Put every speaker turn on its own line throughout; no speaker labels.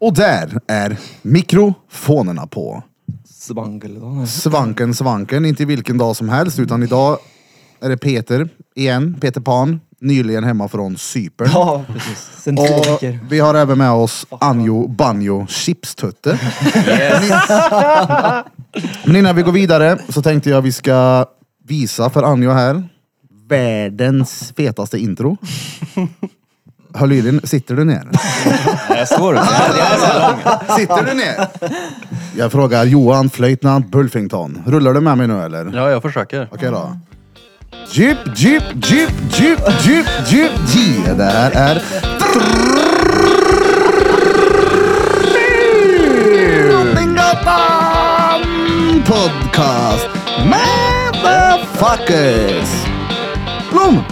Och där är mikrofonerna på.
Svankeldagen.
Svanken, svanken, inte vilken dag som helst, utan idag är det Peter igen, Peter Pan, nyligen hemma från Cypern.
Ja, precis. Sen
Och
tänker.
vi har även med oss Anjo Banjo Chipstutte. Men innan vi går vidare så tänkte jag vi ska visa för Anjo här världens fetaste intro. Höll i din, sitter du ner?
Jag står upp.
Sitter du ner? Jag frågar Johan Flöjtnant Bulfington. Rullar du med mig nu eller?
Ja, jag försöker.
Okej då. Jeep, jeep, jeep, jeep, jeep, jeep, jeep. Det här är... Drottninggatan podcast. Motherfuckers. Blom!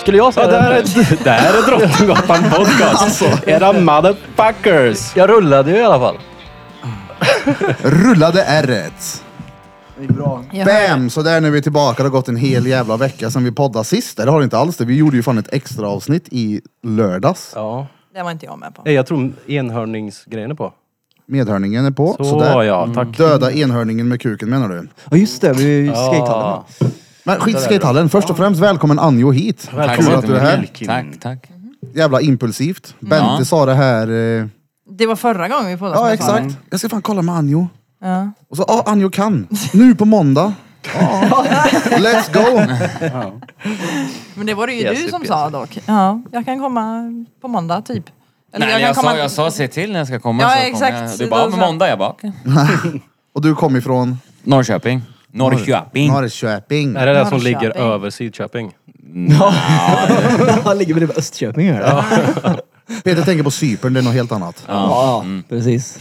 Skulle jag säga det? Här är, Alltså. det här är Drottninggatan podcast. Era motherfuckers. Jag rullade ju i alla fall.
Rullade ärret.
Det är bra.
Bam! Så där nu är vi tillbaka. Det har gått en hel jävla vecka sedan vi poddade sist. Eller har det inte alls det. Vi gjorde ju fan ett extra avsnitt i lördags.
Ja.
Det var inte jag med på.
Nej, Jag tror enhörningsgrejen är på.
Medhörningen är på.
Så,
Sådär.
Mm.
ja, tack.
Döda enhörningen med kuken menar du?
Ja just det, vi är ju i skatehallen.
Ja.
Men skit i skatehallen. Först och främst välkommen Anjo hit.
Välkommen.
Kul att du är här.
Tack, tack.
Jävla impulsivt. Bente
Ja.
sa det här. Eh...
Det var förra gången vi poddade. som
Ja
jag sa det.
exakt. Jag ska fan kolla med Anjo.
Ja.
Och så, ja ah, Anjo kan. Nu på måndag. Ja. Let's go!
Men det var det ju
Yes,
du som
yes.
sa dock. Ja, jag kan komma på måndag typ.
Nej,
kan
jag, jag,
komma-
sa, jag sa se till när jag ska komma.
Ja,
så
exakt.
Kommer jag. Du bara,
Då
ja, men
sa-
måndag är jag bara. okej.
Och du kom ifrån?
Norrköping. Norrköping.
Norrköping.
Är det det som
Norrköping.
ligger över Sydköping?
Han ligger bredvid Östköping här. Ja,
Peter tänker på Cypern, det är något helt annat.
ja precis.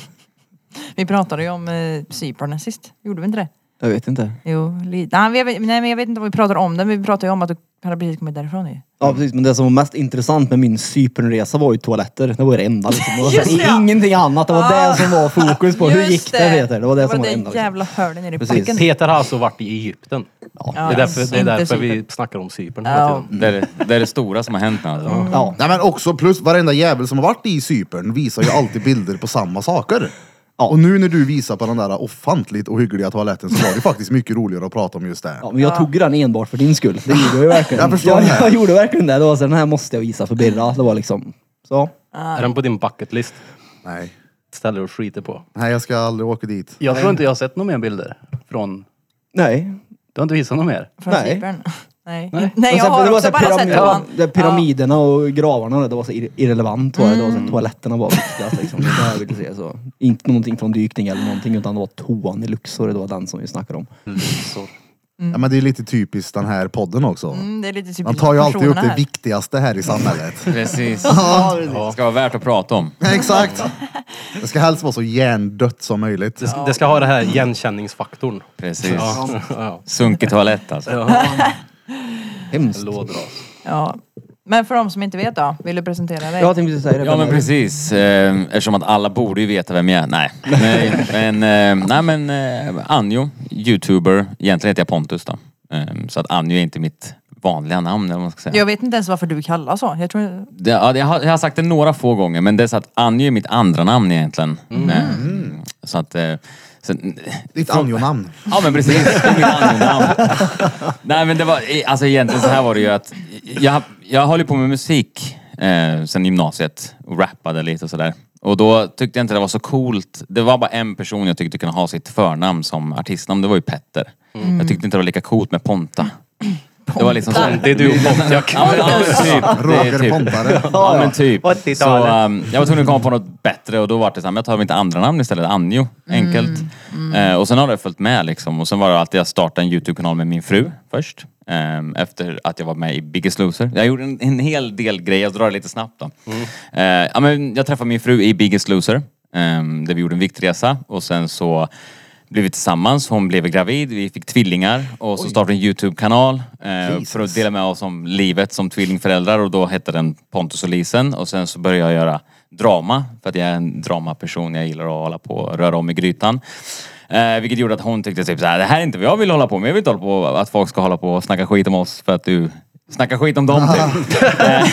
Vi pratade ju om eh, Cypern sist. Gjorde vi inte det?
Jag vet inte.
Jo, lite. Nej, men jag vet- nej men jag vet inte om vi pratar om det. Men vi pratade ju om att du hade precis kommit därifrån ju.
Ja precis, men det som var mest intressant med min Cypernresa var ju toaletter. Det var det enda liksom. Det var
Just det, ja.
Ingenting annat. Det var
Ah.
det som var fokus på. Hur
Just
gick det Peter? Det var det som var det enda.
den
Liksom.
jävla hörden nere i
Precis.
backen.
Peter har alltså varit i Egypten.
Ja,
Det är därför, det är
inte
därför
Cypern.
vi snackar om Cypern hela
Ja.
tiden.
Det, är, det- det är det stora som har hänt nu alltså.
Ja.
Nej men också plus varenda jävel som har varit i Cypern visar ju alltid bilder på samma saker. Och nu när du visar på den där ofantligt ohyggliga toaletten så var det ju faktiskt mycket roligare att prata om just det.
Ja, men jag tog den enbart för din skull. Det gjorde jag ju verkligen.
Jag förstår det.
jag, jag gjorde verkligen det. Det var så här, den här måste jag visa för Birra. Det var liksom så.
Är den på din bucketlist?
Nej.
Ställer och skiter på.
Nej, jag ska aldrig åka dit.
Jag tror inte jag har sett några mer bilder från...
Nej.
Du har inte visat några mer?
Från
Nej.
Cypern. Nej.
Nej.
Nej.
Men
jag
sen- det
har
var
också
så här
bara sett
pyramid-
det.
det här Pyramiderna och gravarna, det var så irre- irrelevant. Var det. det var så
Mm.
här, toaletterna var viktigast liksom. Det här vill jag se, så. Inte någonting från dykning eller någonting utan det var toan i Luxor, det var den som vi snackade om.
Luxor.
Mm.
Ja, men det är lite typiskt den här podden också.
Mm, det är lite typ
Man tar ju alltid upp
personerna
det
här.
viktigaste här i samhället.
Precis. Det ska vara värt att prata om.
Ja, Exakt! Det ska helst vara så hjärndött som möjligt.
Det ska, det ska ha den här igenkänningsfaktorn.
Precis.
Ja. Ja.
Sunkig toalett alltså.
Hemskt.
Lådras.
Ja. Men för de som inte vet då, vill du presentera dig?
Jag tänkte precis säga det.
Ja men precis. Eh, Eftersom att alla borde ju veta vem jag är. Nej. Nej, Men, eh, nej, men eh, Anjo, youtuber. Egentligen heter jag Pontus då. Eh, Så att Anjo är inte mitt vanliga namn eller vad man ska säga.
Jag vet inte ens varför du kallas så. Jag tror...
Det, ja, jag, har, jag har sagt det några få gånger men det är så att Anjo är mitt andra namn egentligen. Mm. Så att... eh, Sen,
Ditt Anjo-namn.
ja men precis, det är mitt andra namn. Nej men det var, eh, alltså egentligen så här var det ju att jag, jag höll ju på med musik eh, sen gymnasiet och rappade lite och sådär. Och då tyckte jag inte det var så coolt. Det var bara en person jag tyckte kunde ha sitt förnamn som artistnamn, det var ju Petter. Jag tyckte inte det var lika coolt med Ponta. Det var liksom så,
Det är du och Pontiac.
Ja, men, ja, men typ. Det är
Roger
typ.
Pontare.
Ja men typ.
80-talet.
Så ehm, jag var tvungen att komma på något bättre och då var det så här, men jag tar mitt andra namn istället, Anjo. Enkelt. Eh, och sen har det följt med liksom. Och sen var det alltid jag startade en YouTube-kanal med min fru först. ehm, efter att jag var med i Biggest Loser. Jag gjorde en, en hel del grejer, jag drar det lite snabbt då. Eh, ja, men jag träffade min fru i Biggest Loser. ehm, där vi gjorde en viktresa och sen så blev vi tillsammans, hon blev gravid, vi fick tvillingar och så startade vi en YouTube-kanal eh, för att dela med oss om livet som tvillingföräldrar och då hette den Pontus och Lisen och sen så började jag göra drama för att jag är en dramaperson, jag gillar att hålla på och röra om i grytan. Eh, vilket gjorde att hon tyckte typ såhär, det här är inte vad jag vill hålla på med, jag vill inte hålla på att folk ska hålla på och snacka skit om oss för att du Snacka skit om dem typ. Eh,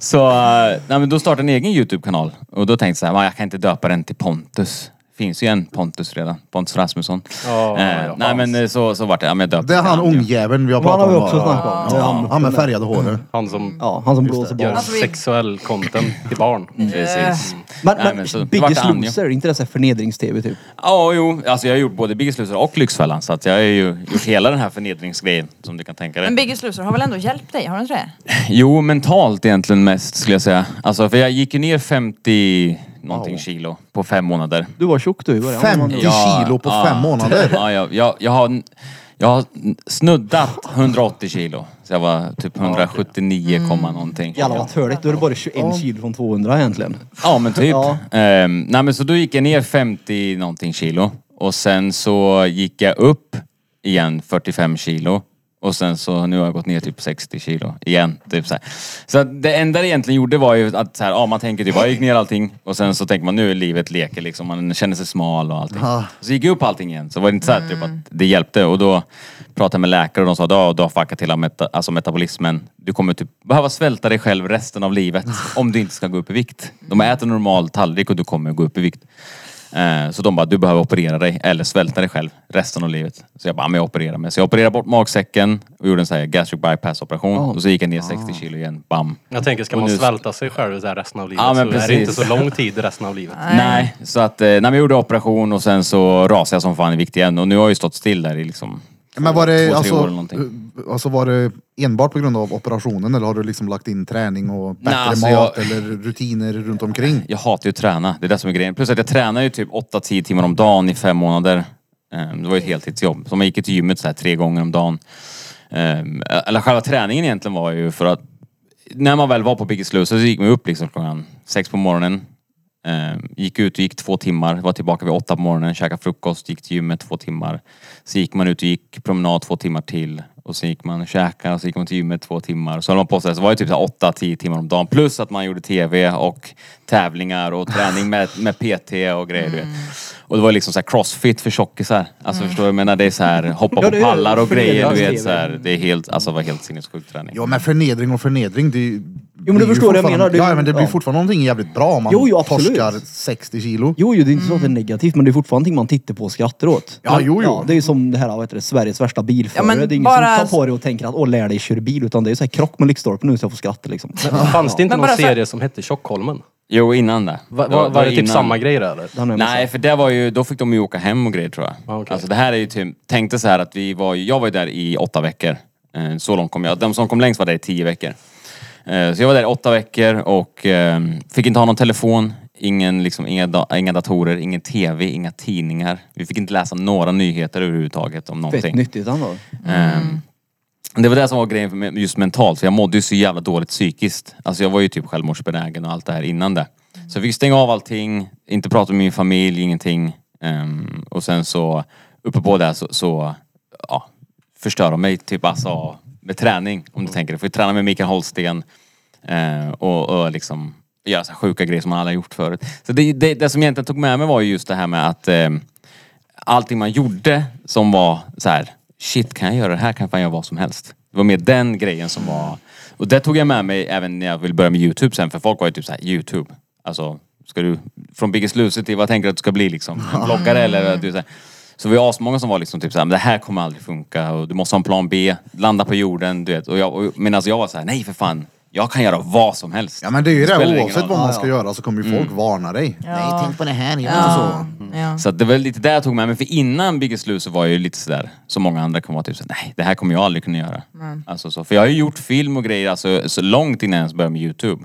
så eh, nej, men då startade jag en egen YouTube-kanal. Och då tänkte jag så här, "Va, jag kan inte döpa den till Pontus. Finns ju en Pontus redan. Pontus Rasmusson.
Ja,
eh,
ja,
nej men eh, så, så vart det. Ja, men jag döpte
Det är
den
han
till Andio.
ungjäveln vi har
Han har
pratat
vi
om.
också
bara.
snackat om. Mm. Det är
Ja,
han.
han med färgade håret.
Han som
Ja, han som blåser
gör
bort.
Alltså, vi-
sexuell content till barn.
Mm. Precis.
Men,
Nej,
men,
men så- det vart
Biggest
han ju.
Loser, inte det så här förnedrings-tv typ?
Ja, jo. Alltså jag har gjort både Biggest Loser och Lyxfällan. Så att jag har ju gjort hela den här förnedringsgrejen som du kan tänka dig.
Men Biggest Loser har väl ändå hjälpt dig? Har den inte det?
Jo, mentalt egentligen mest skulle jag säga. Alltså för jag gick ju ner 50 någonting kilo på fem månader.
Du var tjock du i början.
50 kilo på fem månader.
Ja, jag, jag, jag, har, jag har snuddat 180 kilo. Så jag var typ 179, komma
Mm.
någonting.
Jävlar vad törligt, då är det bara 21 kilo från 200 egentligen.
Ja men typ.
Ja.
Ehm, nej men så då gick jag ner 50 någonting kilo. Och sen så gick jag upp igen 45 kilo. Och sen så nu har jag gått ner typ 60 kilo igen. Typ så här. så att det enda det egentligen gjorde var ju att så här, ja, man tänker typ, ja, jag gick ner allting. Och sen så tänker man nu är livet leker liksom. Man känner sig smal och allting.
Ja.
Så gick jag upp allting igen. Så var det inte så här, typ att det hjälpte. Och då pratade jag med läkare och de sa att du har fuckat hela meta- alltså metabolismen. Du kommer typ behöva svälta dig själv resten av livet om du inte ska gå upp i vikt. De äter en normal tallrik och du kommer gå upp i vikt. Eh, Så de bara, du behöver operera dig eller svälta dig själv resten av livet. Så jag bara, men jag opererar mig. Så jag opererade bort magsäcken och gjorde en sån här gastric bypass operation. Och så gick jag ner 60 kilo igen, bam.
Jag tänker, ska
Och
man
nu-
svälta sig själv så här resten av livet
Ja, men
så är det
precis.
inte så lång tid resten av livet.
Nej, så att, eh, nej, men jag gjorde operation och sen så rasade jag som fan i vikt igen. Och nu har jag ju stått still där i liksom...
Men var
Två,
det,
tre år
alltså,
eller någonting.
eh, alltså var det enbart på grund av operationen eller har du liksom lagt in träning och bättre
alltså
mat
jag-
eller rutiner runt omkring?
Jag hatar ju att träna, det är det som är grejen. Plus att jag tränar ju typ 8-10 timmar om dagen i fem månader. Eh, Det var ju ett heltidsjobb. Så man gick ju till gymmet så här tre gånger om dagen. Ehm, Eller själva träningen egentligen var ju för att när man väl var på Biggest Loser så gick man upp liksom klockan sex på morgonen. Ehm, Gick ut och gick två timmar, var tillbaka vid åtta på morgonen, käkade frukost, gick till gymmet två timmar. Så gick man ut och gick promenad två timmar till. Och så gick man och käkade och så gick man till gymmet två timmar. Så höll man på så här, så var det typ så här åtta, tio timmar om dagen. Plus att man gjorde TV och tävlingar och träning med, med PT och grejer du vet.
Mm.
Och det var liksom så här crossfit för tjockisar. Alltså förstår du? Jag menar det är så här hoppa
Ja,
på
det är
pallar och grejer du
förnedrande.
vet. Så här, det är helt, alltså det var helt sinnessjuk träning.
Ja men förnedring och förnedring, det är ju-
du
blir ju
förstår vad jag
fortfarande-
menar. Det är ju-
Ja men det blir
ja.
fortfarande någonting jävligt bra om man
Jo, jo, absolut.
torskar 60 kilo.
Jo, jo, det är inte så att det är
Mm.
negativt, men det är fortfarande någonting man tittar på och skrattar åt.
Ja,
Men,
jo, jo.
det är ju som det här, vad heter det, Sveriges värsta bilförare.
Ja, men
det är ingen
bara-
som tar på dig och tänker att åh, lär dig köra bil, utan det är ju så här krock med lyktstolpen nu så jag får skratta liksom.
Fanns det inte
Men
någon
bara så här-
serie som hette Tjockholmen?
Jo, innan det.
Va,
Det
va, var det typ
innan-
samma grejer eller?
Den är
Nej, för det var ju, då fick de ju åka hem och grejer tror jag.
Ah, okej.
Alltså det här är ju typ, tänk dig så här att vi var, ju- jag var ju där i åtta veckor. Eh, Så långt kom jag. De som kom längst var där i tio veckor. Eh, Så jag var där i åtta veckor och eh, fick inte ha någon telefon, ingen, liksom, inga, da- inga datorer, ingen TV, inga tidningar. Vi fick inte läsa några nyheter överhuvudtaget om någonting.
Fett nyttigt ändå.
Ehm, Det var det som var grejen för mig, just mentalt, för jag mådde ju så jävla dåligt psykiskt. Alltså jag var ju typ självmordsbenägen och allt det här innan det. Så jag fick stänga av allting, inte prata med min familj, ingenting. Ehm, och sen så, uppe på det här så, så ja, förstör de mig typ alltså med träning om du tänker det. Får ju träna med Mikael Holsten eh, och, och liksom göra så här sjuka grejer som man alla har gjort förut. Så det, det, det som jag egentligen tog med mig var ju just det här med att ehm, allting man gjorde som var så här, shit kan jag göra det här kan fan jag vad som helst. Det var mer den grejen som var, och det tog jag med mig även när jag ville börja med YouTube sen för folk var ju typ så här, YouTube, alltså ska du, från Biggest Loser till vad tänker du att du ska bli liksom? En Bloggare eller? att Du, så, här. så vi var asmånga som var liksom typ så här, men det här kommer aldrig funka och du måste ha en plan B, landa på jorden, du vet. Och jag, och, medan jag var så här, nej för fan, jag kan göra vad som helst.
Ja men det är ju
spelar
det,
ingen
oavsett
roll. Mm.
vad man ska göra så kommer ju folk varna dig.
Ja.
tänk på det här, gör
Ja. ja.
Så att det var lite det jag tog med mig. För innan Biggest Loser var jag ju lite sådär, som många andra kommer vara typ såhär, nej det här kommer jag aldrig kunna göra. Alltså så, för jag har ju gjort film och grejer alltså, så långt innan jag ens började med YouTube.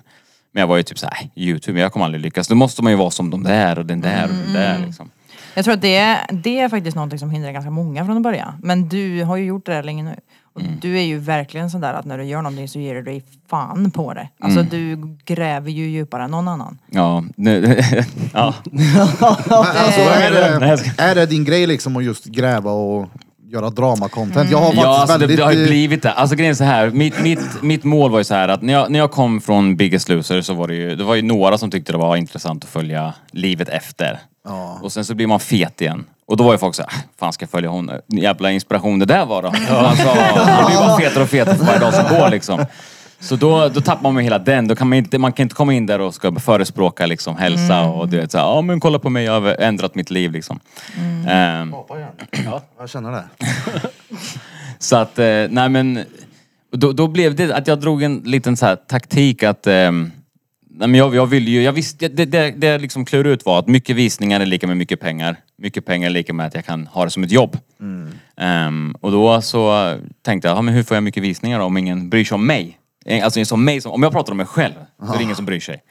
Men jag var ju typ såhär, "Nej, YouTube, jag kommer aldrig lyckas. Då måste man ju vara som de där och den där och den där liksom.
Jag tror att det, det är faktiskt någonting som hindrar ganska många från att börja. Men du har ju gjort det där länge nu. Och Du är ju verkligen sån där att när du gör någonting så ger du dig fan på det. Alltså du gräver ju djupare än någon annan.
Ja, nu, ja.
Men, alltså, är,
Nej, jag
det,
ska-
är det din grej liksom att just gräva och göra drama-content? Jag har faktiskt
Ja, alltså, det,
väldigt...
det har ju
eh,
blivit det. Alltså grejen är så här, mitt, mitt, mitt mål var ju så här att när jag, när jag kom från Biggest Loser så var det ju, det var ju några som tyckte det var intressant att följa livet efter. Och sen så blir man fet igen. Och då var ju folk såhär, "Ah, fan ska jag följa hon? Jävla inspiration det där var då. Alltså, han blir bara fetare och fetare för varje dag som går liksom. Så då, då tappar man ju hela den. Då kan man, inte, man kan inte komma in där och ska förespråka liksom, hälsa
Mm.
och du vet såhär, ja men kolla på mig, jag har ändrat mitt liv liksom.
Mm.
Ehm,
Jag känner det.
så att, eh, nej men, då, då blev det att jag drog en liten så här taktik att, ehm, nej men jag, jag ville ju, jag visste, det, det, det jag liksom klurade ut var att mycket visningar är lika med mycket pengar. Mycket pengar är lika med att jag kan ha det som ett jobb. Ehm, och då så tänkte jag, ja, men hur får jag mycket visningar då, om ingen bryr sig om mig? Eh, Alltså som mig, som, om jag pratar om mig själv, så är det ingen som bryr sig.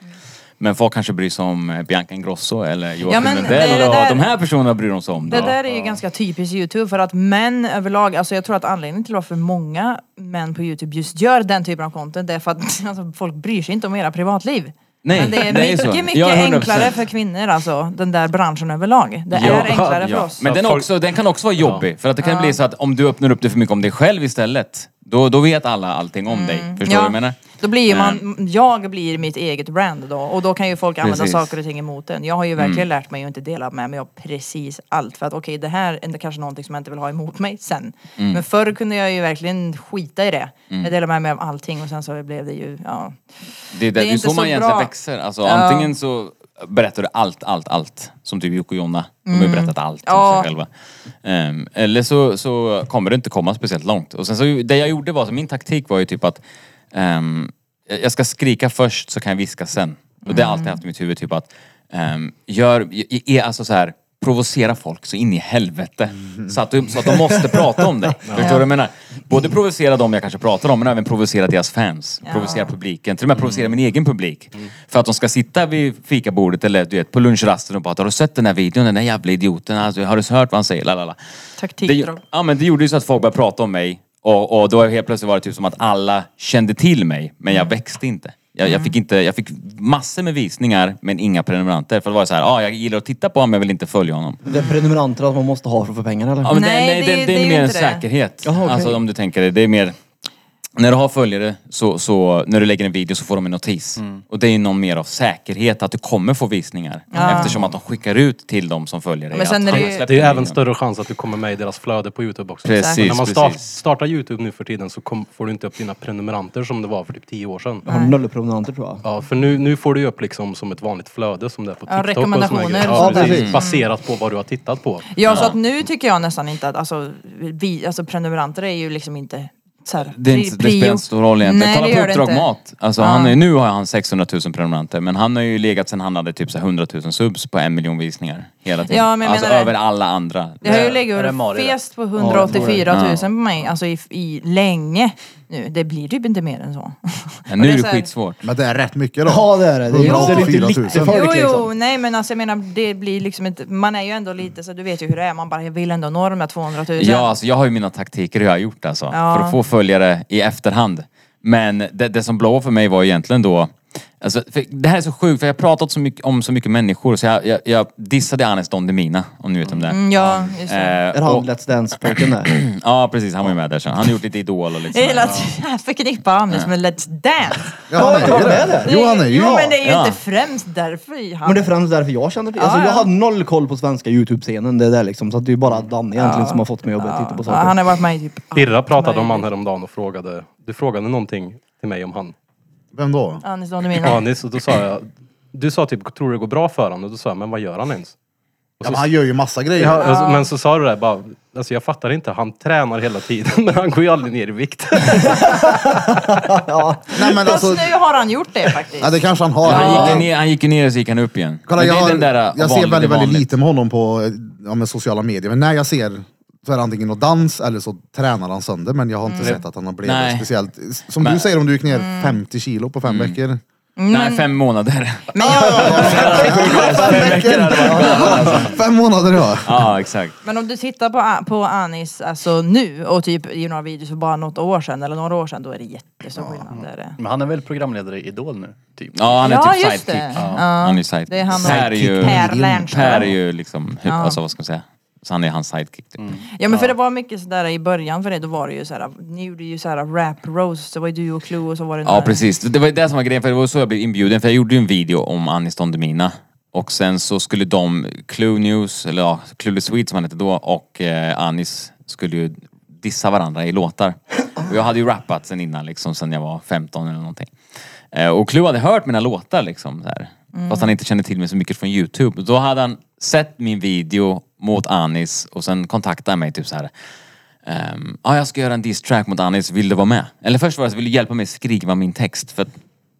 Men folk kanske bryr sig om eh, Bianca Ingrosso eller Joakim
men det är
Lundell.
det
och
där-
De här personerna bryr de sig om.
Det
då.
där är ju ganska typiskt YouTube för att män överlag, alltså jag tror att anledningen till varför många män på YouTube just gör den typen av content det är för att alltså, folk bryr sig inte om era privatliv.
Nej,
Men det är
det är
mycket,
så.
mycket
Ja, 100%.
enklare för kvinnor alltså, den där branschen överlag. Det
Ja,
är enklare
ja.
för oss.
Men den,
folk-
också, den kan också vara jobbig. För att det kan bli så att om du öppnar upp dig för mycket om dig själv istället, då, då vet alla allting om dig. Förstår du
Mm. Ja.
vad jag menar? Eh.
Då blir ju man, jag blir mitt eget brand då och då kan ju folk använda
Precis. Mm.
saker och ting emot en. Jag har ju verkligen lärt mig att inte dela med mig av precis allt för att okej det här är kanske någonting som jag inte vill ha emot mig sen.
Mm.
Men förr kunde jag ju verkligen skita i det. Jag delade med mig av allting och sen så blev det ju, ja.
Det är,
Det
det,
är
det är
inte
så man
så
egentligen
bra.
växer. Alltså, Antingen så berättar du allt, allt, allt. Som typ Jocke och Jonna. De har ju berättat allt om
Mm. Ja.
sig själva. Ehm, eller så, så kommer du inte komma speciellt långt. Och sen så, det jag gjorde var, så min taktik var ju typ att ehm, jag jag ska skrika först så kan jag viska sen. Och det har jag alltid haft i mitt huvud. Typ att ehm, gör, i- i- alltså så här, provocera folk så in i helvete. Så, att du, så att de måste prata om dig. Förstår du vad jag menar? Både provocera dem jag kanske pratar om men även provocera deras fans. Provocera publiken. Till och med provocera min egen publik. För att de ska sitta vid fikabordet eller du vet, på lunchrasten och bara Har du sett den här videon? Den där jävla idioten. Alltså, har du hört vad han säger? Lalala.
Taktikdrag.
Det- Ja men det gjorde ju så att folk började prata om mig och, och då har helt plötsligt varit typ som att alla kände till mig men jag växte inte. Jag, jag, fick inte, jag fick massor med visningar men inga prenumeranter. För det var ju så här, ah, jag gillar att titta på honom men jag vill inte följa honom.
Det är prenumeranter att man måste ha för att få pengar eller?
Ja, men
Nej,
det,
det-
det, det,
det är
är
ju
mer en
inte det.
säkerhet.
Jaha, okej.
Alltså om du tänker det. Det är mer, när du har följare så, så när du lägger en video så får de en notis.
Mm.
Och det är ju någon mer av säkerhet att du kommer få visningar. Eftersom att de skickar ut till de som följer dig.
Men sen
att
är
han
det
har
ju-
släppt
Det är ju
en
även
video.
större chans att du kommer med i deras flöde på Youtube också.
Precis,
när man sta-
precis.
startar Youtube nu för tiden så kom, får du inte upp dina prenumeranter som det var för typ tio år sedan.
Jag har noll prenumeranter tror jag.
Ja, för nu, nu får du ju upp liksom som ett vanligt flöde som det är på
Ja,
TikTok och såna
rekommendationer.
grejer.
Ja,
Ja, precis.
precis.
Baserat på vad du har tittat på.
Ja, så att nu tycker jag nästan inte att, alltså, vi, alltså prenumeranter är ju liksom inte så här,
Det, är inte, det
prio.
spelar inte så stor roll egentligen.
Nej,
Kolla
det
på
gör det
Uppdrag
inte.
Mat. Alltså, han är, nu har han 600 000 prenumeranter men han har ju legat sen han hade typ så här 100 000 subs på en miljon visningar. Hela tiden.
Ja, men jag
alltså
menar det.
över alla andra.
Det har ju
Är det
legat och
Mari det?
fest på 184 000 på mig, alltså i, i länge nu. Det blir typ inte mer än så.
Men nu
det
är
är
det
så här-
skitsvårt.
Men det är rätt mycket då.
Ja det är det. Det är, det är
184 000.
lite lite
Jo,
folk
jo,
liksom.
nej men alltså jag menar, det blir liksom inte, man är ju ändå lite så, du vet ju hur det är, man bara, jag vill ändå nå de där 200 000.
Ja, alltså, jag har ju mina taktiker hur jag har gjort alltså.
Ja.
För att få följare i efterhand. Men det, det som blåade för mig var egentligen då Alltså, för det här är så sjukt, för jag har pratat så mycket, om så mycket människor så jag, jag, jag dissade Anis Don Demina, om ni vet om det är.
Mm, ja just det.
Eh,
Är han
och-
Let's Dance-pojken där?
Ja precis, han var ju med där sen. Han har gjort lite Idol och liksom lite
eh,
jag gillar
sådär.
att jag förknippar Anis med Let's Dance.
Ja, han är ju det. Jo, han är ju
Jo
det.
men det är ju
Ja.
inte främst därför han...
Men det är främst därför jag känner till alltså,
Ja, ja.
Jag har noll koll på svenska YouTube-scenen. Det är där liksom. Så att det är ju bara Danne egentligen som har fått mig att börja titta på
Ja, han
saker.
har varit med i typ... allt
Birra pratade om han
möjligt.
häromdagen och frågade, du frågade någonting till mig om han.
Vem då?
Anis Don Demina.
Anis och då sa jag, du sa typ, tror det går bra för honom? Och då sa jag, men vad gör han ens?
Ja, men han gör ju massa grejer.
Ja, alltså, men så sa du det här, bara, alltså jag fattar inte, han tränar hela tiden men han går ju aldrig ner i vikt.
Nej, men
Fast
alltså,
nu har han gjort det faktiskt.
ja, det kanske han har.
Han gick, ju
Ja.
ner, han gick ju ner och så gick han upp igen.
Kolla,
Men
jag,
det är
har-
den där äh,
jag ser
vanligt-
väldigt, väldigt
vanligt.
lite med honom på eh, ja, med sociala medier. Men när jag ser så är det antingen något dans eller så tränar han sönder. Men jag har inte sett att han har blivit
Mm. Nej.
speciellt. Som
Men- Mm.
du säger om du gick ner
Mm.
50 kilo på fem veckor.
Nej, fem månader.
Men jag,
alltså.
Fem månader ja.
ja, exakt.
Men om du tittar på, på Anis alltså nu och typ i några videos för bara något år sedan eller några år sedan då är det jättestor skillnad. Det är det.
Men han är väl programledare i Idol nu? Typ.
Ja, han är
Ja,
typ
just
sidekick.
det. Ja.
Han är sidekick.
Det är han och-
per är ju,
Per Lernström.
per är ju liksom, hur, alltså vad ska man säga? Så han är hans sidekick typ.
Ja men för det var mycket sådär i början för dig då var det ju såhär, ni gjorde ju såhär rap roast, det var ju du och Clue och så var det
Ja
några-
precis, det var ju det som var grejen för det var så jag blev inbjuden för jag gjorde ju en video om Anis Don Demina. Och sen så skulle de, Clue News, eller ja, Clueless Swede som han hette då, och eh, Anis skulle ju dissa varandra i låtar. Och jag hade ju rappat sen innan liksom, sen jag var 15 eller någonting. Eh, och Clue hade hört mina låtar liksom så här. Fast han inte kände till mig så mycket från Youtube. Då hade han sett min video mot Anis och sen kontaktade han mig typ så här. ehm, Ja, jag ska göra en diss-track mot Anis, vill du vara med? Eller först var det så, vill du hjälpa mig skriva min text? För att,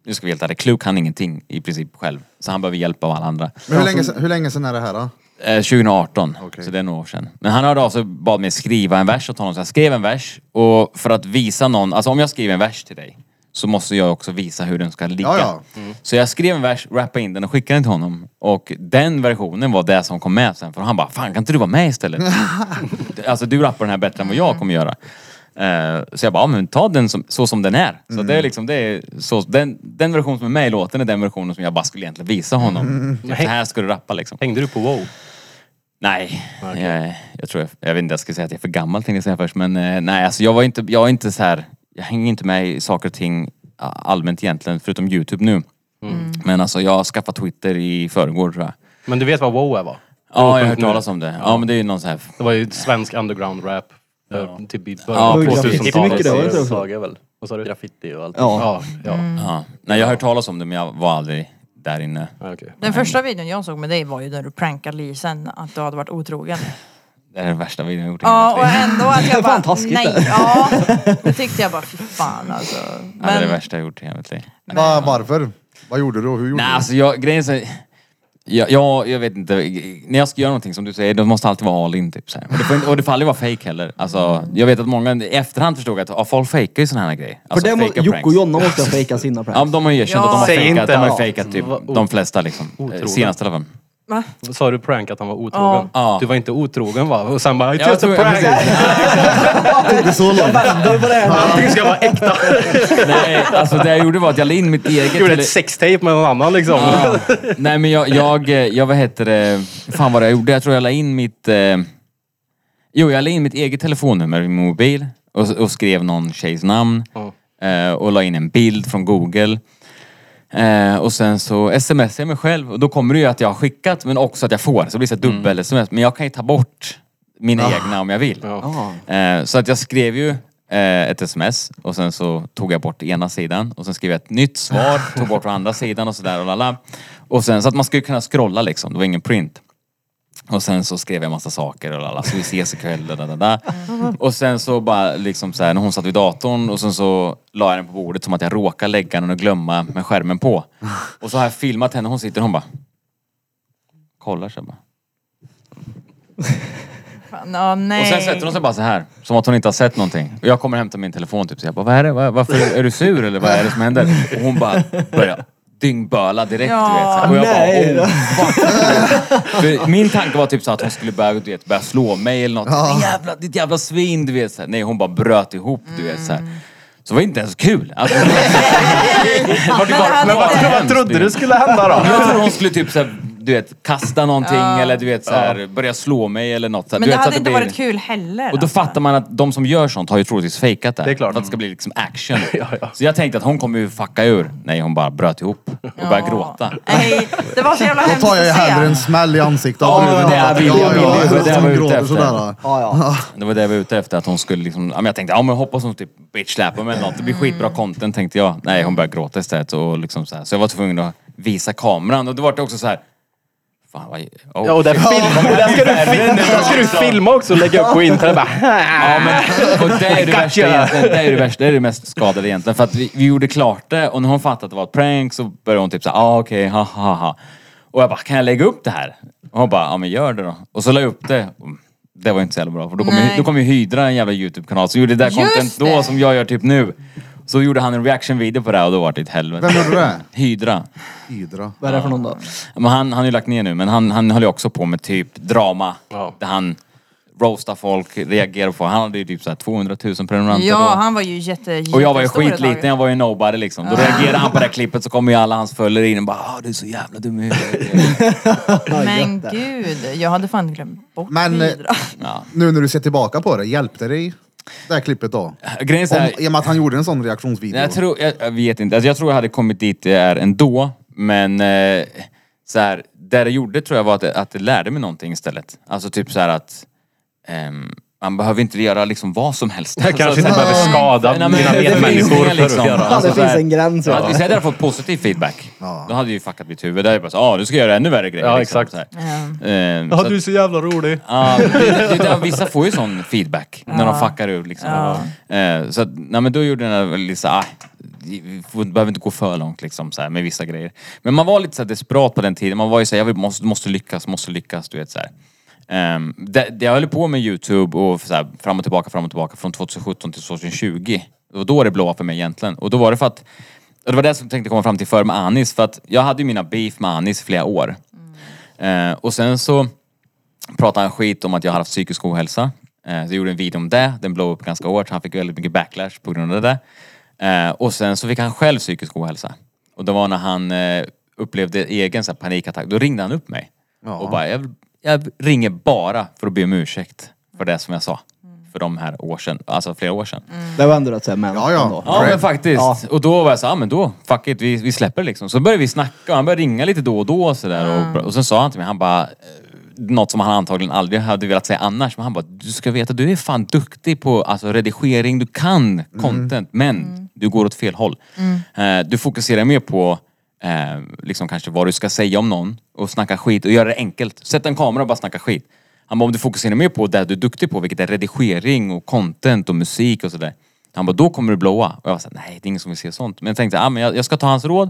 nu ska vi helt ärliga, Clue kan ingenting i princip själv. Så han behöver hjälp av alla andra.
Men hur länge, sen- hur länge sedan är det här då?
Eh, 2018,
Okej.
så det är några år sedan. Men han hörde av sig och bad mig skriva en vers åt honom. Så jag skrev en vers och för att visa någon, alltså om jag skriver en vers till dig så måste jag också visa hur den ska ligga.
Ja, ja. Mm.
Så jag skrev en vers, rappade in den och skickade den till honom. Och den versionen var det som kom med sen. För han bara, fan kan inte du vara med istället? alltså du rappar den här bättre än vad jag kommer göra. Eh, så jag bara, ja, men ta den som, så som den är. Så
Mm.
det är liksom, det är så, den, den version som är med i låten är den versionen som jag bara skulle egentligen visa honom.
Mm.
Typ, så här ska du rappa liksom.
Hängde du på wow?
Nej, jag, jag tror jag, jag vet inte, jag ska säga att jag är för gammal tänkte jag säga först. Men eh, nej, alltså jag var inte, jag är inte så här, jag hänger inte med i saker och ting ah, allmänt egentligen, förutom YouTube nu.
Mm.
Men alltså jag skaffade Twitter i förrgår tror jag.
Men du vet vad wow är va?
Ja, jag har hört talas om det. Ja, men det är ju någon sån här,
Det var ju svensk underground rap. Ja. Typ i
Ja,
början på
precis.
2000-talet.
Det är mycket det, var det inte?
Saga väl? Vad sa du? Graffiti och allt.
Ja.
Ja, ja.
Mm.
ja. Nej, jag har hört talas om det men jag var aldrig där inne.
ja okej.
Den första videon jag såg med dig var ju när du prankade Lisen att du hade varit otrogen.
Det är den värsta videon jag gjort i hela
Ja
mitt
och
liv.
ändå att jag
Fan,
bara,
taskigt
nej.
där.
Ja, då tyckte jag bara fy fan alltså.
Ja, det är det
Men
värsta jag gjort i hela mitt liv.
Va, varför? Vad gjorde du och hur gjorde
Nej,
du?
alltså jag, grejen är så, jag, jag, jag vet inte. När jag ska göra någonting som du säger, då måste alltid vara all in typ så här. Och det får, inte- och det får aldrig vara fake heller. Alltså, jag vet att många i efterhand förstod att ja, folk fejkar ju sådana här grejer.
För
Alltså,
det må,
fejkar
Jocke och
pranks.
Jonna måste ha fejkat sina
Ja, men
pranks.
de har ju erkänt
Ja.
att de har
Säg
fejkat.
inte
De har
något.
fejkat typ
Vad o-
de flesta liksom.
Otrogen.
Senast i alla fall.
va?
Sa du prank att han var otrogen?
Ja.
Du var inte otrogen va? Och sen bara, it's
Ja,
just a
jag tror-
prank!
Inte så långt.
Allting ska vara äkta.
Nej, alltså det jag gjorde var att jag la in mitt eget...
Gjorde
tele-
ett sextape med någon annan liksom.
Ja. Nej men jag, jag, eh, jag, vad heter det, fan vad det jag gjorde. Jag tror jag la in mitt, eh, jo jag la in mitt eget telefonnummer i min mobil och, och skrev någon tjejs namn. Eh, och la in en bild från google. Eh, och sen så smsar jag mig själv och då kommer det ju att jag har skickat men också att jag får. Så det blir så dubbel-sms. Men jag kan ju ta bort mina egna om jag vill. Eh, så att jag skrev ju eh, ett sms och sen så tog jag bort ena sidan och sen skrev jag ett nytt svar, tog bort den andra sidan och sådär och lala. Och sen så att man skulle kunna scrolla liksom, det var ingen print. Och sen så skrev jag massa saker och lala, så vi ses ikväll, da, da, da, da. Och sen så bara liksom så här, när hon satt vid datorn och sen så la jag den på bordet som att jag råkade lägga den och glömma med skärmen på. Och så har jag filmat henne, hon sitter och hon bara kollar så här bara.
Fan, ja, nej.
Och sen sätter hon sig bara så här, som att hon inte har sett någonting. Och jag kommer och hämtar min telefon typ så jag bara, vad är det? Vad- Varför är du sur eller vad är det som händer? Och hon bara börjar dyngböla direkt
Ja.
du vet. Så här. Och jag
Nej.
bara, oh, fuck. För min tanke var typ så att hon skulle börja, du vet, börja slå mig eller något. Din Jävla, ditt jävla svin du vet. Så här. Nej hon bara bröt ihop du vet så här. Så det var inte ens kul. Alltså, det var- det var ju
Men
bara-
hade
det var
inte-
hemskt,
Vad trodde
vet.
du skulle hända då?
Jag tror hon skulle typ så här, du vet, kasta någonting eller du vet så här, börja slå mig eller något. Så här.
Men
du
det
vet, så att
hade inte
blir-
varit kul heller.
och då
alltså.
fattar man att de som gör sånt har ju troligtvis fejkat det.
Det är klart.
För att det ska bli liksom action. Så jag tänkte att hon kommer ju fucka ur. Nej, hon bara bröt ihop och började
Ja.
gråta.
Nej, det var så jävla
Då
hemskt
tar jag ju
att se.
hellre en smäll i ansiktet
Ja,
av
men det är vi-
Ja,
det
ja,
är vi-
ja,
det är det
som
vi är ute
gråter
efter.
sådär.
Ja, ja.
Det var det jag var ute efter. Att hon skulle liksom, ja, men jag tänkte, ja men hoppas hon typ bitch-slappar mig eller något. Det
Mm.
blir skitbra content tänkte jag. Nej, hon började gråta istället. Och liksom så, här. så jag var tvungen att visa kameran. Och då var det också så här. Fan vad... Oh,
Ja, och där, film, och där, ska, du film, där ska du filma också och lägga upp på internet. Bara,
Ja, men, och det är det
Gotcha.
värsta egentligen. Det är det värsta. Det är det mest skadade egentligen. För att vi, vi gjorde klart det och när hon fattade att det var ett prank så började hon typ såhär, ah, okej, ha, ha, ha. Och jag bara, kan jag lägga upp det här? Och hon bara, ja men gör det då. Och så la jag upp det. Och Det var inte så jävla bra för då kom, ju,
Nej.
då kom ju Hydra, en jävla YouTube-kanal, så gjorde det där
Just
content då
det.
som jag gör typ nu. Så gjorde han en reaction-video på det här och då var det ett helvete.
Vem gjorde det?
Hydra.
Hydra.
Vad är det för någon då?
Men han, han har ju lagt ner nu, men han, han höll ju också på med typ drama.
Ja.
Där han roastar folk, reagerar på... Han hade ju typ så här 200 000 prenumeranter då.
Ja, han var ju jätte, jättestor
Och jag var ju
ett tag.
skitliten, jag var ju nobody liksom. Då reagerade han på det här klippet så kommer ju alla hans följare in och bara ah, du är så jävla dum i huvudet.
Men gud, jag hade fan glömt bort
Men, eh,
Hydra.
ja.
Nu när du ser tillbaka på det, hjälpte dig det här klippet då?
Grejen är så
Om,
här,
I och med att han gjorde en sån reaktionsvideo.
jag, tror, jag, jag vet inte, alltså, jag tror jag hade kommit dit jag är ändå. Men eh, så här, det det gjorde tror jag var att det, att det lärde mig någonting istället. Alltså typ så här att ehm, man behöver inte göra liksom vad som helst.
Jag kanske inte
Alltså,
behöver skada
Nej, men
mina
det finns
medmänniskor
inga,
för att
liksom.
göra.
Ja,
Alltså,
det
så
finns
här-
en gräns.
Ja, att vi
Ja.
säger hade fått positiv feedback. Då hade ju fuckat mitt huvud. Då hade jag bara så, ah, nu ska jag göra ännu värre grejer.
Ja,
liksom,
exakt.
så här.
eh,
Ja.
Ehm,
Ja,
så
du är
att-
så jävla rolig.
ja, det, det, det, vissa får ju sån feedback när de fuckar ur liksom. Ehm, så att, nej men då gjorde den där lite så här, ah, vi får- behöver inte gå för långt liksom så här, med vissa grejer. Men man var lite så här desperat på den tiden. Man var ju så här, jag vill, måste, måste lyckas, måste lyckas, du vet så här. Ehm, det, det jag höll på med Youtube och så här, fram och tillbaka, fram och tillbaka från 2017 till 2020. Det var då det blåa för mig egentligen. Och då var det för att, och det var det som jag tänkte komma fram till för med Anis. För att jag hade ju mina beef med Anis i flera år. Ehm, och sen så pratade han skit om att jag hade haft psykisk ohälsa. Eh, så jag gjorde en video om det, den blåg upp ganska hårt. Han fick väldigt mycket backlash på grund av det. Eh, och sen så fick han själv psykisk ohälsa. Och det var när han eh, upplevde egen så här, panikattack. Då ringde han upp mig. Och bara, jag, vill- jag ringer bara för att be om ursäkt för det som jag sa. För de här år sedan, alltså flera år sedan.
Mm.
Det var ändå rätt såhär men.
Ja, ja.
ändå.
Ja men faktiskt.
Ja.
Och då var jag så, ja ah, men då, fuck it, vi, vi släpper det liksom. Så började vi snacka och han började ringa lite då och då och sådär. Och, och sen sa han till mig, han bara, eh, något som han antagligen aldrig hade velat säga annars. Men han bara, du ska veta, du är fan duktig på alltså, redigering, du kan content, men du går åt fel håll. Eh, du fokuserar mer på eh, liksom kanske vad du ska säga om någon och snacka skit och göra det enkelt. Sätt en kamera och bara snacka skit. Han bara, om du fokuserar mer på det du är duktig på, vilket är redigering och content och musik och sådär. Han bara, då kommer du blåa. Och jag var såhär, nej det är ingen som vill se sånt. Men jag tänkte, ah, men jag, jag ska ta hans råd.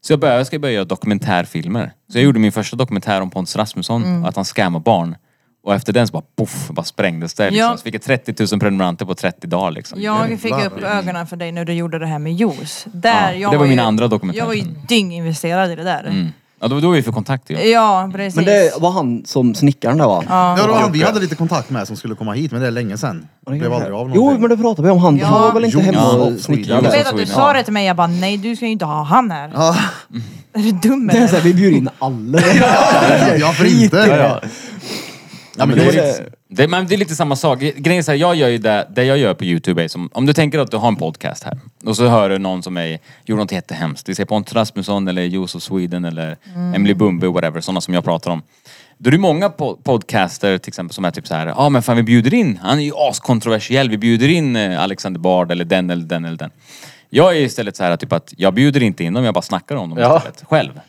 Så jag, började, jag ska börja göra dokumentärfilmer. Så jag gjorde min första dokumentär om Pontus Rasmusson, och att han scammar barn. Och efter den så bara poff, bara sprängdes det. Liksom.
Ja.
Så fick jag 30 000 prenumeranter på 30 dagar liksom.
Jag fick upp ögonen för dig när du gjorde det här med juice. Där,
Ja, det
jag
var mina
ju,
andra Mm. dokumentärer.
Jag var ju dynginvesterad i det där.
Mm. Ja, då, då var vi för kontakt ju.
Ja, precis.
Men det var han som snickaren där va?
Ja, det var han vi hade lite kontakt med som skulle komma hit, men det är länge sedan. Det blev aldrig av
Jo men
någonting.
det pratade vi om. Han,
Ja.
han var väl inte
Jo,
hemma
ja.
och snickrade?
jag
Jo.
vet att du
Ja.
sa det till mig, jag bara nej du ska ju inte ha han här.
Ja,
Är du dum
Det är
eller?
såhär, vi bjuder in alla.
ja, för inte. Ja, men
det,
det-
är lite, det, men det är lite samma sak. Grejen är så här, jag gör ju det, det jag gör på Youtube är som, om du tänker att du har en podcast här och så hör du någon som är, gjorde något jättehemskt. Vi ser Pontus Rasmusson eller Josef Sweden eller
Mm.
Emily Bumbe whatever, sådana som jag pratar om. Då är det många po- podcaster till exempel som är typ så här, ja ah, men fan vi bjuder in, han är ju askontroversiell, vi bjuder in eh, Alexander Bard eller den eller den eller den. Jag är istället så här typ att jag bjuder inte in dem, jag bara snackar om dem
Ja.
istället, själv.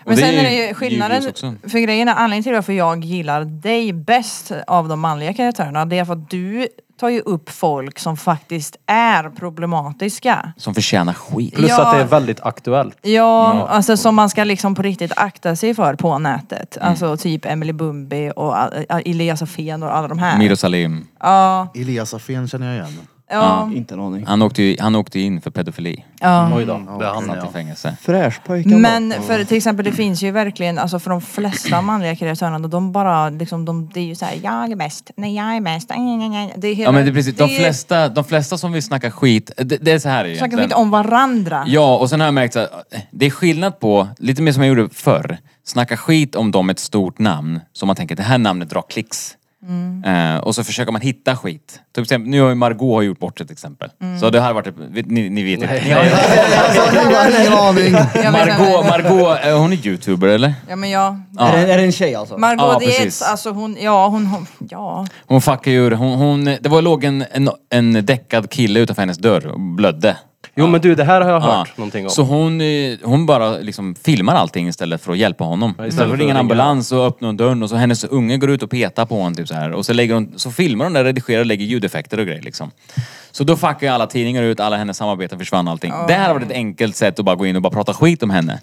Och
Men sen
ju-
är det ju
ju
skillnaden,
ljus också.
för grejen är anledningen till varför jag gillar dig bäst av de manliga karaktärerna, det är för att du tar ju upp folk som faktiskt är problematiska.
Som förtjänar skit.
Plus
Ja.
att det är väldigt aktuellt.
Ja, alltså som man ska liksom på riktigt akta sig för på nätet.
Mm.
Alltså typ Emily Bumbi och uh, Elias Afén och alla de här.
Miro Salim.
Ja,
Elias Afén känner jag igen.
ja,
Inte en aning.
Han åkte, ju, han åkte in för pedofili.
ja.
Mm. Oj då.
Det är han
Han satt i
ja.
fängelse.
Fräschpojken
Men
va?
för till exempel det finns ju verkligen, alltså för de flesta manliga kreatörerna, de bara liksom, de, det är ju såhär, jag är bäst, nej jag är bäst, nej, nej, nej. Det är hela,
Ja men det är precis, de
det är-
flesta, de flesta som vill snacka skit, det, det är så här
snackar
egentligen.
skit om varandra.
Ja, och sen har jag märkt att det är skillnad på, lite mer som jag gjorde förr, snacka skit om dem med ett stort namn, som man tänker det här namnet drar klicks.
Mm.
Eh, och så försöker man hitta skit. Till exempel, nu har ju Margot har gjort bort ett exempel.
Mm.
Så det här har varit, vet- ni, ni vet inte.
Jag har ingen aning.
Jag vet inte.
Margot, Margot, eh, hon är youtuber eller?
Ja men ja.
Ja.
Är, det, är det en tjej alltså?
Margot
Ja,
Dietz,
precis.
alltså hon, ja hon, hon ja.
Hon fuckade ju ur, hon, hon, det var låg en, en, en däckad kille utanför hennes dörr och blödde.
Jo men du, det här har jag hört
Ja.
någonting om.
Så hon, eh, hon bara liksom filmar allting istället för att hjälpa honom.
Ja,
istället för att ringa en ambulans och öppna en dörr och så hennes unge går ut och petar på honom typ så här. Och så, lägger hon, så filmar hon det, redigerar och lägger ljudeffekter och grejer liksom. Så då fuckar ju alla tidningar ut, alla hennes samarbeten försvann allting. Det här var ett enkelt sätt att bara gå in och bara prata skit om henne.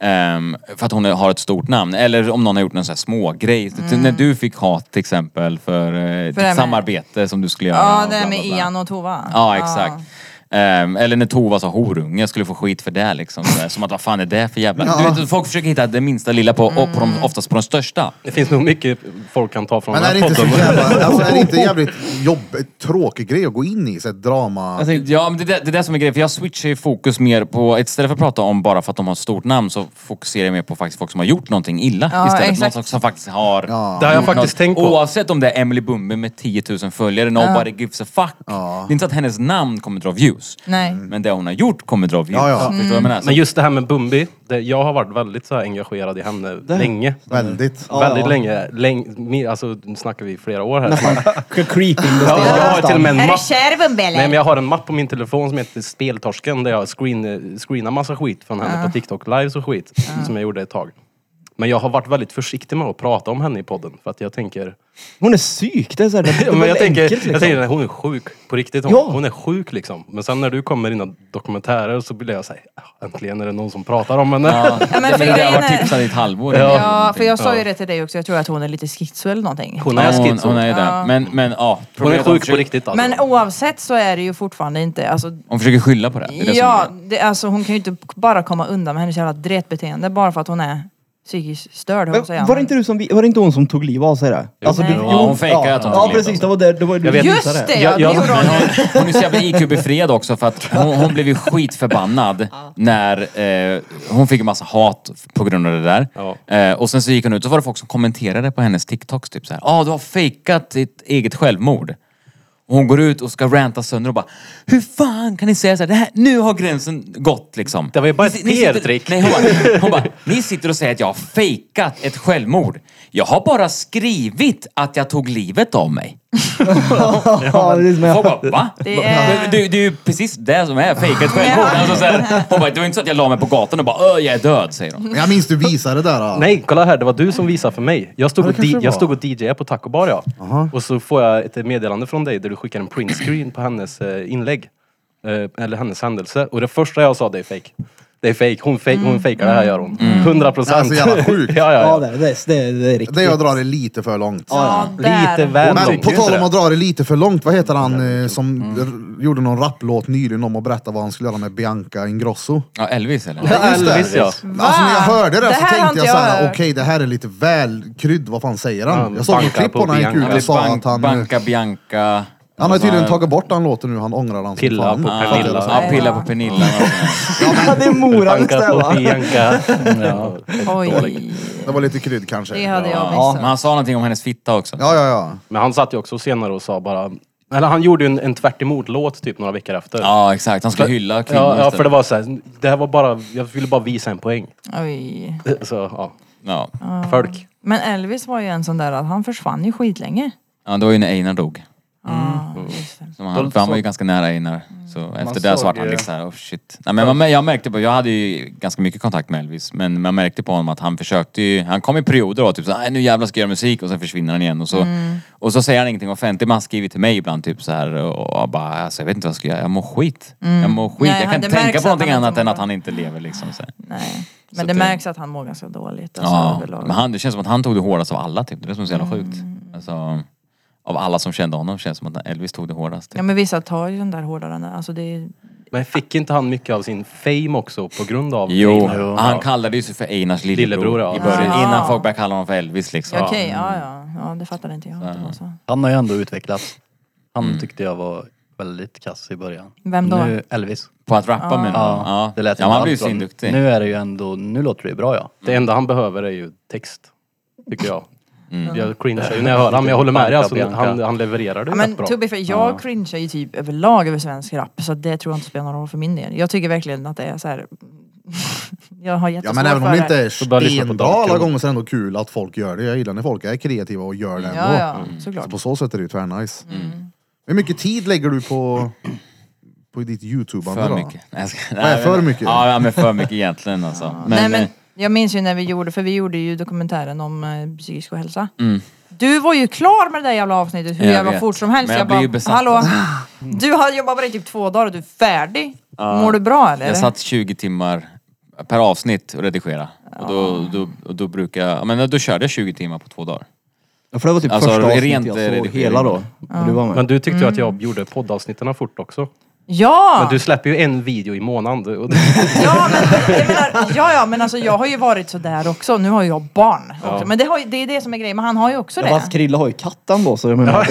Ehm, för att hon har ett stort namn. Eller om någon har gjort någon sån här smågrej. Typ När du fick hat till exempel för, eh,
Mm. det här med-
ditt samarbete som du skulle göra.
Ja det
bla,
är
bla,
med
bla.
Ian och Tova.
Ja, exakt. Ehm, eller när Tova sa horunge, jag skulle få skit för det liksom. Sådär. Som att vad fan är det för jävla... Du vet, folk försöker hitta det minsta lilla på, och på
Mm.
de, oftast på de största.
Det finns nog mycket folk kan ta från
Men
den
är det
här
inte så
podden.
jävla, alltså är det inte jävligt jobb, tråkig grej att gå in i? Så ett drama...
Ja, men det, är det är det som är grejen. För jag switchar ju fokus mer på, istället för att prata om bara för att de har ett stort namn, så fokuserar jag mer på faktiskt folk som har gjort någonting illa.
Ja,
istället för
exakt.
någon som, som faktiskt har...
Ja.
Det har jag
gjort
faktiskt
något.
tänkt på.
Oavsett om det är Emily Bumbe med 10 000 följare, nobody gives a fuck. Det är inte så att hennes namn kommer dra views. views.
Nej.
Men det hon har gjort kommer dra views.
Mm. Ja, ja.
Förstår du vad jag menar? Så
Mm. Men just det här med Bumbi, det, jag har varit väldigt så här engagerad i henne länge.
Väldigt.
Ja,
väldigt
ja.
länge. länge mer, alltså, nu snackar vi flera år här.
Creeping.
Ja, jag har till och med en
Är det
mapp.
kärven
Nej men
eller?
jag har en mapp på min telefon som heter Speltorsken där jag screen, screenar massa skit från henne på TikTok lives och skit. Som jag gjorde ett tag. Men jag har varit väldigt försiktig med att prata om henne i podden. För att jag tänker...
Hon är psyk. Det är så här, det,
Ja, men jag, tänker
enkelt,
jag
liksom.
tänker, hon är sjuk. På riktigt. Hon,
Ja.
hon är sjuk liksom. Men sen när du kom med dina dokumentärer så blir jag såhär, "Ah, äntligen är det någon som pratar om henne.
Ja,
men
men
för
det har
grejen är-
varit tipsad i ett halvår.
Ja, för jag sa ju det till dig också. Jag tror att hon är lite schizo eller någonting.
Hon
Ja,
är
hon, hon
schizo.
är ju det. Men, men ja.
Hon
problemet
är
att hon
sjuk på
försöker-
riktigt alltså.
Men oavsett så är det ju fortfarande inte, alltså
Hon försöker skylla på det. det, är det som är
Ja,
grejen.
det, alltså hon kan ju inte bara komma undan med hennes jävla dretbeteende bara för att hon är psykiskt störd. höll jag på att säga.
Men var det inte, du som, vi- var det inte hon som tog liv av sig där? Alltså, du-
Ja,
jo,
hon fejkade att hon
Ja,
tog livet
precis. Det
av
var där, det var, du
vet-
visade
Just det,
Jag- jag-
ja, det gjorde
Men
hon.
hon, hon är så jävla IQ-befriad också för att hon, hon blev ju skitförbannad när eh, hon fick en massa hat på grund av det där.
Ja.
Eh, och sen så gick hon ut och så var det folk som kommenterade på hennes TikToks typ så här. Ja, ah, du har fejkat ditt eget självmord. Och hon går ut och ska ranta sönder och bara Hur fan kan ni säga så här? Det här nu har gränsen gått liksom.
Det var ju bara
Ni
ett
si- ni sitter-
PR-trick.
Nej, hon bara, hon bara, ni sitter och säger att jag har fejkat ett självmord. Jag har bara skrivit att jag tog livet av mig.
Ja, det är som
Folk
jag-
bara, va?
Det är-
Det, det, det är ju precis det som är fejkat självmord.
Ja.
Alltså, så här, hon bara, det var inte så att jag la mig på gatan och bara, "Ö, jag är död, säger hon.
Men Jag minns du visade det där. Då.
Nej, kolla här. Det var du som visade för mig. Jag stod,
Ja, det
och,
kanske
di-
det var.
jag stod och DJade på Taco Bar, ja. Och så får jag ett meddelande från dig där du skickar en printscreen på hennes eh, inlägg. Eh, eller hennes händelse. Och det första jag sa, det är fake. Det är fake. Hon, fake,
Mm.
hon fejkar det här, gör hon. 100 procent.
Det är så jävla sjukt.
ja, ja,
Ja,
ja.
det, det, det, det är riktigt.
Det jag drar är lite för långt.
Ja,
Lite
där.
väl
Men
långt,
på
inte
tal
det?
om att dra det lite för långt, vad heter han eh, som
Mm.
r- gjorde någon rapplåt nyligen om att berätta vad han skulle göra med Bianca Ingrosso?
Ja, Elvis eller?
Ja,
Just det.
Elvis, ja.
Alltså när jag hörde det,
Det
så
här har
tänkte
inte
jag
jag
såhär, okej
hört.
det här är lite väl krydd, vad fan säger han?
Ja,
Jag såg något
banka
klipp
på
på när han gick
Bianca.
ut och sa att han...
Banka Bianca.
Han har tydligen tagit bort den låten nu, han ångrar den som
Pilla
fan.
på
Fattar jag
Pernilla.
det så?
Ja, pilla på Pernilla.
Ja, det är Mora visst
Banka
det
på
va?
Bianca. Ja.
Oj,
Det var lite krydd kanske.
det
Ja,
hade jag
Ja, men
missat.
han sa någonting om hennes fitta också.
ja, ja.
Men han satt ju också senare och sa bara... Eller han gjorde ju en, en tvärt emot-låt typ några veckor efter.
Ja, exakt. Han skulle hylla kvinnor.
Ja, ja,
istället.
för det var så här, det här var bara, jag ville bara visa en poäng.
Oj.
Så, ja.
Ja.
Folk.
Men Elvis var ju en sån där att han försvann ju skitlänge.
ja, det var ju när Einar dog.
Ja, just det.
Som han, för han var ju ganska nära Einar.
Mm.
Så efter det så vart han
ju-
liksom såhär, oh shit. Nej, men man, jag märkte på, jag hade ju ganska mycket kontakt med Elvis, men man märkte på honom att han försökte ju, han kom i perioder och typ så här, "Nej, nu jävlar ska jag göra musik och sen försvinner han igen och så,
Mm.
och så säger han ingenting offentligt men han skriver till mig ibland typ så här och, och bara, alltså, jag vet inte vad jag ska göra, jag mår skit. Jag mår skit,
Mm. Nej,
jag
han-
kan inte
det märks
tänka på
att han
någonting
inte
annat än
mår
att han inte lever liksom. Så här.
Nej.
Så
Men det
det-
märks att han mår ganska dåligt. Alltså,
Ja,
överlag.
men han, det känns som att han tog det hårdast av alla typ, det är det som är så jävla
Mm.
sjukt. Alltså, av alla som kände honom känns det som att Elvis tog det hårdast. Typ.
Ja men vissa tar ju den där hårdare än alltså det är...
Men fick inte han mycket av sin fame också på grund av
Jo,
Einar?
han kallade ju sig för Einars lillebror,
Lillebror, ja.
i början.
Ah.
Innan folk började kalla honom för Elvis liksom.
Okej, ja ja. Ja det fattade inte jag. att Det var så.
Han har ju ändå utvecklats. Han
Mm.
tyckte jag var väldigt kass i början.
Vem då?
Nu, Elvis.
På att rappa med
Ja,
någon. Ja,
det lät
ja
ju
men
allt
han blev ju
bra.
svinduktig.
Nu är det ju ändå, nu låter det ju bra ja.
Det enda han behöver är ju text. Tycker jag.
Mm.
Jag cringear ju när jag hör han, men jag håller med dig. Alltså,
Bianca.
han, han levererar det
Ja,
ju
men
rätt bra.
to be fair, jag cringear ju typ överlag över svensk rap så det tror jag inte spelar någon roll för min del. Jag tycker verkligen att det är så här. jag har
Ja
jättesvårt
men även om
för
det inte är
börjar jag lyssna på
stenbra
Dark
alla
Room.
gånger så är det ändå kul att folk gör det. Jag gillar när folk är kreativa och gör det ändå.
Ja, ja,
Så
såklart.
på så sätt är det ju tvärnice. Hur mycket tid lägger du på, på ditt youtube-ande
För
då?
mycket. Nej, jag ska-
Nej, för
men-
mycket.
Ja, ja, men för mycket egentligen alltså. Men,
Nej,
eh,
men jag minns ju när vi gjorde, för vi gjorde ju dokumentären om eh, psykisk ohälsa. Du var ju klar med det där jävla avsnittet hur
Mm. Jag
jag, var
vet.
fort som helst.
Men jag
Jag,
blir ju
bara,
besatt. Ah."
hallå? Du har jobbat med det i typ två dagar och du är färdig. Mår du bra eller?
jag satt 20 timmar per avsnitt och redigera. Och då, då, och då brukar jag, ja, men då körde jag 20 timmar på två dagar.
Ja, för det var typ
Alltså,
första avsnittet
rent
jag såg
redigering.
hela då. Och du var med.
Men du tyckte ju att jag gjorde poddavsnitten fort också.
Mm. Ja!
Men du släpper ju en video i månaden. och-
Ja men, jag menar, ja, ja, men alltså jag har ju varit sådär också. Nu har ju jag barn också. Men det, har, ju- det är det som är grejen. Men han har ju också
Ja,
det.
fast Krille har ju katten då så jag menar.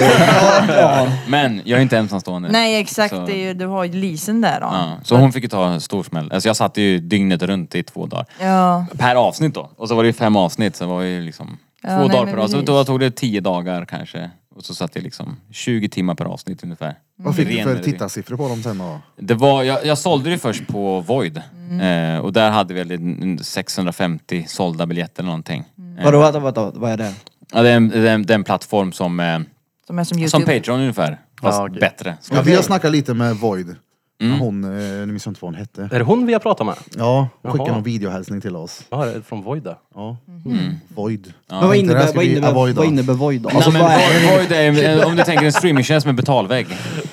Men jag är inte ensamstående.
Nej exakt,
Så-
det är ju, du har ju Lisen där då. Ja.
Ja, så hon fick ju ta en stor smäll. Alltså jag satt ju dygnet runt i två dagar.
Ja.
Per avsnitt då. Och så var det ju fem avsnitt, så det var ju liksom
Ja,
två
nej,
dagar
men
per dag. Så
precis.
då tog det tio dagar kanske. Och så satt jag liksom 20 timmar per avsnitt ungefär.
Vad fick du
Ren
för
energi.
tittarsiffror på dem sen då?
Det var, jag, jag sålde det först på Void.
Mm.
Eh, och där hade vi väl en- 650 sålda biljetter eller någonting.
Mm.
Eh,
Vadå, vänta, vänta, vad är det?
Ja, det, är en, det, är en, det är en plattform som, eh,
Som är som
som
Youtube.
Patreon ungefär. Fast
Ja, okej.
bättre.
Ja, vi har snackat lite med Void. Hon, eh, nu minns jag inte vad hon hette.
Är det hon vi har pratat med?
Ja, hon skickade
Jaha.
någon videohälsning till oss.
Ja, det är från Void där.
Ja. Void.
Ja,
men vad
inte det här
innebär,
ska
vad
bli
innebär,
Avoid då.
vad innebär void då?
Nej,
Alltså,
men
vad är,
Void- Void är, om du tänker en streamingtjänst med betalvägg.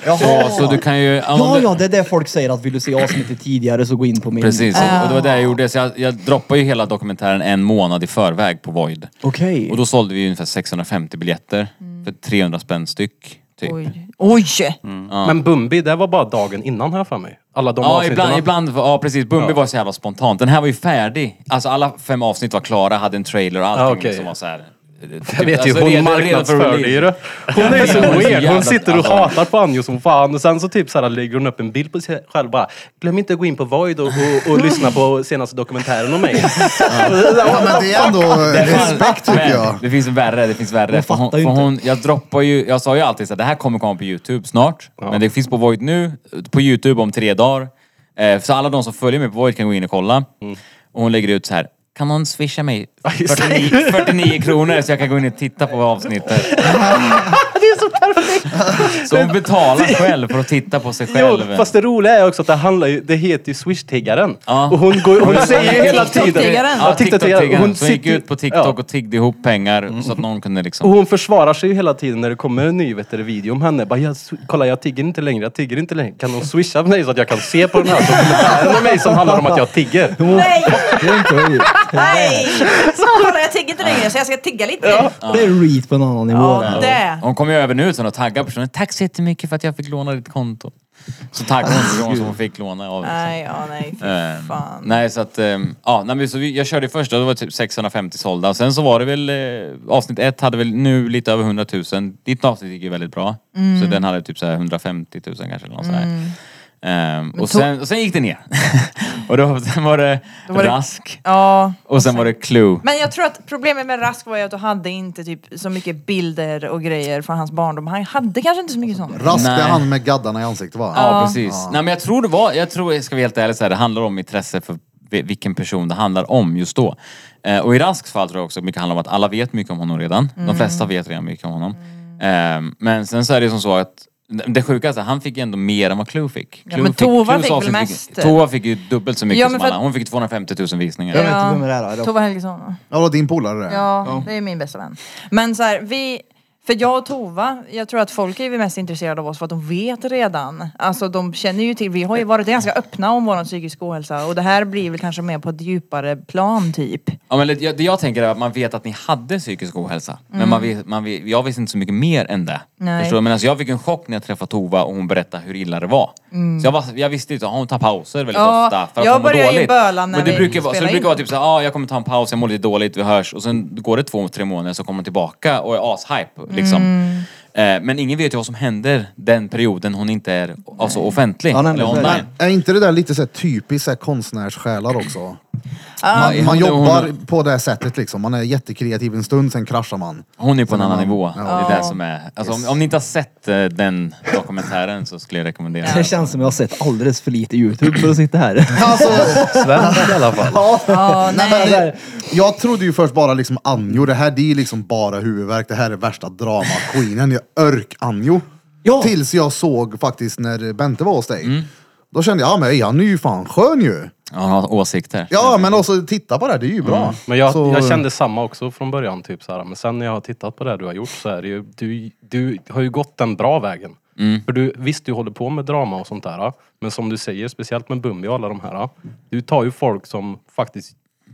Så, så du kan ju... om
ja,
du-
ja, det är det folk säger att vill du se avsnittet tidigare så gå in på min.
Precis, och det var det jag gjorde. Så jag, jag droppade ju hela dokumentären en månad i förväg på Void.
Okej.
Och då sålde vi ungefär 650 biljetter för 300 spänn styck. Typ. Mm.
Oj! Oj.
Men Bumbi, det var bara dagen innan här för mig. Alla de
Ja,
avsnitten.
ibland, ibland var- ja, precis. Bumbi var så jävla spontant. Den här var ju färdig. Alltså alla fem avsnitt var klara, hade en trailer och allting
Ja, Ah, okej.
som var så här. Typ,
Jag vet ju,
alltså,
hon
redo- redo för
marknadsförde
release.
ju det. Hon är
men
så
hon är så
weird.
jävla-
Hon sitter och
alltså.
hatar på Anjo som fan. Och sen så typ så här lägger hon upp en bild på sig själv bara. Glöm inte att gå in på Void och, och, och lyssna på senaste dokumentären om mig.
Ja, men det är ändå eh, respekt tycker
Men
jag.
Det finns värre, det finns värre. För hon,
fattar ju
för
inte.
hon, jag droppar ju, jag sa ju alltid att det här kommer komma på Youtube snart. Men det finns på Void nu, på Youtube om tre dagar. Eh, så alla de som följer mig på Void kan gå in och kolla.
Mm.
Och hon lägger ut så här. Kan någon swisha mig 49, 49 kronor så jag kan gå in och titta på avsnittet? det är så perfekt! Så hon betalar själv för att titta på sig
Jo,
själv.
fast det roliga är också att det handlar ju, det heter ju Swish-tiggaren.
Ja.
Och hon, går, hon säger ju hela tiden...
TikTok-tiggaren.
Ja, TikTok-tiggaren.
Hon
Så hon gick
sitter-
ut på TikTok
Ja. Mm.
och tiggde ihop pengar så att någon kunde liksom...
Och hon försvarar sig ju hela tiden när det kommer en ny vet du, video om henne. Bara, jag, sw- kolla jag tigger inte längre, jag tigger inte längre. Kan hon swisha mig så att jag kan se på den här dokumentären om mig som handlar om att jag tigger?
Nej!
Det är inte roligt.
Nej! Kolla, jag tigger inte längre så jag ska tigga lite. Ja,
Det är reat på en annan nivå. där.
det.
Hon kom ju över nu sen och taggade personen. Tack så jättemycket för att jag fick låna ditt konto. Så taggade hon personen som hon fick låna av. liksom.
Nej, ja, nej, fy
Ehm,
Äh, fan.
nej så att, ehm, ja, nej, men så vi, jag körde först då, det var typ 650 sålda. Sen så var det väl, eh, avsnitt ett hade väl nu lite över 100 000. Ditt avsnitt gick ju väldigt bra.
Mm.
Så den hade typ så här 150 000 kanske eller något sånt där. Ehm, och, sen, och sen gick det ner. och då, sen var det,
Då var det-
Rask
Ja.
och sen var det Clue.
Men jag tror att problemet med Rask var ju att du hade inte typ så mycket bilder och grejer från hans barndom. Han hade kanske inte så mycket sånt.
Rask det är
Nej.
han med gaddarna i ansiktet va?
Ja, precis. Nej, men jag tror det var, jag tror, jag ska vara helt ärlig, så här, det handlar om intresse för vi- vilken person det handlar om just då. Eh, och i Rasks fall tror jag också mycket handlar om att alla vet mycket om honom redan.
Mm.
De flesta vet redan mycket om honom. Eh, men sen så är det ju som så att det sjukaste, han fick ju ändå mer än vad Clue fick. Clue
men Tova
Clues
fick väl
avsnitt
mest?
Tova fick ju dubbelt så mycket
Ja, men
som
för
alla.
att-
Hon fick 250 000 visningar.
Jag vet inte vem det är. då.
Tova Helgesson.
Ja, det var din polare det.
Ja, det är min bästa vän. Men så här, vi... För jag och Tova, jag tror att folk är ju mest intresserade av oss för att de vet redan. Alltså de känner ju till, vi har ju varit ganska öppna om vår psykisk ohälsa och det här blir väl kanske mer på ett djupare plan typ.
Ja, men det jag, det jag tänker är att man vet att ni hade psykisk ohälsa. Men man vet, man vet, jag visste inte så mycket mer än det.
Mm. Nej.
Förstår du? Men alltså, jag fick en chock när jag träffade Tova och hon berättade hur illa det var. Så jag, var, jag visste ju att hon tar pauser väldigt
Mm. Ja,
ofta för att
jag
hon mår
börjar ju
dåligt.
böla när
men det
vi
brukar vara, så
spelar
det
in.
brukar vara typ såhär, ah, jag kommer ta en paus, jag mår lite dåligt, vi hörs. Och sen går det två, tre månader så kommer hon tillbaka och är ashype. Liksom.
Mm.
Eh, men ingen vet ju vad som händer den perioden hon inte är alltså, offentlig.
Ja, nej,
eller
men så är
online.
det.
Är inte det där lite så här typiskt så här konstnärssjälar också? Man,
hon-
man jobbar
hon-
på det här sättet liksom. Man är jättekreativ en stund, sen kraschar man.
Hon är på en
Sen
annan
är man-
nivå.
ja.
Det är det som är. Alltså, om, om ni inte har sett eh, den dokumentären så skulle jag rekommendera
Det
den.
känns som jag har sett alldeles för lite YouTube för att sitta här.
Svensk i alla fall.
Ja, nej.
Men det, jag trodde ju först bara liksom Anjo, det här det är liksom bara huvudvärk. Det här är värsta drama-queenen. Jag örk Anjo.
Ja.
Tills jag såg faktiskt när Bente var hos dig. Då kände jag, ja men han är ju fan skön ju.
Ja, har åsikter.
Ja men också titta på det, här, det är ju bra.
Men jag,
Så-
jag kände samma också från början. Typ, så här. Men sen när jag har tittat på det här du har gjort så är det ju, du, du har ju gått den bra vägen. För du, visst, du håller på med drama och sånt där. Men som du säger, speciellt med Bumbi och alla de här. Du tar ju folk som faktiskt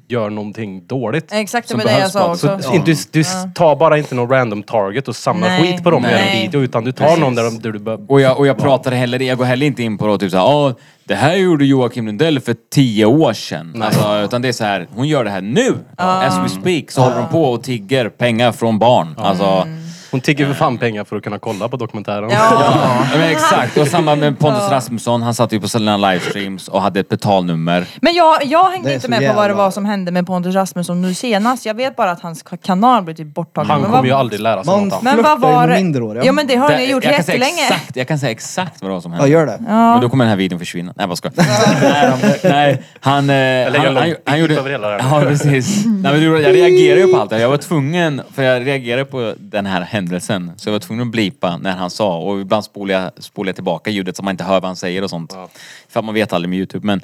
gör någonting dåligt.
Exakt det
Som
med det jag
behövs
sa
på-
också.
så-
Så Du, du tar bara inte någon random target och samlar
Nej.
skit på dem och gör en
Nej.
video. Utan du tar någon där, de- där du bör,
Och jag, och jag pratar heller, jag går heller inte in på då, typ såhär, ah, det här gjorde Joakim Lundell för tio år sedan. Alltså, utan det är så här, hon gör det här nu! As we speak så håller hon på och tigger pengar från barn. Alltså,
Hon tigger för fan pengar för att kunna kolla på dokumentären.
Ja.
Ja, men exakt, och samma med Pontus Rasmusson. Han satt ju på sina livestreams och hade ett betalnummer.
Men jag, jag hängde
Det är
inte
så
med på vad det
jävla-
var som hände med Pontus Rasmusson nu senast. Jag vet bara att hans kanal blev typ borttagen.
Han
Men
kommer
vad-
ju aldrig lära sig
Man-
något annat.
Men vad
Flörtar ju
var
med
det?
minderåriga.
Ja men det har han ju gjort
jag, kan säga
jättelänge.
exakt, jag kan säga exakt vad det var som hände.
Ja, gör det.
Men då kommer den här videon försvinna. Nej, bara skojar. Nej, nej, han... eh,
lägger en
han,
lång
han, han
bit
gjorde...
över hela det här.
Ja, precis. Nej, men du, jag reagerade ju på allt det här. Jag var tvungen, för jag reagerade på den här händelsen. Så jag var tvungen att blipa när han sa. Och ibland spolar jag, spolar jag tillbaka ljudet så man inte hör vad han säger och sånt. För att man vet aldrig med Youtube. Men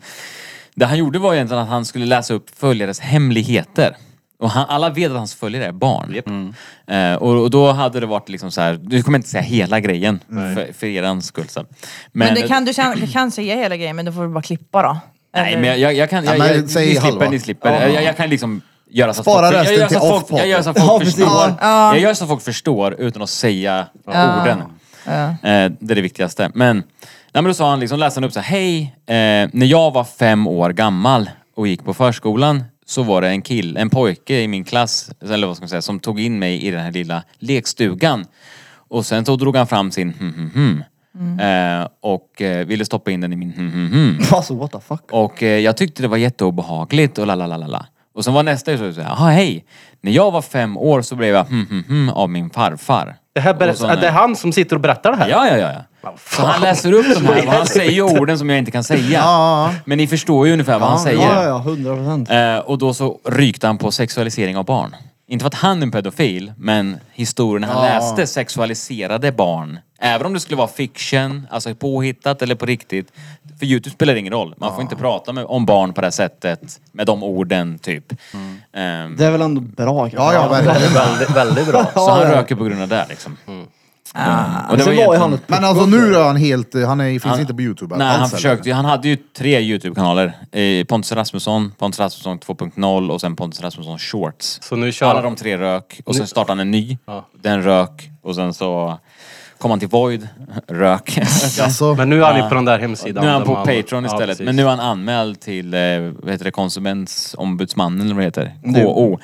det han gjorde var egentligen att han skulle läsa upp följares hemligheter. Och han, alla vet att hans följare är barn. Eh, och, och då hade det varit liksom så här. du kommer inte säga hela grejen för, för er skull. Så.
Men det kan, du kan, kan säga hela grejen men då får du bara klippa då.
Nej
Eller-
men jag, jag, jag kan,
Ja,
jag,
men
jag,
säg
ni slipper,
halva.
ni slipper. Jag, jag, jag kan liksom göra så att
Spara
folk, jag,
resten
jag, gör så
till
att folk,
off-podden.
jag gör så att folk
Ja, precis.
förstår.
Ja.
Jag gör så att folk förstår utan att säga orden.
Ja.
Eh, det är det viktigaste. Men, nej, men då sa han liksom, läste han upp så här, hej, eh, när jag var fem år gammal och gick på förskolan så var det en kille, en pojke i min klass, eller vad ska man säga, som tog in mig i den här lilla lekstugan. Och sen så drog han fram sin hm, hm, hm.
Mm.
Eh, och eh, ville stoppa in den i min hm, hm, hm.
Alltså what the fuck.
Och eh, jag tyckte det var jätteobehagligt och la la la la la. Och sen var nästa så så här, "Aha, hej. När jag var fem år så blev jag hm, hm, hm, av min farfar.
Det, här
Och så-
berätt, det är han som sitter och berättar det här?
Ja, ja, ja. ja. Så han läser upp de här och han säger ju orden som jag inte kan säga.
Ja.
Men ni förstår ju ungefär vad han säger.
Ja, ja, hundra procent.
Eh, och då så rykte han på sexualisering av barn. Inte för att han är en pedofil, men historien han läste sexualiserade barn. Även om det skulle vara fiction, alltså påhittat eller på riktigt. För Youtube spelar det ingen roll. Man får inte prata med, om barn på det här sättet, med de orden typ.
Mm.
Ehm,
Det är väl ändå bra?
Ja, ja, verkligen.
Väldigt, väldigt bra.
så han
ja.
röker på grund av det liksom. Ehm, och
Mm. Men
det var
sen var ju han
egentligen...
ett
Men alltså nu är han helt, han är, finns
Han-
inte på Youtube
Nej, han
alls, eller?
försökte ju- Han hade ju tre Youtube-kanaler. Eh, Pontus Rasmusson, Pontus Rasmusson 2.0 och sen Pontus Rasmusson Shorts.
Så nu
Alla
kör
de
han.
tre rök och sen startade han en ny. Den rök och sen så kom han till Void, rök.
Alltså,
Men nu är han ju på den där hemsidan.
nu är han
där
på
man-
Patreon
Ja,
istället.
precis.
men nu är han anmäld till, eh, vad heter det, konsumentombudsmannen eller vad det heter? KO.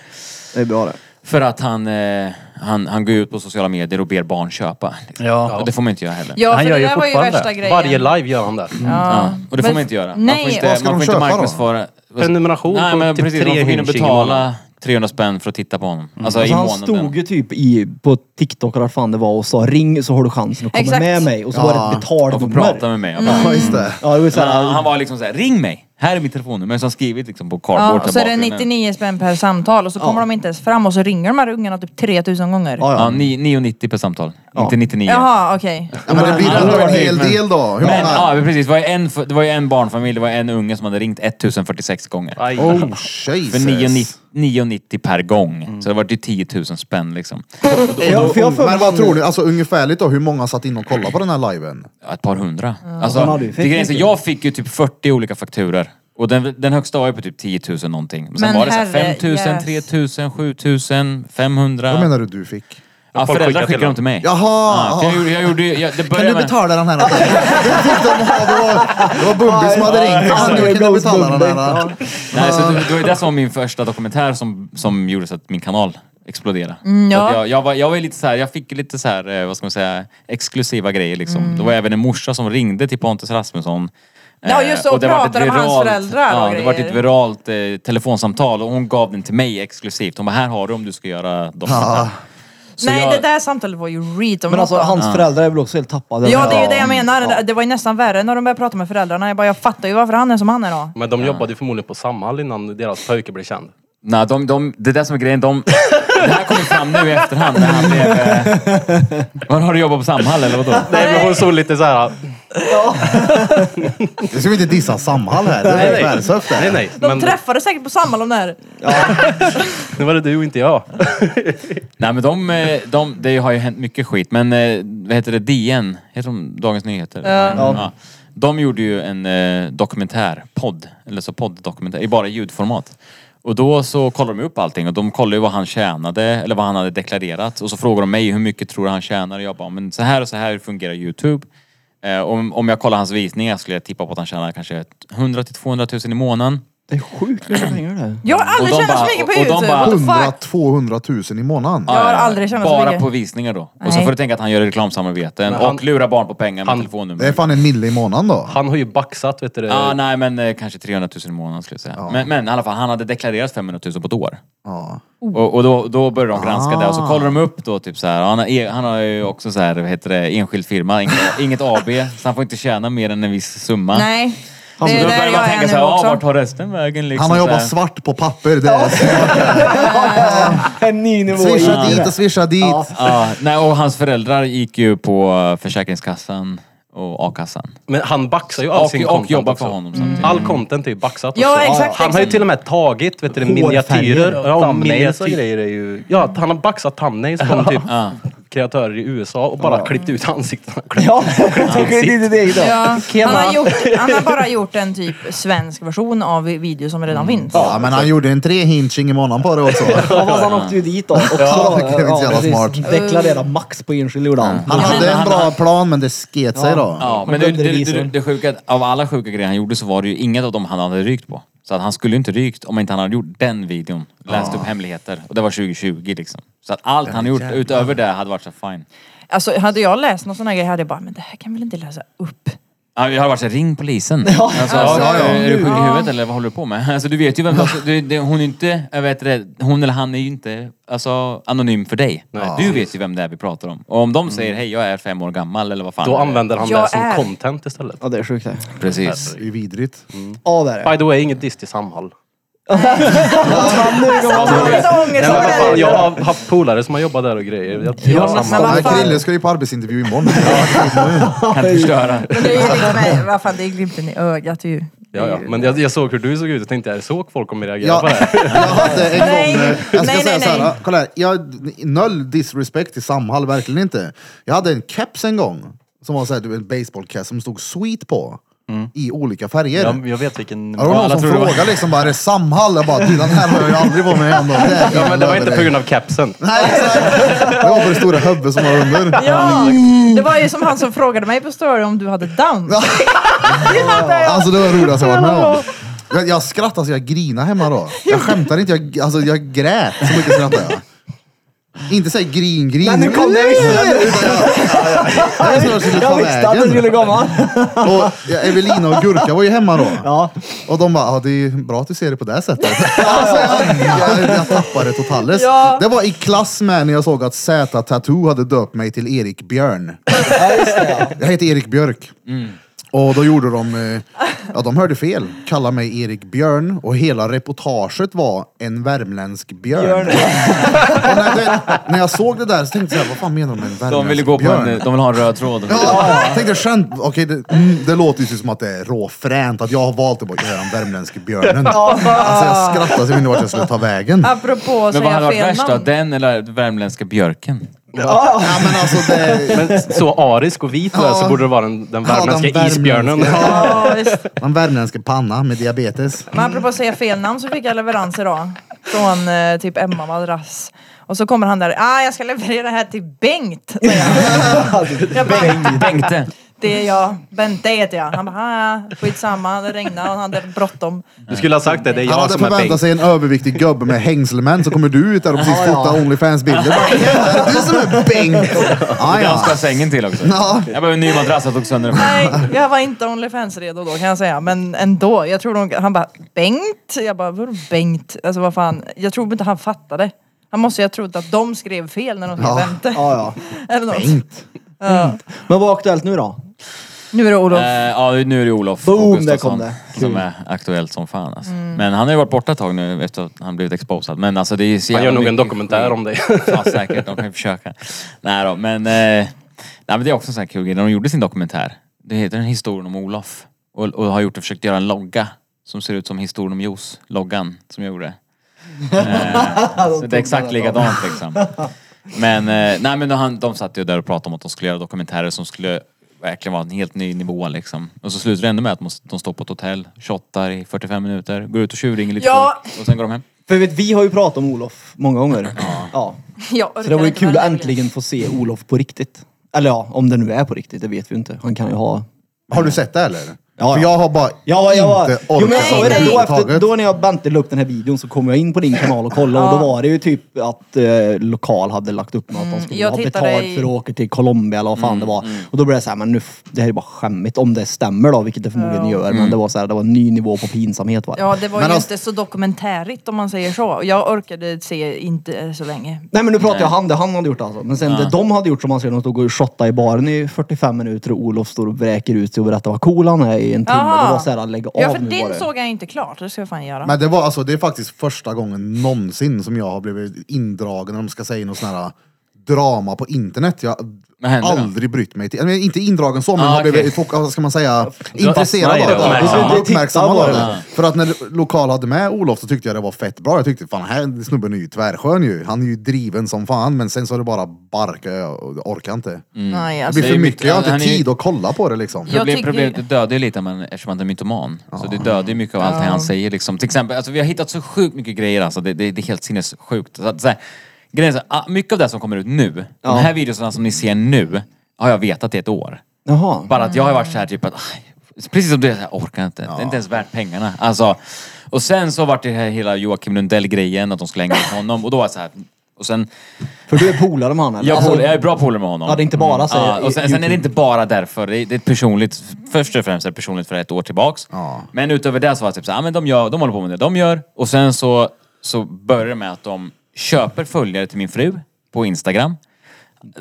Det är bra det.
För att han, eh, han, han går ut på sociala medier och ber barn köpa. liksom.
Ja.
Och det får man inte göra heller.
Ja,
Han
för
gör
det
ju
där var ju
fortfarande
värsta
det.
grejen.
Varje live gör han där.
Ja, och det får
Men-
man inte göra. man
Nej,
får inte,
Vad ska
man
de
får inte
köpa då?
marknadsföra.
Prenumeration
Nej
på
men
typ
precis,
tre
man får ju
hinching i
betala
månaden.
300 spänn för att titta på honom. Alltså i
Alltså, han
månaden.
stod ju typ i, på TikTok eller vad fan det var och sa ring så har du chansen att komma
Exakt.
med mig. Och så var det ett
och får
betalt
prata
nummer.
med mig.
Ja, just det. Ja, det var så
Men han,
här,
han var liksom såhär, ring mig! Här är mitt telefonnummer som skrivit liksom på
Ja,
cardboard
och
där
så är det
bakgrunden.
99 spänn per samtal och så kommer de inte ens fram och så ringer de här ungarna typ 3000 gånger.
Ja,
Ja, ni- 9,90 per samtal. Inte 99.
Jaha, okej.
ja, men det blir ändå en hel
Men-
del då. Hur
Men
många?
ja, precis. Det var, ju en, det var ju en barnfamilj, det var en unge som hade ringt 1046 gånger.
Aj.
Oh
För
Jesus.
9,90 9,90 per gång. Så det var ju 10 000 spänn liksom.
Ja, för jag har för mig
Men vad
att-
tror ni, alltså ungefärligt då, hur många satt in och kollade på den här liven?
Ja, Ett par hundra.
Han
Alltså,
hade ju
det
fett
grejen, är så
mycket.
jag fick ju typ 40 olika fakturer. Och den, den högsta var ju på typ 10 000 någonting. Men sen
Men
var det så här
herre,
5 000,
yes.
3 000, 7 000, 500.
Vad menar du du fick?
ja,
Folk skickar
föräldrar
till
skickade dem till mig.
Jaha!
Ja, för jag gjorde, jag gjorde, jag, det
Kan
började
du
Ah, med...
betala den här? då? det var, det var Bubbe som hade ringt. Ah, Kan du, kan du betala den här? då?
Nej, så det, det var ju det som var min första dokumentär som, som gjorde så att min kanal exploderade.
Mm, ja.
Så att jag, jag, var, jag var ju lite så här, jag fick ju lite så här, eh, vad ska man säga, exklusiva grejer liksom.
Mm.
Det var även en morsa som ringde till Pontus Rasmusson. eh,
Ja, just det, och
vart ett
pratade med hans
viralt-
föräldrar och
Ja, det var ett
grejer.
viralt eh, telefonsamtal och hon gav den till mig exklusivt. Hon bara, här har du om du ska göra dokumentär. Så
Nej,
jag-
det där samtalet var ju reet om
Men
något
alltså
då.
hans föräldrar är väl också helt tappade?
Ja, det är ju det jag menar. Det- Det var ju nästan värre när de började prata med föräldrarna. Jag bara, jag fattar ju varför han är som han är då.
Men de jobbade ju förmodligen på Samhall innan deras pojke blev känd.
Nej, de, de, det där som är grejen, de... Det här kommer fram nu i efterhand när han blev... Eh, var har du jobbat på Samhall eller vadå?
Nej men hon såg lite såhär...
Nu ska vi inte dissa Samhall här. Det är tvärsöft
Nej
det.
nej.
De
Men
träffades säkert på Samhall om det här.
nu var det du och inte jag.
Nej men de, eh, de, det har ju hänt mycket skit. Men eh, vad heter det? DN? Heter de Dagens Nyheter? Ja. De gjorde ju en eh, dokumentär, podd, eller så podd-dokumentär, i bara ljudformat. Och då så kollade de upp allting och de kollade ju vad han tjänade eller vad han hade deklarerat. Och så frågade de mig hur mycket tror du han tjänar? Och jag bara, men så här och så här fungerar YouTube. Eh, om, om jag kollar hans visningar skulle jag tippa på att han tjänar kanske 100 till 200 000 i månaden.
Det är sjukt mycket pengar det.
Jag har aldrig
Och de
tjänat så
bara-
mycket på
och- och de
Youtube.
bara-
What the
100 200
fuck?
000 i månaden.
Ja. har aldrig tjänat så
Eh, Bara
mycket.
på visningar då. Och så
Nej.
får du tänka att han gör reklamsamarbeten
Men han-
och lurar barn på pengar med
han-
Det är
telefonnummer.
fan en mille i månaden då.
Han har ju baxat vet du det.
Ja, nej men eh, kanske 300 000 i månaden skulle jag säga. Men, men i alla fall, han hade deklarerat 500 000 på ett år.
Ja.
Oh.
Och, och då, då börjar de granska det och så
Ah.
kollar de upp då typ så här. Han, har e- han har ju också så här, vad heter det, enskild firma, inget, inget AB. Så han får inte tjäna mer än en viss summa.
Nej.
Så
Det
då
är där
börjar man
jag är
tänka
nu
så här, ah, vart
också.
tar resten vägen
Han
liksom?
har
så
jobbat
här.
svart på papper. Det är
En ny nivå
swisha dit och swisha dit.
Ja, nej, och hans föräldrar gick ju på eh, Försäkringskassan och a-kassan.
Men han baxar ju all
Och,
sin
och
content
jobbar
också.
för honom samtidigt. Mm.
All content är ju baxat
Ja,
också.
exakt,
Han har ju
exakt.
till och med tagit vet du, det,
Hårfärger
miniatyrer.
och
Ja,
Thumbnails och
miniatyr-
grejer är ju...
Ja, att han har baxat thumbnails från typ kreatörer i USA och bara klippt ut ansiktena.
Ja, tänker du inte det idag?
Ja, han, har gjort, han har bara gjort en typ svensk version av video som redan
Mm.
finns.
Ja, men han gjorde en trehinching i månaden på det också.
Ja, fast han åkte ju dit då också.
Ja, det är inte så jävla
precis.
smart.
Deklarera max på enskild gjorde han.
Han hade en bra plan men det sket sig då.
Ja,
Han
men det,
glömde
det, det,
revisorn.
det sjuka, är att av alla sjuka grejer han gjorde så var det ju inget av dem han hade rykt på. Så att han skulle ju inte rykt om inte han hade gjort den videon. Läst upp hemligheter. Och det var 2020 liksom. Så att allt han gjort utöver det hade varit så fine.
Alltså hade jag läst någon sån här grej hade jag bara, men det här kan väl inte läsa upp?
Ja, Jag har varit så här, ring polisen. Ja, alltså,
ja, ja.
Är du sjuk i huvudet eller vad håller du på med? Alltså du vet ju vem alltså, du, det, hon är inte, jag vet det, hon eller han är ju inte alltså, anonym för dig. Du vet ju vem det är vi pratar om. Och om de säger hej jag är fem år gammal eller vad fan.
Då
det är.
använder han
Jag
det som
är-
content istället.
Ja, det är sjukt det.
Precis.
Det är ju vidrigt.
Ja, det är det.
By the way, inget diss till Samhall.
Ta lite ångest
Nej, men
av
vad
det
fan,
där.
jag har haft polare som har jobbat där och grejer. Jag, jag,
men
Samhall.
vad
Nej,
fan.
Krille ska ju på arbetsintervju imorgon.
Kan inte förstöra.
Men det är ju liksom, nej, vad fan, det är glimten i ögat ju.
ja, ja. Men jag, jag såg hur du såg ut och tänkte, är det så folk kommer reagera
Ja.
på det här?
Jag hade en
Nej.
gång... eh, Jag ska
Nej,
säga
nej,
så här,
nej.
ah, kolla här. Jag, noll disrespect till Samhall, verkligen inte. Jag hade en keps en gång, som var så här, du vet, en baseballkeps som stod sweet på. I olika färger.
Jag, jag vet vilken...
Ja, det var
alla
någon som
tror det var-
frågade liksom bara, är det Samhall? Jag bara, du den här har jag ju aldrig varit med om. då. Det,
Ja, men det var inte på grund av capsen.
Nej, exakt. Det var på det stora huvudet som var under.
Ja, det var ju som han som frågade mig på story om du hade down.
Alltså det var det roligaste jag varit med om. Jag, jag skrattade så jag grinade hemma då. Jag skämtar inte, jag, alltså, jag grät så mycket skrattade jag. Inte såhär grin-grin.
Men nu kom det, jag visste det.
Utan jag- ja, ja. Jag visste vart jag skulle ta
Jag visste att det
vägen.
skulle komma.
Och ja, Evelina och Gurka var ju hemma då.
Ja.
Och de bara, ja, det är ju bra att du ser det på det här sättet. Alltså, jag, jag, jag tappade totalt.
Ja.
Det var i klass med när jag såg att Z Tattoo hade döpt mig till Erik Björn. Jag heter Erik Björk.
Mm.
Och då gjorde de, eh, ja de hörde fel. Kalla mig Erik Björn och hela reportaget var en värmländsk björn. Och när, det, när jag såg det där så tänkte jag, vad fan menar de med en värmländsk
De vill ju gå på en, eh,
björn?
de vill ha en röd tråd.
Ja, jag tänkte skönt, okej det, mm, det låter ju som att det är råfränt att jag har valt att bara göra den värmländska björnen. Alltså jag skrattade så jag vet inte vart jag skulle ta vägen.
Apropå att
Men vad
säga
hade varit
fel
värst då?
namn.
Den eller värmländska björken?
Ja, men alltså det,
Men så arisk och vit
Ja.
så borde det vara den, den
Ja, den
värmländska
värmländska.
isbjörnen.
Ja, visst.
den värmländska panna med diabetes.
Men apropå att säga fel namn så fick jag leverans idag. Från eh, typ Emma Madrass. Och så kommer han där, ah jag ska leverera det här till Bengt. säger han. Jag bara,
Bengte.
Det är jag, Bente heter jag. Han bara, ah, ja, skitsamma, det regnar och han hade bråttom.
Du skulle ha sagt det, det är
Han
jag
hade
som är
förväntat
Bengt.
sig en överviktig gubbe med hängselmän så kommer du ut där och precis fotar Onlyfans-bilder. Bara, "Jävlar, Du som är Bengt!
Ah,
Ja,
Han ska
ja.
ha sängen till också.
Ja.
Jag behöver en ny madrass, jag tog sönder den.
Nej, jag var inte Onlyfans-redo då kan jag säga. Men ändå, jag tror nog, han bara, Bengt? Jag bara, vadå Bengt? Alltså vad fan, jag tror inte han fattade. Han måste ju ha trott att de skrev fel när de skrev
Ja.
Bente.
Ja, ja.
Eller något.
Bengt.
Ja.
Men vad är aktuellt nu då?
Nu är det Olof.
Eh, Ja, nu är det Olof
Boom,
Gustafsson
där kom det. Kul.
Som är aktuellt som fan alltså.
Mm.
Men han har ju varit borta ett tag nu efter att han blivit exposad. Men alltså det är ju så
Han gör
jävla
nog en
mycket
dokumentär
skit.
om dig.
Ja säkert, de kan ju försöka. Nej då, men... Eh, nej men det är också en sån här kul grej. När de gjorde sin dokumentär, det heter den Historien om Olof. Och, och har gjort och försökt göra en logga som ser ut som Historien om Jos, loggan som jag gjorde. Eh, så det är exakt likadant liksom. Men, eh, nej, men han, de satt ju där och pratade om att de skulle göra dokumentärer som skulle verkligen vara en helt ny nivå liksom. Och så slutar det ändå med att de- de står på ett hotell, shottar i 45 minuter, går ut och tjuvringer lite
Ja.
folk och sen går de hem.
För vet, vi har ju pratat om Olof många gånger. Ja.
Jag
Så det
orkar
var ju
inte
kul
med
att
den här
äntligen få se Olof på riktigt. Eller ja, om det nu är på riktigt, det vet vi ju inte. Han kan ju ha...
Har du sett det eller?
Ja,
För
ja.
jag har bara
Ja, jag var,
inte
jo, men jag
orkat
sa ju
med
det. Då, efter,
överhuvudtaget.
då när jag Bente la upp den här videon så kom jag in på din kanal och kollade och då var det ju typ att eh, lokal hade lagt upp något. att De skulle
Mm, jag
ha
tittade
betalt
i-
för att åka till Colombia eller vad fan
Mm,
det var. Och då blev det så här, men nu, f- det här är bara skämmigt. Om det stämmer då, vilket det förmodligen gör.
Mm.
Men det var så här, det var en ny nivå på pinsamhet. Va?
Ja, det var
Men
ju
alltså-
inte så dokumentärigt om man säger så. Jag orkade se inte så länge.
Nej men nu pratar jag han, det han hade gjort alltså. Men sen det de hade gjort som han skrev, de stod och shottade i baren i 45 minuter och Olof står och vräker ut sig och berättar vad cool han är i en timme.
Jaha.
Det var såhär, lägg av
Ja, för
nu var
din
det.
såg jag inte klart. Det ska jag fan göra.
Men det var alltså, det är faktiskt första gången någonsin som jag har blivit indragen när de ska säga någon sån här äh, drama på internet. Jag
Vad händer då?
aldrig brytt mig till, eller inte indragen så, men
Ah,
har blivit,
okej.
fok- vad ska man säga,
fastnar
intresserad
i
av
det,
det.
uppmärksammad.
Ja, Uppmärksammad av
Titta på
det. För att när lokal hade med Olof så tyckte jag det var fett bra. Jag tyckte fan här snubben är ju tvärskön ju. Han är ju driven som fan, men sen så är det bara barka, jag orkar inte.
Mm.
Nej,
Det
alltså,
blir
det är
för mycket, jag har
han
inte
är ju-
tid att kolla på det liksom.
Jag
Problem,
tycker-
problemet, du dödar ju lite men eftersom han är mytoman. Så du dödar ju mycket av allt han säger. Liksom. Till exempel, alltså, vi har hittat så sjukt mycket grejer alltså. det, det, det är helt sinnessjukt. Så, att, så här, grejen är så, här, ah, mycket av det som kommer ut nu, de här videorna som ni ser nu, har jag vetat i ett år.
Jaha.
Bara att jag har varit
Mm.
så här typ att, aj, precis som du, är, så här, jag orkar inte. Det är inte ens värt pengarna. Alltså, och sen så vart det här hela Joakim Lundell-grejen, att de skulle hänga ut honom. Och då var jag så här, och sen,
För du är polare med han eller?
jag,
Alltså,
pol- jag är bra polare med honom. Mm.
Ja, det är inte bara så här-
ja, och sen, sen är det inte bara därför. Det är, det är ett personligt, först och främst är det personligt för ett år tillbaks.
Ja.
Men utöver det så var det typ så här, ah, men de, gör, de håller på med det de gör. Och sen så, så börjar det med att de köper följare till min fru på Instagram.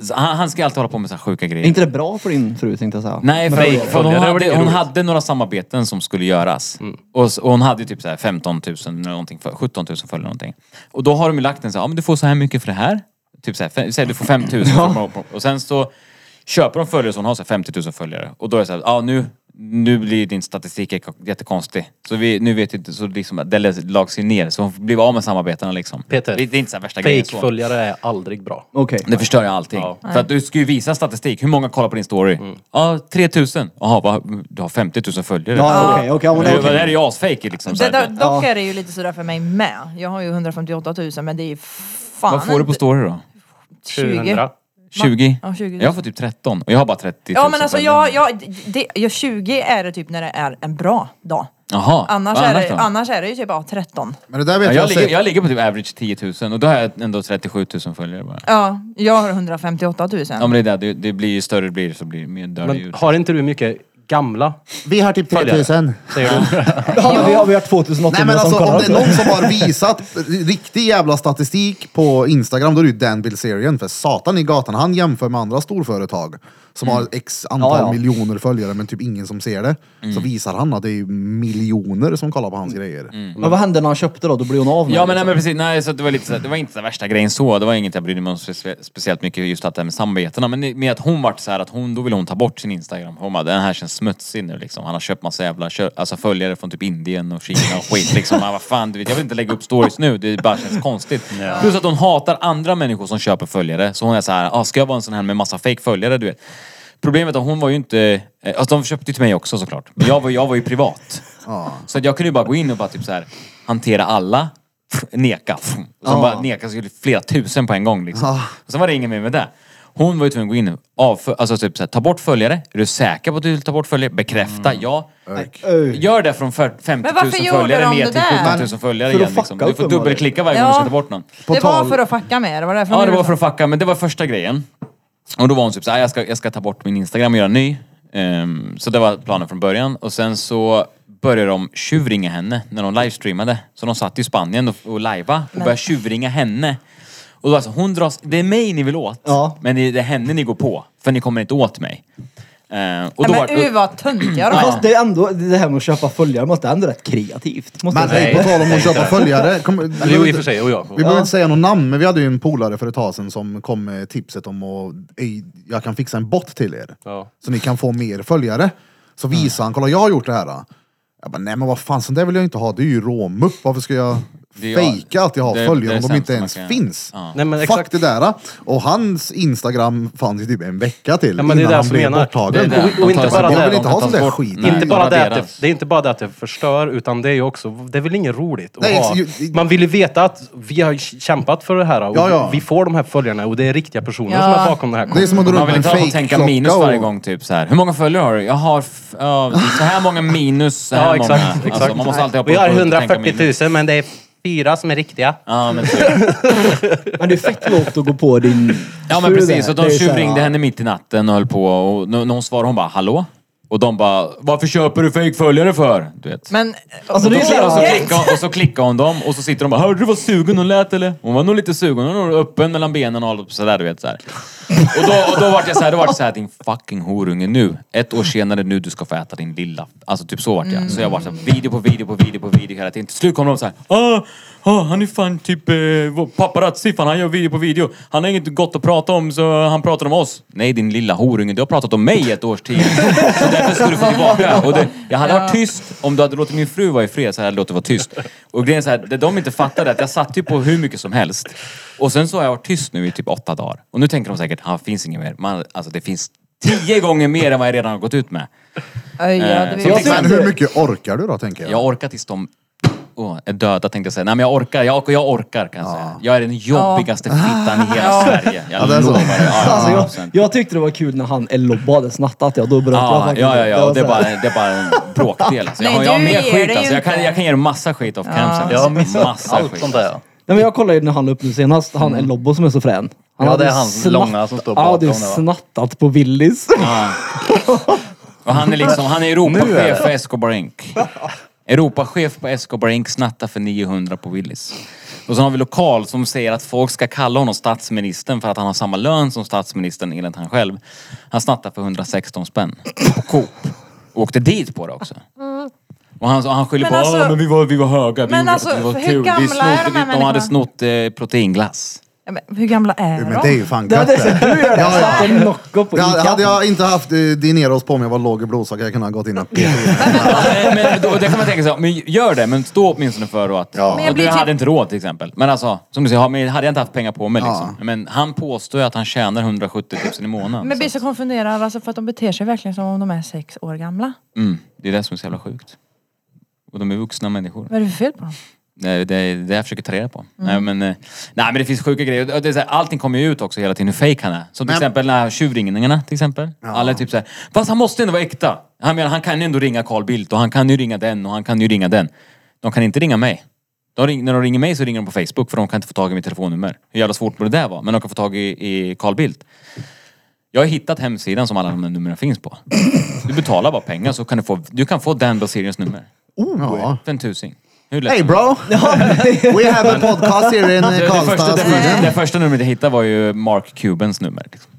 Så Han, han ska alltid hålla på med så här sjuka grejer.
Är inte det bra för din fru tänkte jag säga?
Nej, för,
följare-
för hon,
följare var det
hade,
inget
hon
roligt.
hade några samarbeten som skulle göras. Och, s- och hon hade ju typ så här 15 000, eller någonting, för- 17 000 följare någonting. Och då har de ju lagt en så här, ja men du får så här mycket för det här. Typ så här, fem- säg du får 5 000. för- Och sen så köper de följare så hon har så här 50 000 följare. Och då är det så här, ja nu, nu blir din statistik jätte- jättekonstig. Så vi, nu vet inte, så liksom, det lags ju ner. Så hon blev av med samarbetena liksom.
Peter,
Det, det är inte så här värsta grejen. så.
Fake-följare är aldrig bra.
Okej.
Det förstör ju allting. För att du ska ju visa statistik. Hur många kollar på din story? Ja, 3000. Jaha, vad- du har 50 000 följare.
Ja, okej, okej. ja, men
Det,
okej.
det här är ju asfejk liksom. Så
det,
här.
där, dock är det ju lite sådär för mig med. Jag har ju 158 000 men det är ju fan
Vad får du på
inte
story då?
20.
700.
20?
Ja, 20 000.
Jag får typ 13 och jag har bara 30 000
Ja men alltså
följare.
jag, jag, det, jag, 20 är det typ när det är en bra dag.
Jaha,
Annars,
vad
är, det,
då?
annars är det ju typ ja, 13.
Men det där
Ja,
vet
jag,
jag,
ligger,
jag,
jag ligger på typ average 10 000 och då har jag ändå 37 000 följare bara.
Ja, jag har 158 000.
Ja men det är det, det, det blir ju större det blir så blir det mer dör det ju.
Men har inte du mycket gamla?
Vi har typ 3000.
Säger du?
Ja, men vi har vi har 2800
Nej men alltså
som
om det är
kollar.
någon som har visat riktig jävla statistik på Instagram då är det ju Dan Bilzerian för satan i gatan. Han jämför med andra storföretag som har x antal
Mm. Ja, Mm. ja.
miljoner följare men typ ingen som ser det. Så visar han att det är ju miljoner som kollar på hans
Mm.
grejer.
Men vad hände när han köpte då? Då blev hon av med
Ja
det,
men, nej,
liksom.
men precis, nej, så att det, var lite, så här- det var inte den värsta grejen så. Det var inget jag brydde mig om spe- speciellt mycket just att det här med samarbetena. Men det- med att hon vart så här att hon, då ville hon ta bort sin Instagram. Hon bara, den här känns smutsig nu liksom. Han har köpt massa jävla kö- alltså, följare från typ Indien och Kina och skit liksom. Man, vad fan, du vet, jag vill inte lägga upp stories nu. Det bara känns konstigt. Plus att hon hatar andra människor som köper följare. Så hon är så här, ah, ska jag vara en sån här med massa fake följare du vet. Problemet är att hon var ju inte, eh, alltså de köpte ju till mig också såklart. Men jag var, jag var ju privat. Så att jag kunde ju bara gå in och bara typ så här, hantera alla, pff, neka. pff. Och sen
Ja.
bara neka så gjorde det flera tusen på en gång liksom. Och sen var det ingen mer med det. Hon var ju tvungen att gå in och avfö- alltså typ så här, ta bort följare. Är du säker på att du vill ta bort följare? Bekräfta,
Mm.
ja.
Öj.
Gör det från fyr- 50
Men varför
000
gjorde
följare
de
ner
det
till
där?
17 000 följare
För att
igen. Liksom.
fucka
Du
upp
får
dem,
dubbelklicka varje
Ja.
gång du ska ta bort någon.
På
det var
tal-
för att fucka med er, det var därför
Ja,
de
det var
gjorde
för
så.
att fucka, men det var första grejen. Och då var hon typ såhär, jag ska, jag ska ta bort min Instagram och göra en ny. Ehm, så det var planen från början. Och sen så började de tjuvringa henne när de livestreamade. Så de satt i Spanien och, och lajva och började tjuvringa henne. Och då alltså, hon dras, det är mig ni vill åt,
Ja.
men det är, det är henne ni går på. För ni kommer inte åt mig. Ehm, och då
Nej,
var,
men uh, vad töntiga de
Men
var.
Fast det är ändå, det här med att köpa följare måste ändå rätt kreativt. Måste
Men
jag säga.
nej, på tal om att köpa följare. Kom, vi
Jo,
behöver
i och för
inte-
sig. Och jag.
vi behöver inte säga något namn, men vi hade ju en polare för ett tag sedan som kom med tipset om att "Ey, jag kan fixa en bot till er.
Ja.
Så ni kan få mer följare. Så
Mm.
visar han, kolla jag har gjort det här. Då. Jag bara, nej men vad fan, sånt där vill jag inte ha. Det är ju råmupp. Varför ska jag
Det är ju-
fejka att jag har
det är- det
följare
är
om de
sämst
inte
man
ens
kan-
finns.
Nej men
Fuck
exakt.
det där. Och hans Instagram fanns ju typ en vecka till
Ja, men det är
innan
det
han
som
blev
menar.
Det är
borttagen.
det. De
och
tar
inte
sig
bara
bort.
det,
De
vill inte
kan
ha sån
tas
där
bort.
skit.
Nej,
inte bara
de
det, att det,
raderas.
det är inte bara det att det förstör, utan det är ju också, det är väl inget roligt att
Nej,
ha.
ex- ju-
Man vill ju veta att vi har kämpat för det här och
Ja, ja.
vi får de här följarna och det är riktiga personer
Ja.
som är bakom det här.
Det är som att dra
Man
upp
vill
en
inte hålla på och tänka minus
fejkklocka
varje
och...
gång. Typ, så här. Hur många följare har du? Jag har f- ja, så här många minus. Så här
Ja, exakt,
många.
exakt.
Alltså, man måste alltid ha
Vi har
på- på- tänka
140
minus.
000 men det är fyra som är riktiga.
Ja men,
Men det är fett lågt att gå på din
ja, men
fru
precis.
där.
Och
Det
de
är så här,
tjuvringde henne mitt i natten och höll på. Och när när hon svarade hon bara hallå? Och de bara varför köper du fejkföljare för? Du vet.
Men...
Alltså, det är
och,
så
då, och, så
här,
klickar, och så klickar hon dem och så sitter de bara Hörde du vad sugen hon lät eller? Hon var nog lite sugen, hon var nog öppen mellan benen och allt sådär du vet såhär. Och då, och då vart jag såhär, då vart jag såhär din fucking horunge nu. Ett år senare nu du ska få äta din lilla. Alltså typ så vart jag. Så jag vart såhär video på video på video på video hela tiden. Till slut kom de såhär ah, ah, han är fan typ eh, vår paparazzi fan han gör video på video. Han har inget gott att prata om så han pratar om oss. Nej din lilla horunge, du har pratat om mig i ett års tid. Så därför ska du få tillbaka. Och det, jag hade varit tyst om du hade låtit min fru vara i fred så hade jag låtit vara tyst. Och grejen är så här, det de inte fattade är att jag satt ju på hur mycket som helst. Och sen så har jag varit tyst nu i typ åtta dagar. Och nu tänker de säkert, ah, finns inget mer. Man, alltså det finns tio gånger mer än vad jag redan har gått ut med.
Öj, ja, det
Eh,
vet
så
jag.
tänker
Men hur mycket orkar du då, tänker
Jag
jag?
orkar tills de åh, är döda tänkte jag säga. Nej men jag orkar, jag, jag orkar kan jag säga. Jag är den jobbigaste fittan i hela Sverige. Jag
Ja, det är så.
lovar det. Ja, ja,
Alltså, jag, jag tyckte det var kul när han Elobba hade snattat ja, då bröt jag
Ja,
faktiskt.
ja, ja, ja.
var
Det, är
så
bara,
här-
det är bara en bråkdel. Alltså. Jag,
Nej,
har, jag har
du
mer
ger
skit
dig
alltså. Jag
inte.
kan, jag kan ge dig massa skit off cam sen.
Jag har
Alltså.
missat
Massa
allt
skit.
sånt där.
Nej, men jag kollade ju när han la upp nu senast, han Elobbo som är så frän. Han
Ja,
hade
det är han långa som står
Ja,
bakom
det är
det, va?
snattat på Willys.
Och han är liksom, han är Europachef för Escobar Inc. Europachef på Escobar Inc. snattar för 900 på Willys. Och så har vi lokal som säger att folk ska kalla honom statsministern för att han har samma lön som statsministern enligt han själv. Han snattar för 116 spänn på Coop. Och åkte dit på det också. Och han, och han skyller
Men
på
alltså-
"Ah, men vi var, vi var höga, vi
Men
gjorde
alltså,
det, det var
hur
kul.
gamla är de
vi snodde,
här
vi- de
människorna?
hade snott eh, proteinglass.
Ja, men Hur gamla är
Jo,
de?
Men det är ju fan
Det
gött
hade
det.
du gör det.
Ja, ja.
Satt en Nocco på
Ja,
Ica.
hade jag inte haft eh, Dineros på mig och var låg i blodsocker, jag kunde ha gått in och
Nej, men då, det kan man tänka sig, men gör det, men stå åtminstone för då att...
Ja.
Men
Men
jag blir
du
typ-
hade inte råd till exempel. Men alltså, som du säger, har- men hade jag inte haft pengar på mig liksom. Men han påstår ju att han tjänar 170 000 i månaden.
Men jag blir
så
så konfunderad alltså, för att de beter sig verkligen som om de är sex år gamla.
att, mm, det är det som är så jävla sjukt. Och de är vuxna människor.
Vad är det för fel på dem?
Det är det, är det jag försöker ta reda på. Nej, men, eh, nej men det finns sjuka grejer. Och Det är så här, allting kommer ju ut också hela tiden hur fake han är. Som till exempel när tjuvringningarna till exempel. Alla är typ såhär, fast han måste ändå vara äkta. Han, menar, han kan ju ändå ringa Carl Bildt och han kan ju ringa den och han kan ju ringa den. De kan inte ringa mig. De ring, när de ringer mig så ringer de på Facebook för de kan inte få tag i mitt telefonnummer. Hur jävla svårt borde det där vara? Men de kan få tag i, i Carl Bildt. Jag har hittat hemsidan som alla de här numren finns på. Du betalar bara pengar så kan du få, du kan få Dan Bilzerians nummer.
Ja.
För en tusing. Hur lätt
Hey
som
bro! We have a podcast here in eh,
det, det, första,
Karlstad.
det, det första numret jag hittade var ju Mark Cubans nummer. Liksom.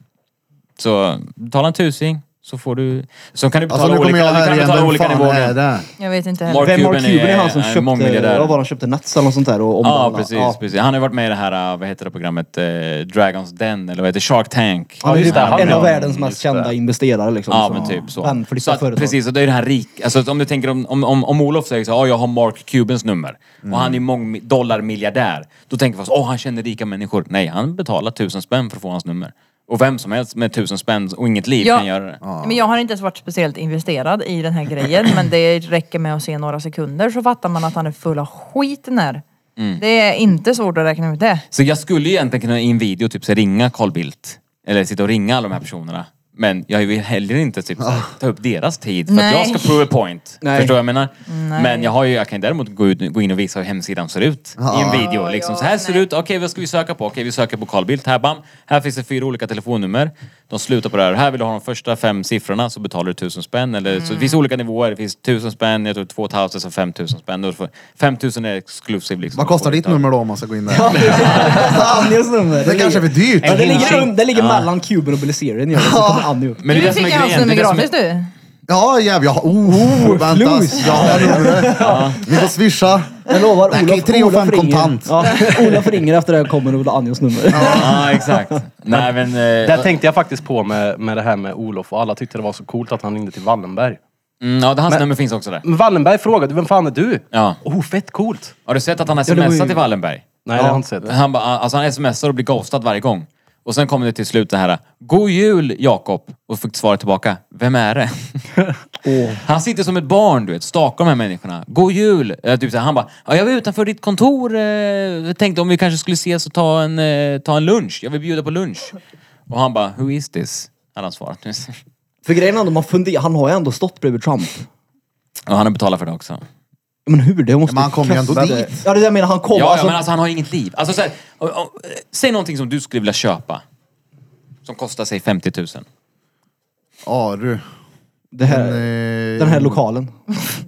Så betala en tusing så får du... Så kan du betala
Alltså nu kommer
olika,
jag
du
här
kan
igen,
betala
vem
olika
fan
nivåer.
är det?
Jag vet inte
Mark
heller.
Vem Mark
Cuban
Cuban är han som
är
köpte,
mångmiljardär.
vad var han köpte Nets eller något sånt där och
Ja,
omvandlade.
precis, precis. Han har ju varit med i det här, eh, vad heter det programmet, eh, Dragons Den, eller vad heter det, Shark Tank.
Han är ju
just det, han
en
är-
av världens mest
just det.
kända investerare liksom.
Ja
så.
men typ så.
Han flyttar
så att,
företag.
precis, och det är den här rik... Alltså om du tänker om, om, om, om Olof säger så här, "Ja, jag har Mark Cubans nummer
Mm.
och han är mång dollarmiljardär. Då tänker folk, åh han känner rika människor. Nej, han betalar tusen spänn för att få hans nummer. Och vem som helst med tusen spänn och inget liv
Ja.
kan göra det.
Men jag har inte ens varit speciellt investerad i den här grejen men det räcker med att se några sekunder så fattar man att han är full av skit när.
Mm.
Det är inte svårt att räkna ut det.
Så jag skulle ju egentligen kunna i en video typ så här, ringa Carl Bildt. Eller sitta och ringa alla de här personerna. Men jag vill heller inte typ,
Ah.
så här, ta upp deras tid för
Nej.
att jag ska prove a point.
Nej.
Förstår vad jag menar?
Nej.
Men jag, har ju, jag kan ju däremot gå, ut, gå in och visa hur hemsidan ser ut i
Ah.
en video.
Ja,
Liksom.
ja,
Så här ser det
nej.
ut. Okej, vad ska vi söka på? Okej, vi söker på Carl Bildt. Här, bam. Här finns det fyra olika telefonnummer. De slutar på det här. Här vill du ha de första fem siffrorna så betalar du tusen spänn. Eller, Så det
Mm.
finns olika nivåer. Det finns tusen spänn, jag tror 2000 så 5000 alltså spänn. Då får- 5000 är exklusiv. Liksom.
Vad kostar
Då får du
ditt
ta-
nummer då om man ska gå in där?
Annies nummer.
Det kanske är för dyrt.
Ja, det ligger,
Hinching.
un- det ligger mellan Cuban och Beliserian. gör det. Så kommer Annie upp.
Men det
du
är det som
fick
är
ju hans
grejen.
nummer
Det är det som är-
gratis du.
Ja jävlar, jag har... Oh, vänta.
flus.
Jag har numret. Ni får swisha.
Jag lovar,
Nej,
Olof,
tre och
Olof
fem
ringer.
kontant.
Ja, Olof ringer efter det här kommer och vill ha Annies nummer.
Ja, exakt. Nej men... eh,
Det tänkte jag faktiskt på med, med det här med Olof och alla tyckte det var så coolt att han ringde till Wallenberg.
Mm, ja, det- hans nummer finns också där.
Men Wallenberg frågade, vem fan är du?
Ja.
Oh, fett coolt!
Har du sett att han
det var
smsat
ju-
till Wallenberg?
Nej, det har jag inte sett.
Han, ba, alltså han smsar och blir ghostad varje gång. Och sen kommer det till slut det här, God Jul Jakob! Och fick svaret tillbaka, Vem är det? Han sitter som ett barn du vet, stakar de här människorna. God Jul! Eh, typ så här, han bara, ja, jag var utanför ditt kontor, eh, jag tänkte om vi kanske skulle ses och ta en, eh, ta en lunch. Jag vill bjuda på lunch. Och han bara, Who is this? Hade han svarat.
För grejen är ändå, man funderar, han har ju ändå stått bredvid Trump.
Och han har betalat för det också.
Men hur? Det måste
Men han kom ju ändå
kasta det.
dit.
Ja, det är det jag menar. Han kom.
Ja,
alltså,
ja men alltså han har inget liv. Alltså, så här, och, och, eh, säg någonting som du skulle vilja köpa. Som kostar sig 50 000.
Ja du.
det här,
Eh,
den här lokalen.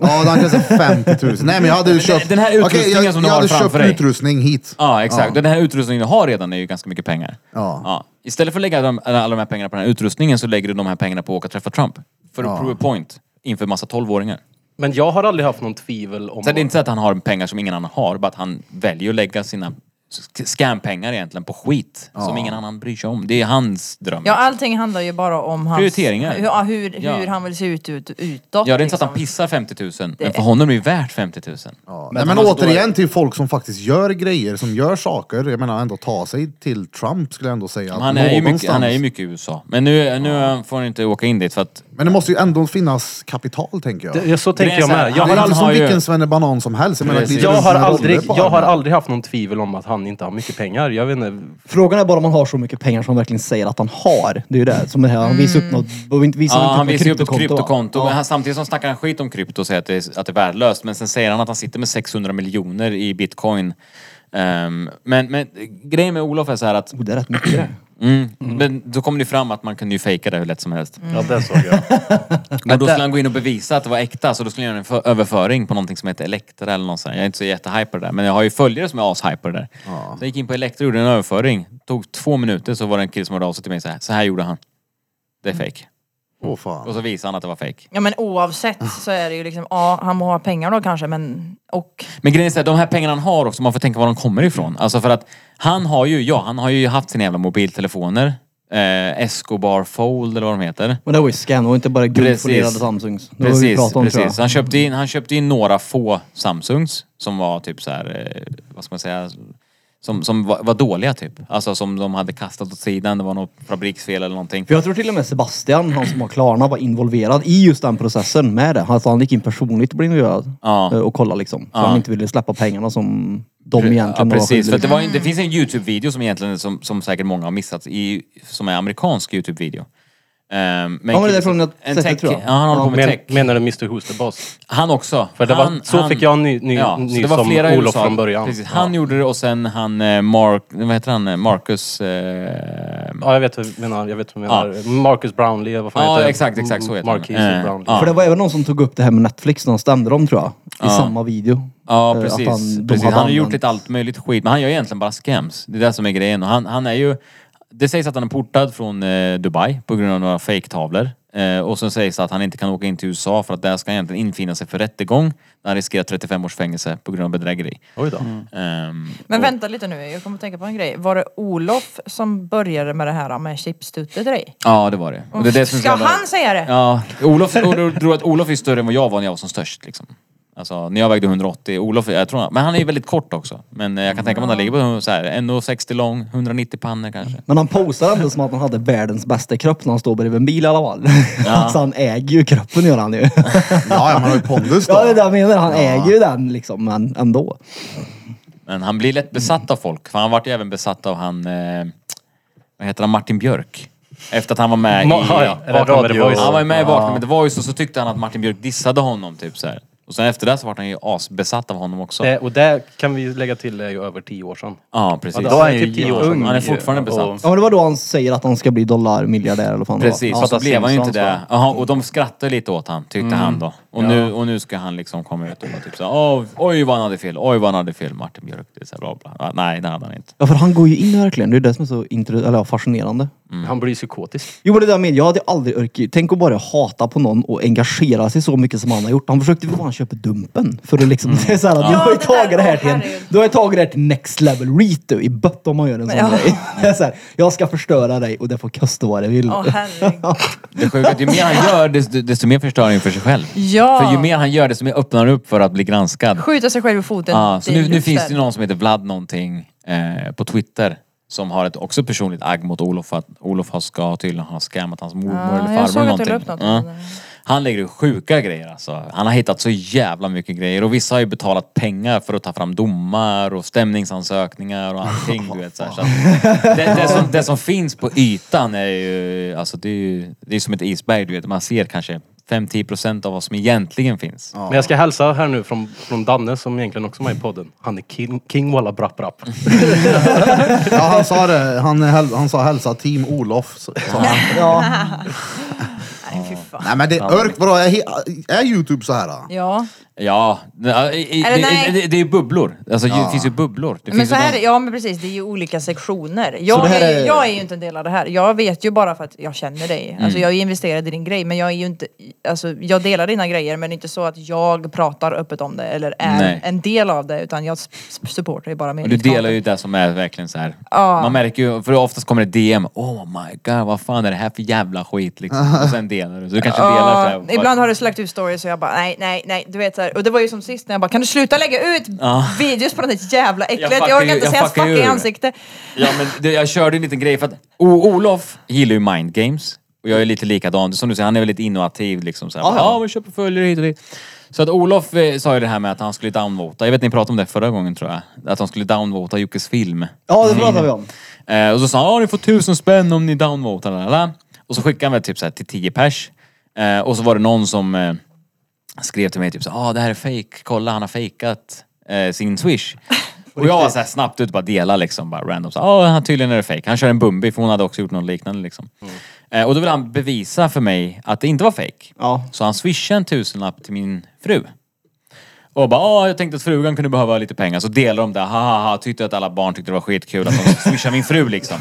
Ja, den kostar 50 000. Nej men jag hade ju köpt...
den här
Okej,
utrustningen
jag,
som du
jag
har
hade
framför
köpt
dig.
utrustning hit.
Ja exakt. Den här utrustningen du har redan är ju ganska mycket pengar.
Ja.
Istället för att lägga de, alla de här pengarna på den här utrustningen så lägger du de här pengarna på att åka och träffa Trump. För att prove a point inför massa 12-åringar.
Men jag har aldrig haft någon tvivel om...
Så det är inte så att han har pengar som ingen annan har, bara att han väljer att lägga sina sk- scampengar egentligen på skit som ingen annan bryr sig om. Det är hans dröm.
Ja, allting handlar ju bara om hans...
Prioriteringar.
Hur, ja, hur, hur
Ja.
han vill se ut, ut utåt.
Ja, det är inte så att han
liksom.
pissar 50 000, men för honom är alltså- det värt 50 000.
Ja. Men, Nej, men
han står-
återigen till folk som faktiskt gör grejer, som gör saker. Jag menar ändå ta sig till Trump skulle jag ändå säga. att
Han är, ju mycket,
någonstans-
han är ju mycket i USA. Men nu, nu får han inte åka in dit för att...
Men det måste ju ändå finnas kapital tänker jag.
Det- Ja, så tänker
är
jag
så här,
med. Jag
det
har,
är
han
inte
aldrig,
som
har ju-
vilken svennebanan som helst. Jag, menar,
Precis.
glider
jag,
runt
har
med roller
aldrig,
på
jag har
armen.
aldrig haft någon tvivel om att han inte har mycket pengar. Jag vet inte.
Frågan är bara om han har så mycket pengar som han verkligen säger att han har. Det är ju det. Som det här, han visar upp något. och inte- Visar
Ja,
inte
han
något
visar ju upp ett
kryptokonto, va?
kryptokonto.
Ja.
Men han, samtidigt som snackar han skit om krypto och säger att det, är, att det är värdelöst. Men sen säger han att han sitter med 600 miljoner i bitcoin. Ehm, men, men grejen med Olof är så här att...
Oh, det är rätt mycket det.
Mm, Men då kom det fram att man kunde ju fejka det hur lätt som helst.
Ja, det såg jag.
Men då skulle han gå in och bevisa att det var äkta, så då skulle han göra en för- överföring på någonting som heter Elektra eller något sånt. Jag är inte så jättehyper på det där, men jag har ju följare som är ashyper där. Så jag gick in på Elektra och gjorde en överföring. Tog två minuter så var det en kille som hörde av sig till mig så här. Så här gjorde han. Det är fake.
Mm. Åh fan.
Och så visade han att det var fake.
Ja men oavsett så är det ju liksom, ja han må ha pengar då kanske men och
Men grejen är så här, de här pengarna han har också, man får tänka var de kommer ifrån. Alltså för att han har ju, ja han har ju haft sina jävla mobiltelefoner. Eh, Escobar Fold eller vad de heter.
Men det var ju scam. Det var inte bara guldfolerade
Precis.
Samsungs. Det var vad vi
Precis,
pratade om tror jag.
precis. Han köpte, in, han köpte in några få Samsungs som var typ så här, eh, vad ska man säga, som, som var, var dåliga typ. Alltså som de hade kastat åt sidan, det var något fabriksfel eller någonting.
För jag tror till och med Sebastian, han som har Klarna, var involverad i just den processen med det. Alltså han gick in personligt och blev involverad
Ja.
eh, och kollade liksom. För
Ja.
han inte ville släppa pengarna som de egentligen
Ja, precis,
skyldiga.
för att det, var, en- det finns en YouTube-video som egentligen, som, som säkert många har missat, i, som är amerikansk YouTube-video. Um, men
men det är från något
en
sätt,
tech,
tror jag.
Ja, han håller på med
Men,
tech.
menar du Mr Hoosterbas?
Han också.
För det var-
han,
så fick jag en ny- ny-
ja,
ny
så det var
som
flera i
Olof
USA.
från början.
Precis, han gjorde det och sen han eh, Mark, vad heter han, Marcus... Eh,
Ja, jag vet vad du menar. Jag vet vad du menar. Marcus Brownlee, vad fan
Ja,
heter det?
exakt, exakt, så heter han.
Marcus
Eh,
Brownlee.
ja.
För det var även någon som tog upp det här med Netflix när han stämde dem tror jag. I samma video.
Ja
Eh,
precis.
att han- de
precis.
hade
Han har
använt-
gjort lite allt möjligt skit men han gör egentligen bara scams. Det är det som är grejen. Och han, han är ju... Det sägs att han är portad från eh, Dubai på grund av några fejktavlor. Eh, och sen sägs det att han inte kan åka in till USA för att där ska han egentligen infinna sig för rättegång. Där han riskerar 35 års fängelse på grund av bedrägeri.
Oj då.
Ehm,
Men
och-
vänta lite nu, jag kommer att tänka på en grej. Var det Olof som började med det här med chipstutet i?
Ja det var det. Och det är det som är så
Ska
jävla-
han säga det?
Ja, Olof, jag tror att Olof är större än vad jag var när jag var som störst. Liksom. Alltså, när jag vägde 180, Olof, jag tror, men han är ju väldigt kort också. Men eh, jag kan tänka mig att han ligger på så här, 1,60 lång, 190 pannor kanske.
Men han posar ändå som att han hade världens bästa kropp när han står bredvid en bil i alla fall. alltså han äger ju kroppen gör han ju.
Ja, ja, man har ju pondus då.
ja det är det jag menar. Han äger ju den liksom men ändå.
Men han blir lätt besatt av folk, för han vart ju även besatt av han, eh, vad heter han, Martin Björk. Efter att han var med i...
Ma- ja, ja.
Är det
Vakna med The
radio?
Voice.
Han var ju med i Vakna med The Voice och så tyckte han att Martin Björk dissade honom typ så här. Och sen efter det så vart han ju asbesatt av honom också.
Det, och det kan vi lägga till är ju över tio år sedan.
Ja, precis.
Då är han ju
Typ tio år sedan.
ung.
Han är fortfarande besatt.
Ja men det var då han säger att han ska bli dollarmiljardär eller vad fan det var.
Precis,
Ja.
och så
Fatta
blev han ju inte
Simpsons,
det. Aha, och de skrattade lite åt han, tyckte han då. Och, nu, och nu ska han liksom komma ut och vara typ såhär, "Åh, oj vad han hade fel, oj vad han hade fel Martin Björk. Det är så här, bla, bla. Ja, nej, det hade han inte.
Ja för han går ju in verkligen. Det är det som är så intro- eller, ja, fascinerande.
Han blir psykotisk.
Jo men det där med, jag hade aldrig orkat. Tänk att bara hata på någon och engagera sig så mycket som han har gjort. Han försökte ju fan köpa Dumpen. För att liksom,
Mm.
det är så här, att du har ju
det där-
tagit det här till en,
herregud.
du har ju tagit det här till next level Rito i bött om man gör en sån
Ja.
grej. Det är så här, jag ska förstöra dig och det får kosta vad det vill.
Åh herregud.
Det sjuka är att ju mer han gör, desto, desto mer förstör han ju för sig själv.
Ja.
För ju mer han gör, desto mer öppnar han upp för att bli granskad.
Skjuta sig själv i foten.
Ja, Ah, så
i
nu, nu
luften.
finns det ju någon som heter Vlad någonting eh, på Twitter som har ett också personligt agg mot Olof för att Olof har ska tydligen ha scammat hans mormor
Ja,
eller
Ah, jag såg
farmor
att
eller
du
någonting.
la upp något
Ja.
om det där.
Han lägger ut sjuka grejer alltså. Han har hittat så jävla mycket grejer och vissa har ju betalat pengar för att ta fram domar och stämningsansökningar och allting du vet. Så här. Så att det, det, som, det som finns på ytan är ju, alltså det är ju, det är som ett isberg du vet. Man ser kanske 5-10% av vad som egentligen finns.
Men jag ska hälsa här nu från, från Danne som egentligen också är med i podden. Han är king, king walla brapp brapp.
Ja, han sa det. Han, är häl- han sa hälsa team Olof. Så, sa han.
Ja.
Nej, fy fan.
Nej men det är örk. Vadå, är, he- är Youtube så här? Då?
Ja,
Ja, i- i-
Eller
det,
nej.
det, det är bubblor. Alltså det finns ju bubblor. Det
men
finns
så
ju
här,
de-
ja men precis, det är ju olika sektioner. Jag,
det här
är,
är-
jag är ju inte en del av det här. Jag vet ju bara för att jag känner dig.
Mm.
Alltså jag är investerad i din grej men jag är ju inte, alltså jag delar dina grejer men det är inte så att jag pratar öppet om det eller är
Nej.
en del av det utan jag s- s- supportar ju bara med
Och du
ditt
delar
content.
ju det som är verkligen så här.
Ja.
Man märker ju, för oftast kommer det DM. Oh my god, vad fan är det här för jävla skit liksom. Och sen delar du. Så du kanske delar så här,
Ja, ibland har du släckt ut stories och jag bara nej, nej, nej. Du vet så här. Och det var ju som sist när jag bara kan du sluta lägga ut
Ja.
videos på det där jävla äcklet? Jag,
fuckar
orkar
ju-
inte
jag
se hans
fuckar ju
fucking
ur.
ansikte.
Ja men det, jag körde en liten grej för att o Olof gillar ju mind games. Och jag är lite likadan. Som du säger, han är väldigt innovativ liksom. Så här,
Ja,
ja,
ja.
men köper följare hit och dit. Så att Olof eh, sa ju det här med att han skulle downvota. Jag vet ni pratade om det förra gången tror jag. Att han skulle downvota Jockes film.
ja, det pratar vi om.
Eh, och så sa han, ja ni får tusen spänn om ni downvotar. Lalala. Och så skickade han väl typ så här till 10 pers. Eh, och så var det någon som eh, skrev till mig typ så här, ah det här är fake. kolla han har fejkat eh, sin swish. Och jag var så här snabbt ute och bara dela liksom, bara random. Så, ah han tydligen är det fake. Han kör en Bumbi för hon hade också gjort något liknande liksom. Eh, och då ville han bevisa för mig att det inte var fake.
Ja.
Så han swishade en tusenlapp till min fru. Och bara, ah, jag tänkte att frugan kunde behöva lite pengar. Så delade de det, ha ha ha, tyckte att alla barn tyckte det var skitkul att de swishade min fru liksom.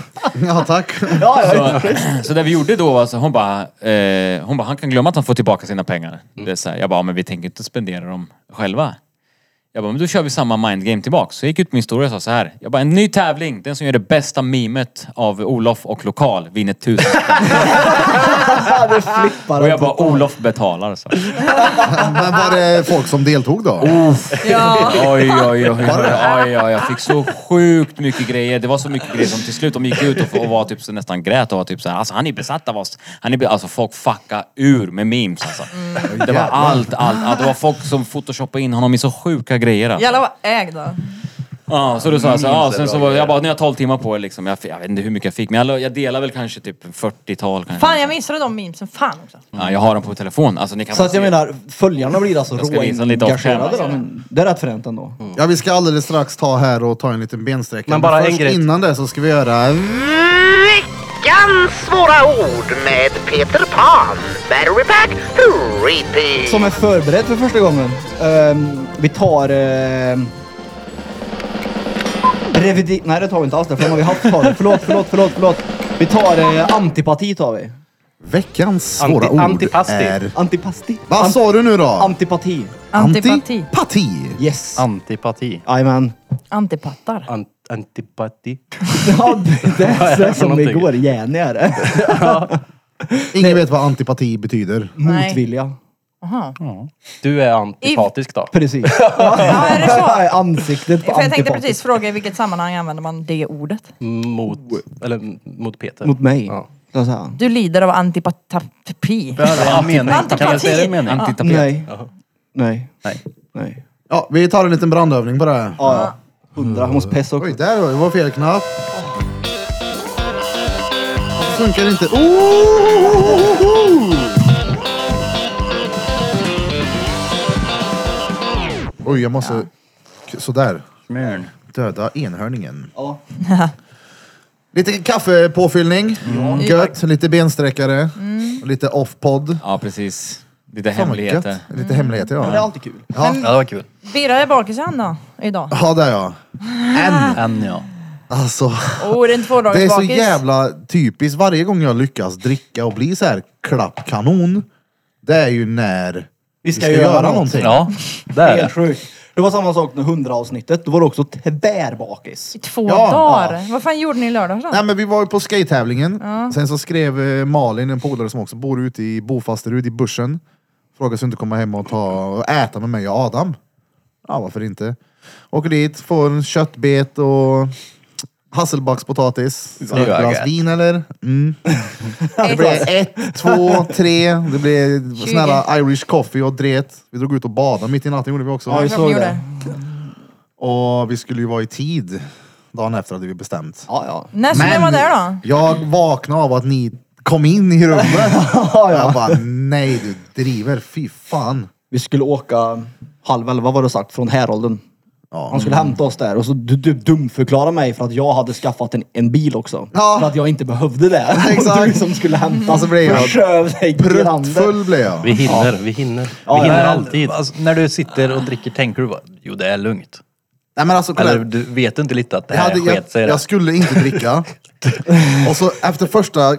Ja tack.
Så, så det vi gjorde då, alltså, hon bara, eh, hon bara, han kan glömma att han får tillbaka sina pengar. Det är så här, jag bara, men vi tänker inte spendera dem själva. Jag bara, men då kör vi samma mindgame tillbaks. Så jag gick ut på min historia och sa så här. Jag bara, en ny tävling. Den som gör det bästa mimet av Olof och lokal vinner tusen spänn.
det flippar.
Och jag bara, Olof betalar. Så.
Men var det folk som deltog då?
Ja.
Oj, oj, oj, oj, oj, oj. Jag fick så sjukt mycket grejer. Det var så mycket grejer som till slut de gick ut och, och var typ så nästan grät och var typ så här, alltså han är besatt av oss. Han är be- alltså folk fucka ur med memes alltså.
Mm.
Det var allt, allt, allt. Det var folk som photoshoppade in honom i så sjuka grejer alltså.
Jävlar vad ägd då.
Ja, så då sa jag så, här,
Memes
ja,
är
sen så
bra
var, jag
grejer.
bara, ni har 12 timmar på er liksom. Jag, fi- jag vet inte hur mycket jag fick, men jag, la- jag delar väl kanske typ 40-tal kanske.
Fan jag missade de memesen, fan också.
Ja, jag har dem på telefon. Alltså ni kan
Så
väl
att jag
se.
menar, följarna blir alltså
Jag ska visa lite av
råengagerade. då,
skärmen.
men Det är rätt fränt ändå.
Ja, vi ska alldeles strax ta här och ta en liten bensträckare.
Men bara en
först
grej.
innan det så ska vi göra...
Veckans svåra ord med Peter Pan. Battery pack, repeat.
Som är förberedd för första gången. Ehm, vi tar... ehm, revidi... Nej det tar vi inte alls, det för den har vi haft förut. Förlåt, förlåt, förlåt, förlåt. Vi tar eh, antipati tar vi.
Veckans
Anti-
svåra ord
antipasti.
är...
Antipasti?
Vad sa du nu då?
Antipati.
Antipati.
Antipati.
Yes.
Antipati.
Jajamän.
Antipattar.
Ant, antipati.
Ja, det är
är
så
det för
som
någonting?
igår. Jenny är det.
Ingen vet vad antipati betyder.
Nej.
Motvilja.
Aha.
Du är antipatisk då.
Precis.
Ja är det så?
Ansiktet på
För jag tänkte
antipati.
precis fråga i vilket sammanhang använder man det ordet?
Mot, eller m- mot Peter.
Mot mig.
Ja.
Så att säga.
Du lider av antipati.
Ja, det är en mening. Kan jag
Antipati.
säga det i en mening?
Antitapet.
Ah, Nej. Nej.
Nej.
Nej.
Ja, vi tar en liten brandövning på det. här.
Ja, ja. Hundra. Jag måste pessa också.
Oj, där var det var fel knapp. Det funkar inte. Oh! Oj, jag måste... Sådär.
Smörn.
Döda enhörningen.
Ja.
Lite kaffepåfyllning. Mm. Gött. Lite bensträckare. och Lite off-podd.
Ja, precis. Lite
Fan, vad
hemligheter.
gött. Lite hemligheter,
Det är
ja.
alltid kul.
Ja, det var kul.
Birra är bakis igen då, idag.
Ja, där ja.
En ja.
Alltså,
Oh, det är inte två
det
dagar
är så
bakis.
jävla typiskt. Varje gång jag lyckas dricka och bli så här klappkanon, det är ju när vi
ska göra någonting.
Ja, det är det.
Helt sjukt. Det var samma sak med 100 avsnittet. Då var det också tvärbakis.
I två
Ja,
dagar? Vad fan gjorde ni i lördags då?
Nej men vi var ju på skate-tävlingen. Sen så skrev eh, Malin, en polare som också bor ute i Bofasterud i bussen. Frågade sig inte komma hem och, ta, och äta med mig och Adam. Ja varför inte. Åker dit, får en köttbet och hasselbackspotatis. Sen
Det
ett
var
glas
gött.
vin eller? Mm. Det
Ett.
blev ett, två, tre. Det blev
Tjugo.
sån här Irish coffee och dret. Vi drog ut och badade mitt i natten gjorde vi också.
Ja, vi
Klart ni
såg
gjorde.
det.
Och vi skulle ju vara i tid. Dagen efter hade vi bestämt.
Ja, ja.
När skulle ni vara där då?
Jag vaknade av att ni kom in i rummet. Jag bara, nej du driver, fy fan.
Vi skulle åka halv elva var det sagt, från Härolden.
Ja.
Han skulle hämta oss där och så du, du dumförklarade mig för att jag hade skaffat en, en bil också.
Ja.
För att jag inte behövde det.
Exakt.
Du som skulle hämta.
Alltså, blev jag
Försköv dig grande.
Pruttfull blev jag.
Vi hinner, vi hinner.
Ja,
vi hinner
ja.
alltid. Alltså, när du sitter och dricker tänker du bara, jo det är lugnt.
Nej men alltså kolla.
Eller
här.
du vet inte lite att det
Jag,
här
hade, jag,
sket sig.
jag
Jag,
skulle inte dricka. Och så efter första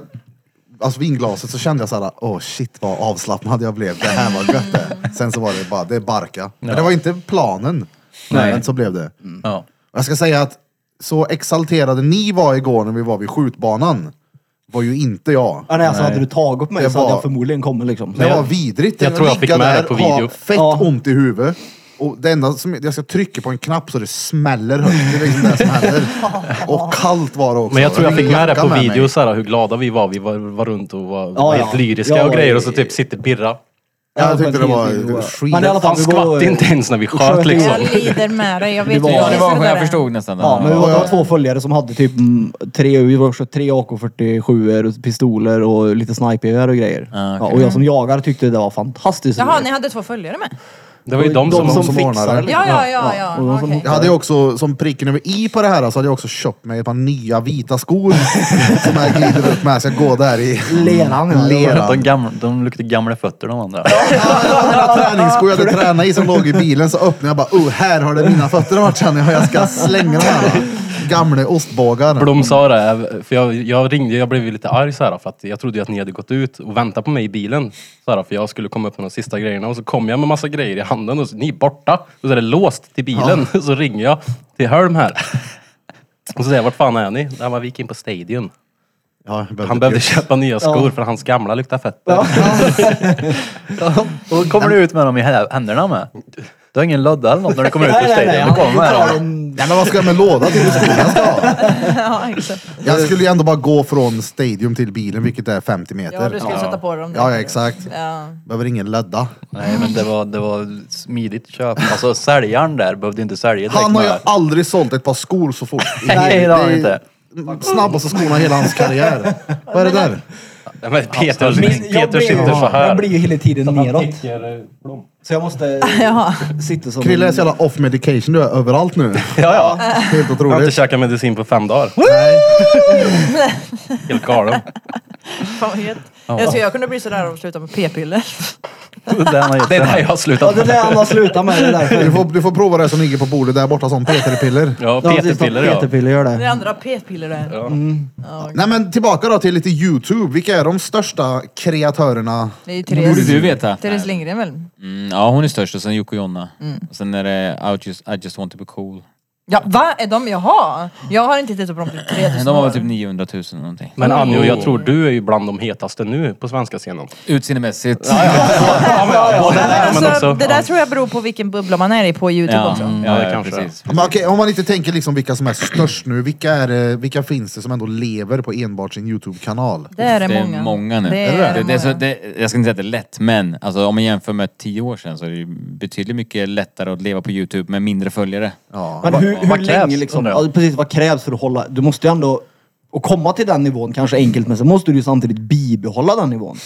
alltså vinglaset så kände jag såhär, åh shit vad avslappnad jag blev. Det här var gött det. Sen så var det bara, det är barka. Men det var inte planen. Nej. Men så blev det.
ja.
Jag ska säga att så exalterade ni var igår när vi var vid skjutbanan, var ju inte jag.
Ja, nej, alltså, hade du tagit upp mig
Det
så hade
var-
jag förmodligen kommit liksom.
Det var vidrigt.
jag tror jag fick
ligga
med
där
det på
och ha
video.
Fett
Ja.
ont i huvudet. Och det enda som, jag ska trycka på en knapp så det smäller högt. Det är liksom det som händer. Och kallt var det också.
Men jag tror jag fick med det
jacka
på
med mig.
video, så här, hur glada vi var. Vi var, var runt och var, var
ja.
helt lyriska
Jag
och
var
grejer
i-
och så typ sitter Birra.
Ja, jag tyckte det var skit.
skit. Men i alla fall,
Han
vi var-
skvatt inte ens när vi sköt
sköt
liksom.
Jag lider med dig. Jag vet
var-
precis
Ja, det var,
hur
jag
är.
förstod nästan.
Ja, men vi var
Ja, ja.
två följare som hade typ mm, tre, vi var också tre AK47 och pistoler och lite snipergevär och grejer.
Ah,
ja, och jag som jagar tyckte det var fantastiskt.
Jaha,
roligt.
ni hade två följare med?
Det var ju de, som...
som
fixade
ordnade.
liksom.
Ja, ja, ja. ja.
och de som
okej.
Jag hade ju också, som pricken över i på det här, så hade jag också köpt mig ett par nya vita skor. som jag glider upp med. Så jag går där i
Leran. ja.
leran.
De, gamla, de luktar gamla fötter de andra.
Mina träningsskor jag hade tränat i som låg i bilen så öppnade jag bara, oh, här har det mina fötter varit känner jag. Jag ska slänga de här. Gamla ostbågar.
Blom sa det, för jag, jag ringde, jag blev ju lite arg så här, för att jag trodde ju att ni hade gått ut och väntat på mig i bilen. Så här, för jag skulle komma upp med de sista grejerna och så kom jag med massa grejer i handen och så, ni är borta. Och så är det låst till bilen. Så ringer jag till Hölm här. Och så säger jag, vart fan är ni? Nej, men vi gick in på Stadium.
Ja, jag
Han behövde köpa nya skor
Ja.
för hans gamla luktar fötter. och då kommer du ut med dem i händerna med. Du har ingen lodda eller något när du kommer ut
Nej, nej, nej. Han tar en-
Nej men vad ska jag med låda till? Skolan ska ha.
Ja, exakt.
Jag skulle ju ändå bara gå från stadion till bilen, vilket är 50 meter.
Ja, du skulle sätta på dem.
Ja, ja, exakt.
Ja.
Behöver ingen ledda.
Nej men det var, det var smidigt köp. Alltså säljaren där behövde inte sälja direkt.
Han har ju
med-
aldrig sålt ett par skor så fort.
Nej, det har han inte.
Snabbaste skorna i hela hans karriär. Vad är det där?
Nej, men Peter,
Min- jag
Peter
blir-
sitter så eh,
Jag
här.
blir ju hela tiden neråt. Så jag måste
Jaha.
sitta som...
Krille är så jävla off medication du är överallt nu.
Ja, ja.
Helt
Jag har
otroligt.
inte käkat medicin på fem dagar. Helt galen.
Fan vad gött. Jag skulle jag kunde bli sådär och sluta med p-piller.
Det är där jag har
Ja,
slutat
det är det
med.
han har slutat med. Det är
Du
därför.
får, du får prova det som ligger på bordet där borta som Peter-piller.
Ja,
Ja, precis,
PT-piller ja.
Peterpiller gör
Det
det.
andra p-piller är.
Nej men tillbaka då till lite YouTube. Vilka är de största kreatörerna?
Det är ju
Det borde
Therese,
du veta.
Therese Lindgren väl?
Mm, ja, hon är störst och sen Yoko Jonna.
Mm.
Och sen är det I just, I just want to be cool.
Ja, va? Är de, jaha! Jag har inte tittat på dem på 3000
De har
år.
väl typ 900 000 eller någonting.
Men Anjo, jag tror du är ju bland de hetaste nu på svenska scenen.
Utseendemässigt.
Nej, men
men
alltså,
också-
det där tror jag beror på vilken bubbla man är i på Youtube
Ja,
också.
mm,
Ja, det
ja,
kanske
precis.
Men okej, om man inte tänker liksom vilka som är störst nu, vilka, är, det- vilka finns det som ändå lever på enbart sin YouTube-kanal?
Det är det,
Det är
många.
många nu.
Det är
det,
det
det, är så,
många.
det, jag ska inte säga att det är lätt, men alltså, om man jämför med tio år sedan så är det ju betydligt mycket lättare att leva på Youtube med mindre följare.
Ja.
Men hur, hur
vad krävs,
länge liksom?
undrar jag?
Ja, precis, vad krävs för att hålla... Du måste ju ändå... Och komma till den nivån kanske enkelt, men så måste du ju samtidigt bibehålla den nivån.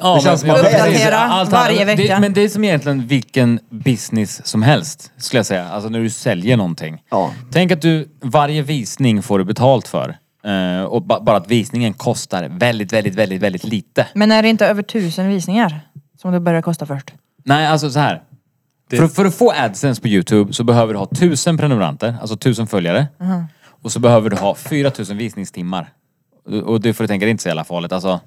Ja,
Det känns som att-
precis.
Uppdatera
Allt
varje
annat-
vecka.
Det, men det är som egentligen vilken business som helst, skulle jag säga. Alltså när du säljer någonting.
Ja.
Tänk att du, varje visning får du betalt för. Eh, och ba, bara att visningen kostar väldigt, väldigt, väldigt, väldigt lite.
Men är det inte över 1000 visningar som det börjar kosta först?
Nej, alltså så här. För, för att få AdSense på YouTube så behöver du ha 1000 prenumeranter, alltså 1000 följare. Och så behöver du ha 4000 visningstimmar. Och du får tänka, det är inte så jävla farligt. Alltså,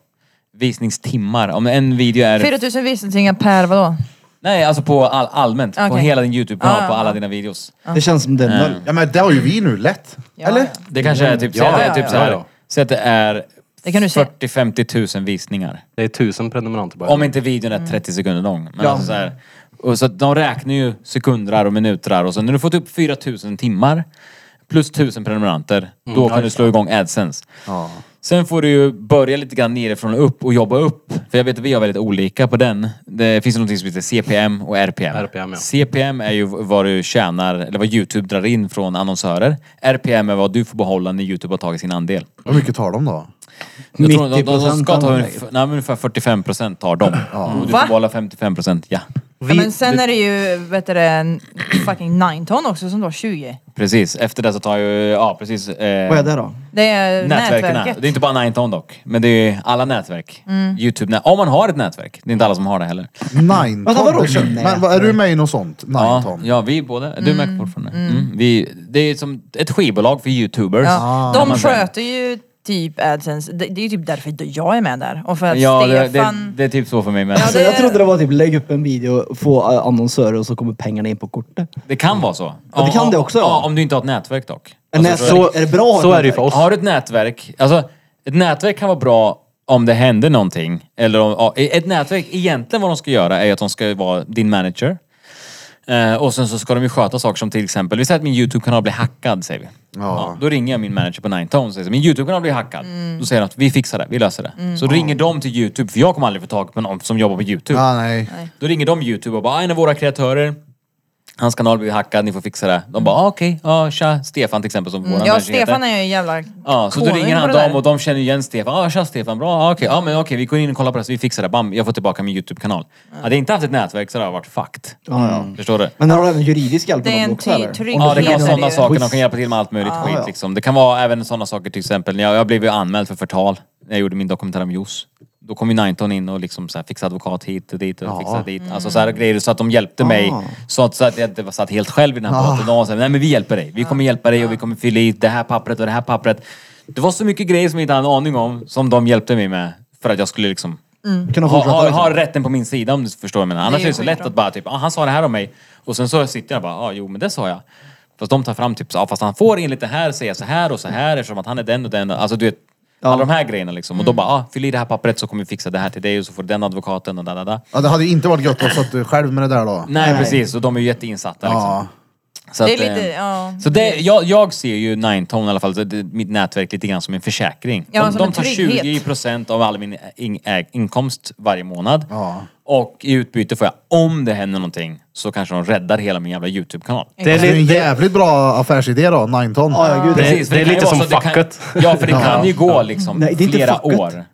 visningstimmar. Om en video är...
4000 visningar per vadå?
Nej, alltså på all, allmänt. På
Okej.
hela din YouTube-kanal,
Ah,
på
ja,
alla
ja.
dina videos.
Det känns som den där.
Ja men det har ju vi nu lätt.
Ja,
Eller?
ja.
Det kanske är typ,
Ja,
säg att det är
ja,
typ
ja.
så här.
Ja, ja.
Säg att det är
Det kan du se.
40-50 000 visningar.
Det är tusen prenumeranter bara.
Om inte videon är 30 sekunder lång. Men alltså så här, och så att de räknar ju sekundrar och minuter och så när du fått upp 4000 timmar plus 1000 prenumeranter,
Mm,
då kan du slå igång AdSense. Sen får du ju börja lite grann nerifrån och upp och jobba upp. För jag vet att vi har väldigt olika på den. Det finns något som heter CPM och RPM.
RPM, ja.
CPM är ju vad du tjänar, eller vad YouTube drar in från annonsörer. RPM är vad du får behålla när YouTube har tagit sin andel.
Hur mycket tar de då?
Jag tror de, de, de
90%
ska ta
av
ungefär, nej, men ungefär 45 procent tar de. Och du
Va?
får behålla 55 procent, ja.
Ja, men sen är det ju, vet du det, en fucking 9 ton också som då 20.
Precis. Efter det så tar ju, ja precis. Eh,
Vad är det då?
Det är
Nätverken.
nätverket. Mm.
Det är inte bara 9 dock. Men det är alla nätverk. Youtube, nä- om man har ett nätverk. Det är inte alla som har det heller.
Nine
Vänta, vadå?
ton. Men vad, är du med i något sånt? Nine
Ja,
ton?
ja, vi båda. Du är med fortfarande. Mm. Vi, det är som ett skivbolag för youtubers.
Ah.
Ja.
kan man
De
säga.
sköter ju typ AdSense. Det, det är ju typ därför jag är med där. Och för att
Ja, det, det,
Stefan...
det är typ så för mig med.
Ja,
det...
Alltså, jag trodde det var typ lägg upp en video, få eh, annonsörer och så kommer pengarna in på kortet.
kan vara så.
Ja, det kan
Om-
det också,
om-
ja.
Ja, om du inte har ett nätverk dock.
Men
Alltså,
nätverk, är det bra?
Så är det ju för oss.
Har du ett nätverk, alltså ett nätverk kan vara bra om det händer någonting. Eller om, ja, ett nätverk, egentligen vad de ska göra är att de ska vara din manager. Eh, och sen så ska de ju sköta saker som till exempel, vi säger att min YouTube-kanal blir hackad säger vi. Ja, då ringer jag min manager på 9tone och säger så, min YouTube-kanal blir hackad. Då säger de att vi fixar det, vi löser det. Så ringer de till YouTube, för jag kommer aldrig få tag på någon som jobbar på YouTube.
Ja, nej.
Då ringer de YouTube och bara, "Ah, en av våra kreatörer, hans kanal blir hackad, ni får fixa det. De bara, ah, okej, ja tja, Stefan till exempel som vår
Mm. Ja, Stefan är ju en jävla
Ja, så då
konung
ringer
på
han
det där.
dem och de känner igen Stefan. Ja, tja Stefan, bra. Ja, okej, ja, men okej, vi går in och kollar på det så vi fixar det. Bam, jag får tillbaka min YouTube-kanal. Hade jag inte haft ett nätverk så hade jag varit fucked. Förstår du?
Men har du även juridisk hjälp?
Det är
av dem
en typ-
också,
ty-
eller?
trygghet.
Om
Ja, det kan
heter
vara
det
sådana
ju.
saker. De kan hjälpa till med allt möjligt skit
ja.
liksom. Det kan vara även sådana saker till exempel. när Jag, jag blev ju anmäld för förtal när jag gjorde min dokumentär om Jos. Då kom ju 19 in och liksom så här, fixade advokat hit och dit och fixade dit. Alltså så här grejer så att de hjälpte mig.
Ah.
Så att, så att jag inte var satt helt själv i den här båten. De var så här, nej men vi hjälper dig. Vi kommer hjälpa dig och vi kommer fylla i det här pappret och det här pappret. Det var så mycket grejer som jag inte hade en aning om som de hjälpte mig med. För att jag skulle liksom
Kunna
ha,
fortsätta.
ha,
liksom.
ha rätten på min sida om du förstår vad jag menar. Annars
Det
är
är
det så lätt
skitbra.
att bara typ, ah, han sa det här om mig. Och sen så sitter jag och bara, ah, jo men det sa jag. Fast de tar fram typ, så, ah, fast han får enligt det här säga så här och så här eftersom att han är den och den. Alltså du vet, alla de här grejerna liksom. Och då bara, ah, fyll i det här pappret så kommer vi fixa det här till dig och så får du den advokaten och da da da.
Ja, det hade ju inte varit gött att satt själv med det där då.
Nej, precis, och de är ju jätteinsatta liksom.
Ja.
Så,
Det är
att, eh,
lite, ja.
så det, jag, jag ser ju Ninetone i alla fall, så det, mitt nätverk lite grann som en försäkring.
Ja,
de
som
de
en
tar
trygghet.
20% av all min in, äg- inkomst varje månad.
Ja.
Och i utbyte får jag, om det händer någonting, så kanske de räddar hela min jävla YouTube-kanal.
Alltså, Det är en jävligt bra affärsidé då, nine ton.
Ja, ja, gud.
Precis, för
det är
kan ju
lite
vara
som
så att det
facket.
Kan, ja, för det kan ju gå liksom
Nej, det är inte
flera
facket.
år.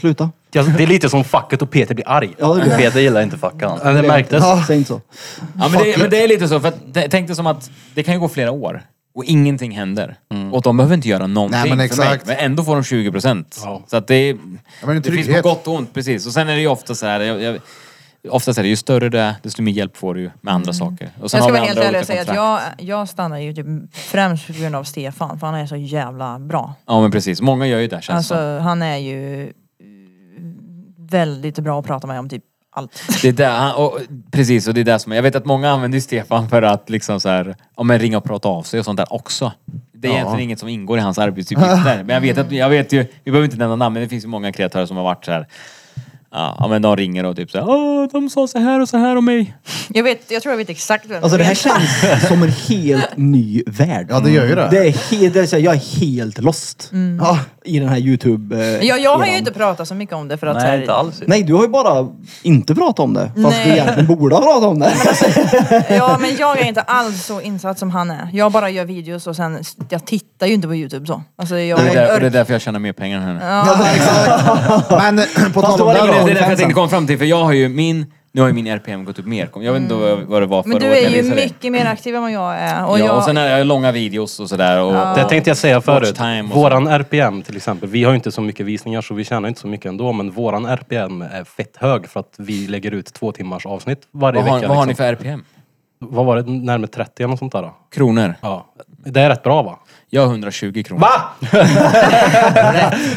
Sluta.
Ja, Det är lite som facket och Peter blir arg.
Ja, det blir-
Peter gillar inte fackan.
Ja, Det märktes.
Säg inte så.
Ja, men, det, men det är lite så, för att, det- tänk dig som att det kan ju gå flera år och ingenting händer. Och de behöver inte göra någonting
Nej, men exakt.
för mig. Men ändå får de 20 procent.
Ja.
Så att det, är-
men en
det finns på
trygghet.
gott och ont, precis. Och sen är det ju ofta så här, jag, jag, oftast är det ju större det är, desto mer hjälp får du ju med
Mm.
andra saker. Och sen
Jag ska
har vi
vara helt
andra
ärlig och
olika
säga att
kontrakt.
jag, jag stannar ju typ främst på grund av Stefan, för han är så jävla bra.
Ja men precis, många gör ju det känns
Alltså
som.
han är ju eh, väldigt bra att prata med om typ allt.
Det är där, han- och, precis, och det är det som, jag vet att många använder ju Stefan för att liksom så här, ja, men ringa och prata av sig och sånt där också. Det är egentligen inget som ingår i hans arbetsuppgifter. Men jag vet, att, jag vet ju, vi behöver inte nämna namn, men det finns ju många kreatörer som har varit så här. Ja, ja, men de ringer och typ så här, Åh, de sa så här och så här om mig.
Jag, vet, jag tror jag vet exakt vem
Alltså det
är.
här känns som en helt ny värld.
Ja, det gör ju det.
Det är helt, det är så här, jag är helt lost
Ja.
i den här youtube eh,
Mm. Ja, jag har ju
eran.
inte pratat så mycket om det för att så här-
Nej, inte alls.
Nej, du har ju bara inte pratat om det. Fast
Nej.
du egentligen borde ha pratat om det.
Ja men jag är inte alls så insatt som han är. Jag bara gör videos och sen, jag tittar ju inte på youtube så. Alltså jag
Och det, är där, och det är
orkar-
därför jag tjänar mer pengar här nu.
Ja, exakt. Men eh, på tal
då
om
var
det
Det
då.
är därför
fansen.
jag tänkte komma fram till, för jag har ju min, nu har ju min RPM gått upp mer. Jag vet inte vad- vad det var förra
Mm. Men du
året
är
jag
ju
visade dig.
mycket mer aktiv än vad jag är. Och
ja,
jag,
och sen är jag långa videos och sådär. Och,
Det tänkte jag säga förut.
Watchtime och så.
Våran RPM till exempel, vi har ju inte så mycket visningar så vi tjänar inte så mycket ändå men våran RPM är fett hög för att vi lägger ut två timmars avsnitt varje
vad, har,
vecka.
vad har ni
liksom.
för RPM?
Vad var det? Närmare 30 eller något sånt där? då?
Kronor?
Ja. Det är rätt bra va?
Jag har 120 kronor.
Va?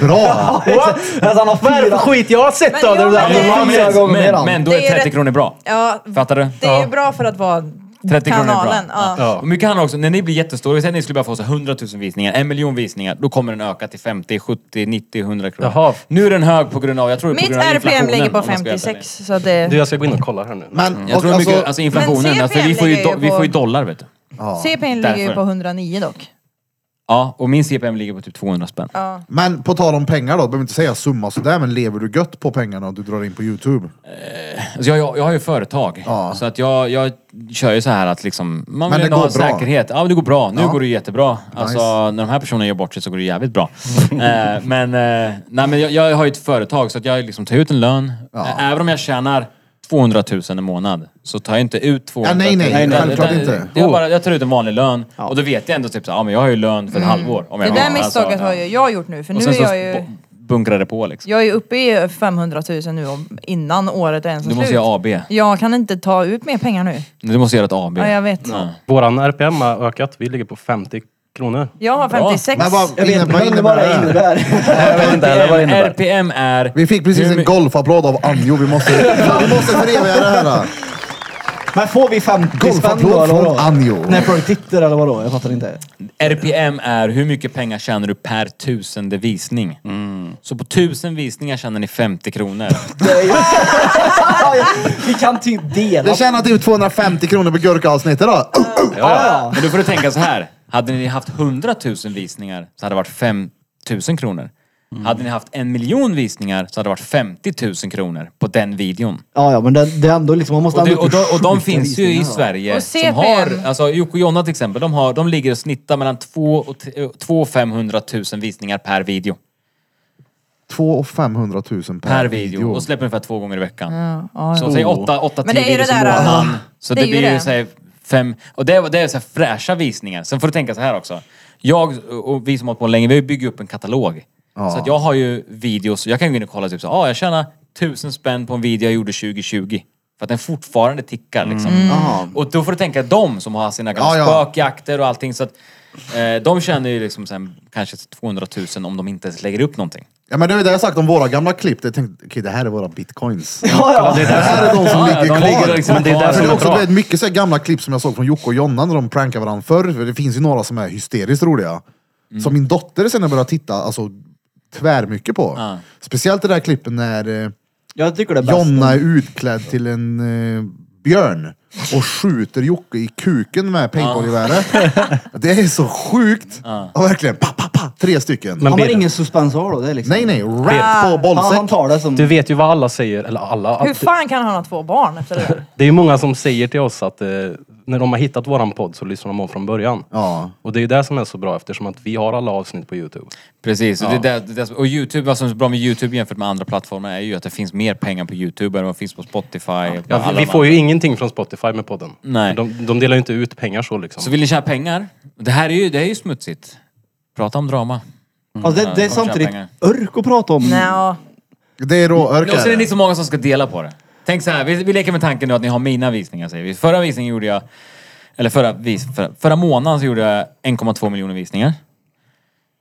Bra!
What?
Alltså, han har
Vad är det för
fyra-
skit jag har sett då?
Men
Det
jag-
där-
Nej,
Men,
fyra gånger mer
men,
än.
men då
Det är
är 30
rätt-
kronor bra.
Ja,
Fattar du?
Det är ju bra för att vara
30 kronor är bra.
kanalen. Ja.
Ja.
Och mycket handlar också, när ni blir jättestora, säg att ni skulle bara få så 100 000 visningar, en miljon visningar, då kommer den öka till 50, 70, 90, 100 kronor.
Jaha.
Nu är den hög på grund av, jag tror det är på
Mitt
grund av
RPM
inflationen.
ligger på
om man ska vara helt ärlig.
56 så det...
Du, jag ska gå in och kolla här nu.
Men,
Jag
och
tror
alltså,
mycket, alltså inflationen,
Men
alltså, vi, får ju
CPM
do, vi får ju dollar vet du.
CPN ligger ju
Därför.
på 109 dock.
Ja, och min CPM ligger på typ 200 spänn.
men på tal om pengar då, du behöver inte säga summa sådär, men lever du gött på pengarna du drar in på YouTube?
Alltså jag, jag, jag har ju företag,
Ja.
så att jag, jag kör ju så här att liksom, man
Men
vill
det
ändå ha
går bra.
säkerhet. Ja, men det går bra. Nu
Ja.
går det jättebra. Alltså, när de här personerna gör bort sig så går det jävligt bra. Eh, men eh, nej, men jag, jag har ju ett företag, så att jag liksom tar ut en lön.
Ja.
Eh, Även om jag tjänar 200 000 i månad, så tar jag inte ut 200 000.
Ja, nej, nej.
Utan- utan-
Självklart inte. Oh.
Jag, bara, jag tar ut en vanlig lön, och då vet jag ändå typ så, här, ja men jag har ju lön för ett
Mm.
halvår. Om
Det
jag
där
har-
misstaget
alltså,
har ju jag gjort nu för
Och
nu
sen
är
så
jag ju...
bu- bunkrar det på liksom.
Jag är uppe i 500 000 nu om- innan året är ens är
Du
slut.
måste göra AB.
Jag kan inte ta ut mer pengar nu.
Du måste göra ett AB.
Ja, jag vet.
Våran RPM har ökat. Vi ligger på 50 kronor.
Jag har 56.
Men vad,
Jag vet inte
vad
vad
innebär
det
det?
innebär.
Jag vet inte heller vad det innebär.
RPM är...
Vi fick precis
Hur
en
mycket-
golfapplåd av Anjo, vi måste, vi måste föreviga det här.
Men får vi 50 spänn då?
Golfapplåd
eller
från
vadå?
Anjo.
Nej, får du tittar eller vadå? Jag fattar inte.
RPM är hur mycket pengar tjänar du per tusende visning. Så på tusen visningar tjänar ni 50 kronor.
Det är ju- vi kan typ dela.
Det tjänar typ 250 kronor på gurkaavsnittet då.
ja,
Men då får du tänka så här. Hade ni haft 100 000 visningar så hade det varit 5 000 kronor. Hade ni haft en miljon visningar så hade det varit 50 000 kronor på den videon.
ja, ja, men det, det är ändå liksom, man måste
Och, det,
ändå
och, de, och de
skjuta
finns ju i
visningar, va?
Sverige.
Och
Som har,
CPM.
alltså Jocke och Jonna till exempel, de, har, de ligger och snittar mellan 2 och t- 2 och 500 000 visningar per video.
2 500 000 per, Oh.
Per video. Och släpper ungefär två gånger i veckan.
Ja, ja,
Så
ja.
säg 8-10
Men det är ju
videos i
det där,
månaden. Så
det
det,
är ju
blir ju
det.
såhär fem... Och det är, det är så här fräscha visningar. Sen får du tänka så här också. Jag och vi som har hållit på länge, vi har ju byggt upp en katalog.
Ja.
Så att jag har ju videos, jag kan gå in och kolla typ så ah, jag tjänar tusen spänn på en video jag gjorde 2020. För att den fortfarande tickar liksom. Och då får du tänka de som har sina gamla
Mm. Ja, ja.
spökjakter och allting. Så att, eh, de tjänar ju liksom sen, kanske 200 000 om de inte ens lägger upp någonting.
Ja men det är det jag sagt om våra gamla klipp. Jag tänkte, okej det här är våra bitcoins.
Ja, ja.
Det här är de som
Ja, ja,
ligger
de
kvar.
ligger liksom
men det är
kvar.
där
som
det är
är
också
bra.
väldigt mycket så här gamla klipp som jag såg från Jocke och Jonna när de prankade varandra förr. För det finns ju några som är hysteriskt roliga. Som min dotter sen har börjat titta alltså, tvärmycket på.
Ja.
Speciellt det där klippet när eh,
Jag tycker det är bäst.
Jonna är utklädd till en eh, björn och skjuter Jocke i kuken med paintballgeväret. Det är så sjukt! Ja, verkligen, pa, pa, pa, tre stycken.
Men
Han har
Birre,
ingen suspens kvar då. Det är liksom...
nej, nej, rätt på
Han, han
bollsäck.
tar det som...
du vet ju vad alla säger, eller alla.
Hur
Att,
fan kan han ha två barn efter det där?
det är ju många som säger till oss att eh, när de har hittat våran podd så lyssnar de om från början.
Ja.
Och det är ju det som är så bra eftersom att vi har alla avsnitt på Youtube.
Precis, och, det, är där- det, är där- och YouTube, vad som är så bra med YouTube jämfört med andra plattformar är ju att det finns mer pengar på YouTube än vad det finns på Spotify. och på
Ja,
alla
vi
de
får ju
andra.
ingenting från Spotify med podden.
Nej.
De, de delar ju inte ut pengar så liksom.
Så vill ni tjäna pengar? Det här är ju, det är ju smutsigt. Prata om drama.
Alltså, det, det är
Ja, de tjänar
samtidigt
pengar.
örk att prata om.
Nja,
Det är
Och så är det
råörkar.
inte så många som ska dela på det. Tänk så här, vi, vi leker med tanken nu att ni har mina visningar säger vi. Förra visningen gjorde jag, eller förra, vis, förra, förra månaden så gjorde jag 1,2 miljoner visningar.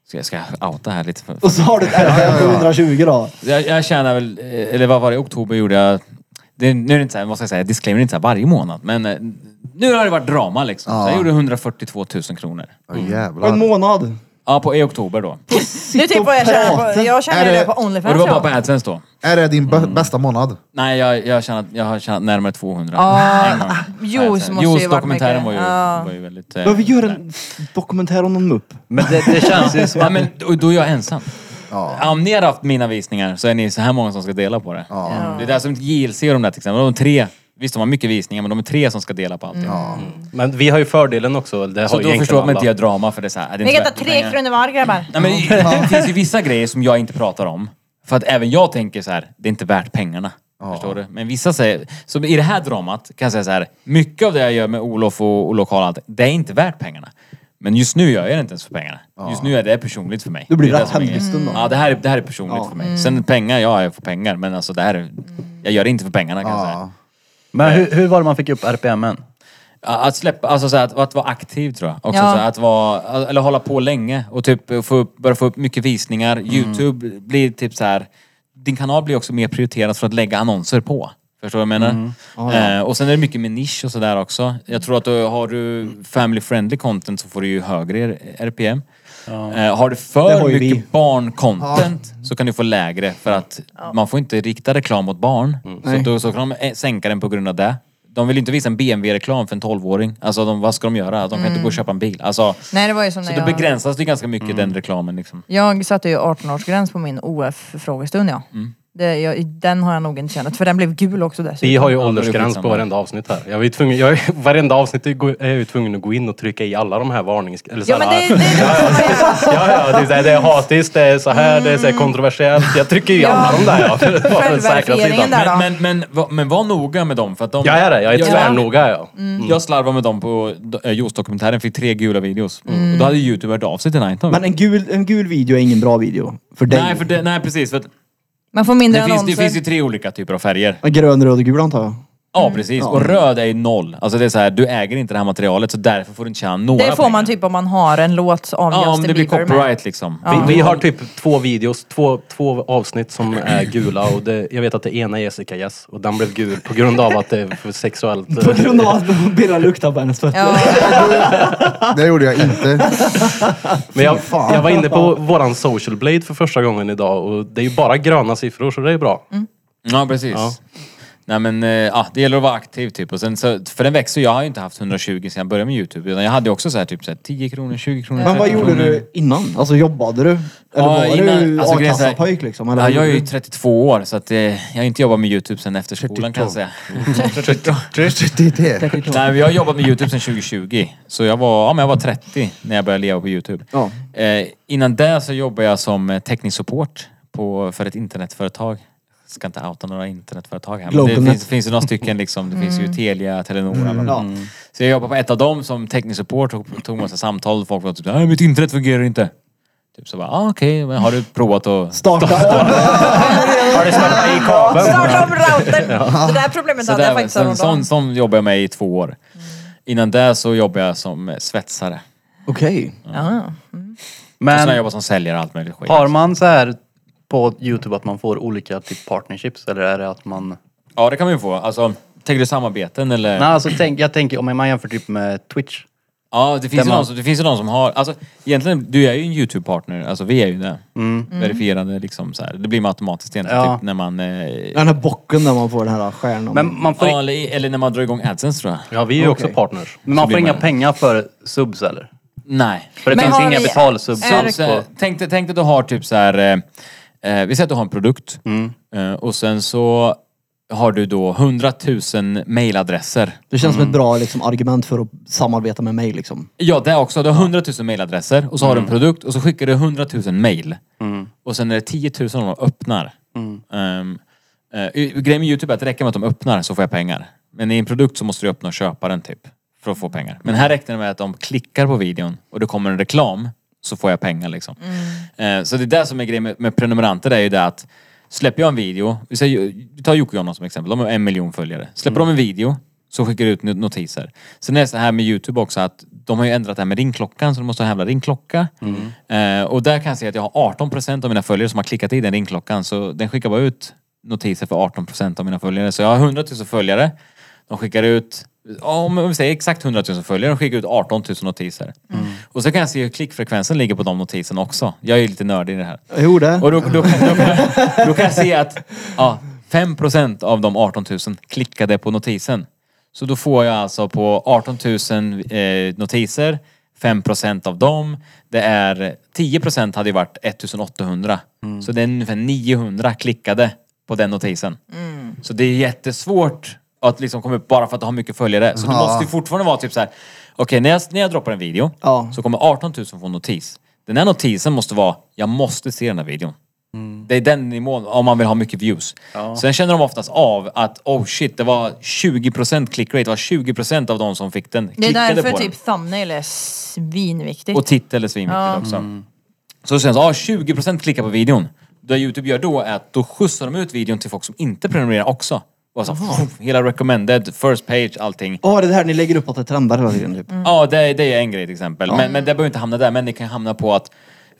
Ska, ska jag outa här lite? För,
Och så har du ett RPM på 120 då.
Jag, jag tjänar väl, eh, eller vad var det, i oktober gjorde jag... Det, nu är det inte så här, vad ska jag säga, disclaimer det är inte så här varje månad. Men eh, nu har det varit drama liksom. Så jag gjorde 142 000 kronor.
Oh,
På en
jävlar.
månad.
Ja, på, i oktober då. Och
det är typ vad jag känner på. Jag
Är
känner
det-
det på
det
Onlyfans.
var bara
ja.
på AdSense då.
Är det din bä-
Mm.
bästa månad?
Nej, jag, jag, tjänat, jag har tjänat närmare 200.
Ja,
en gång.
Juice Ah, måste ju varit
Juice dokumentären
mycket. Ah. Ja.
var ju, var ju väldigt... eh,
Behöver vi göra en dokumentär om någon mupp?
Men det, det känns ju som
Ja,
att...
men då, då är jag ensam.
Ja.
Om ni hade haft mina visningar så är ni så här många som ska dela på det. Det är där som JLC och de där till exempel. De är tre, visst de har mycket visningar men de är tre som ska dela på allting.
Men vi har ju fördelen också. Det har
Så
ju
Alltså, då förstår
egentligen
man
alla.
inte jag drama för det är så här. Det är
Ni
inte
kan ta
värt
tre
pengar.
kronor var grabbar.
Nej, men, det finns ju vissa grejer som jag inte pratar om. För att även jag tänker så här, det är inte värt pengarna. Förstår du? Men vissa säger, som i det här dramat kan jag säga så här, mycket av det jag gör med Olof och, och lokal och allt, det är inte värt pengarna. Men just nu gör jag det inte ens för pengarna. Just nu är det personligt för mig.
Då blir
är
det
som är-
hemvisten då.
Ja, det här, är- det här är personligt för
Mm.
mig. Sen pengar, ja, jag får pengar. Men alltså det här, är- jag gör det inte för pengarna kan jag säga.
Ja.
Men hur, hur var det man fick upp RPMen?
Att släppa, alltså så här, att, att vara aktiv tror jag. Också,
Ja.
så här, att vara, eller hålla på länge och typ få upp, börja få upp mycket visningar. Youtube blir typ så här. din kanal blir också mer prioriterad för att lägga annonser på. Förstår du vad jag menar? eh, och sen är det mycket med nisch och sådär också. Jag tror att du, har du family friendly content så får du ju högre RPM. Eh, har du
Det har
för
ju
mycket
vi.
barncontent så kan du få lägre för att man får inte rikta reklam mot barn.
Mm.
Nej.
Så, då, så kan de eh, sänka den på grund av det. De vill inte visa en BMW-reklam för en 12-åring. Alltså de, vad ska de göra? De kan inte gå och köpa en bil. Alltså,
Mm. Nej, det var ju som
så
när
då
jag...
begränsas det ganska mycket
Mm.
den reklamen liksom.
Jag satte ju 18-årsgräns på min OF-frågestund ja.
Mm.
Det, jag, den har jag nog inte tjänat, för den blev gul också dessutom.
Vi har ju
Ja, det är
åldersgräns på
skitsamma.
varenda avsnitt här. Jag är tvungen, jag, är- varenda avsnitt är gå- är jag ju tvungen att gå in och trycka i alla de här varnings... Eller så
Ja men det,
här,
det, det
ja, ja, det, är, så här, det är hatiskt, det är så här, det är så här kontroversiellt. Jag trycker i
Mm. Ja.
alla de där ja. För, bara för den säkra
Självverifieringen
sidan.
där. då?
Men, men, men, va- men var noga med dem för att de...
Jag är det, jag är Mm. tvärnoga ja.
Mm.
Jag slarvade med dem på eh, Jost-dokumentären, fick tre gula videos.
Mm.
Och då hade ju Youtube hört av sig till Nighton.
Men en gul, en gul video är ingen bra video. För dig.
Nej, för det, nej precis. För att
Man får mindre
det, finns, det
annonser.
finns ju tre olika typer av färger.
En Grön, röd och gul antar jag.
Ja
Mm.
precis. Och röd är ju noll. Alltså det är så här, du äger inte det här materialet så därför får du inte tjäna några
det får man typ om man har en låt av
Ja, om
Justin
det blir
Bieber
copyright liksom.
Vi, vi har typ två videos, två, två avsnitt som är gula och det, jag vet att det ena är Jessica Yes och den blev gul på grund av att det är för sexuellt.
På grund av att Birra luktar på hennes fötter.
Ja,
Det gjorde jag inte.
Men jag,
fan.
jag var inne på våran social blade för första gången idag och det är ju bara gröna siffror så det är bra.
Ja, precis. Nej men, eh, ja, det gäller att vara aktiv typ. Och sen, så, för den växer, jag har ju inte haft 120 sedan jag började med Youtube. Utan jag hade ju också så här, typ så här, 10 kronor, 20 kronor,
Men vad
30
gjorde
kronor.
du innan? Alltså jobbade du? Eller var du
alltså, grejen är så här-
a-kassapöjk liksom? Eller
Ja,
vad
jag är
gjorde
ju
du?
32 år så att, eh, jag har inte jobbat med Youtube sedan efter skolan kan jag säga.
Det är det.
Nej, men jag har jobbat med Youtube sedan 2020. Så jag var, ja, men jag var 30 när jag började leva på Youtube.
Ja.
Eh, innan det så jobbade jag som eh, teknisk support på, för ett internetföretag. Jag ska inte outa några internetföretag här. Men det
Globalnet.
finns, finns ju några stycken liksom. Det finns ju Telia, Telenor alla de.
Mm. Ja.
Så jag jobbade på ett av dem som teknisk support och tog massa samtal. Folk var typ såhär, "Nej, mitt internet fungerar inte. Typ så bara, ah, okej, men har du provat att...
Starta om.
Har du startat i kabeln?
starta om routern! Det där problemet
Så
hade jag
där,
faktiskt
sån, sån,
häromdagen.
sån jobbade jag med i två år. Innan det så jobbade jag som eh, svetsare.
Okej.
Ja.
Och sen har jag
Men
jobbat som säljare och allt möjligt skit.
har man så här på Youtube att man får olika typ partnerships eller är det att man...
Ja, det kan man ju få. Alltså, tänker du samarbeten eller?
Nej alltså tänk, jag tänker om man jämför typ med Twitch.
Ja, det finns,
Där
ju
man-
någon, som- det finns ju någon som har... Alltså, egentligen, du är ju en YouTube-partner. Alltså, vi är ju det. Verifierade liksom så här. Det blir man automatiskt egentligen
Mm. Ja.
typ, när man... Eh,
Den här bocken där man får den här stjärnan.
Men man får,
ja, eller, eller när man drar igång AdSense tror jag.
Ja, vi är ju också partners.
men man
blir
får inga
man-
pengar för subs eller?
Nej.
För det
Men
finns
har
inga
ni-
betalsubs
är det-
alls
Så här,
på...
tänk, dig, tänk dig att du har typ så här... eh, Eh, vi säger att du har en produkt.
Mm.
Eh, och sen så har du då 100 000 mailadresser.
Det känns som ett bra liksom, argument för att samarbeta med mig liksom.
Ja, det också. Du har 100 000 mailadresser och så har du en produkt och så skickar du 100 000 mail. Och sen är det 10 000 som de öppnar. Um, uh, grejen med Youtube är att det räcker med att de öppnar så får jag pengar. Men i en produkt så måste du öppna och köpa den typ. För att få pengar. Men här räknar det med att de klickar på videon och det kommer en reklam så får jag pengar liksom. Eh, så det är det som är grejen med, med prenumeranter är ju det att släpper jag en video, vi, säger, vi tar Jocke och Jonna som exempel, de har en miljon följare. Släpper de en video så skickar du ut not- notiser. Sen är det så här med Youtube också att de har ju ändrat det här med ringklockan så du måste ha en jävla ringklocka. Eh, och där kan jag se att jag har 18% av mina följare som har klickat i den ringklockan så den skickar bara ut notiser för 18% av mina följare. Så jag har 100 000 följare. De skickar ut, ja, om vi säger exakt 100 000 följare, de skickar ut 18 000 notiser. Och så kan jag se hur klickfrekvensen ligger på de notiserna också. Jag är ju lite nördig i det här.
Jag gjorde.
Och då, då, kan- då, kan- då kan jag se att ja, 5% av de 18 000 klickade på notisen. Så då får jag alltså på 18 000 eh, notiser, 5% av dem, det är 10% hade ju varit 1800. Så det är ungefär 900 klickade på den notisen. Så det är jättesvårt att liksom komma upp bara för att du har mycket följare. Så det måste ju fortfarande vara typ så här. okej när, jag, när jag droppar en video
Ja.
så kommer 18 000 få en notis. Den här notisen måste vara, jag måste se den här videon. Det är den nivån om man vill ha mycket views. Sen känner de oftast av att, oh shit, det var 20% clickrate, det var 20% av de som fick den.
Det är
klickade
därför
på den.
typ thumbnail är svinviktigt.
Och titel är svinviktigt också. Så sen så, ja 20% klickar på videon. Det Youtube gör då är att då skjutsar de ut videon till folk som inte prenumererar också. Och så, pff, hela recommended, first page, allting.
Ja, det är det här ni lägger upp att det trendar hela tiden typ.
Mm. Ja, det, det är en grej till exempel. Men, men det behöver inte hamna där, men det kan hamna på att...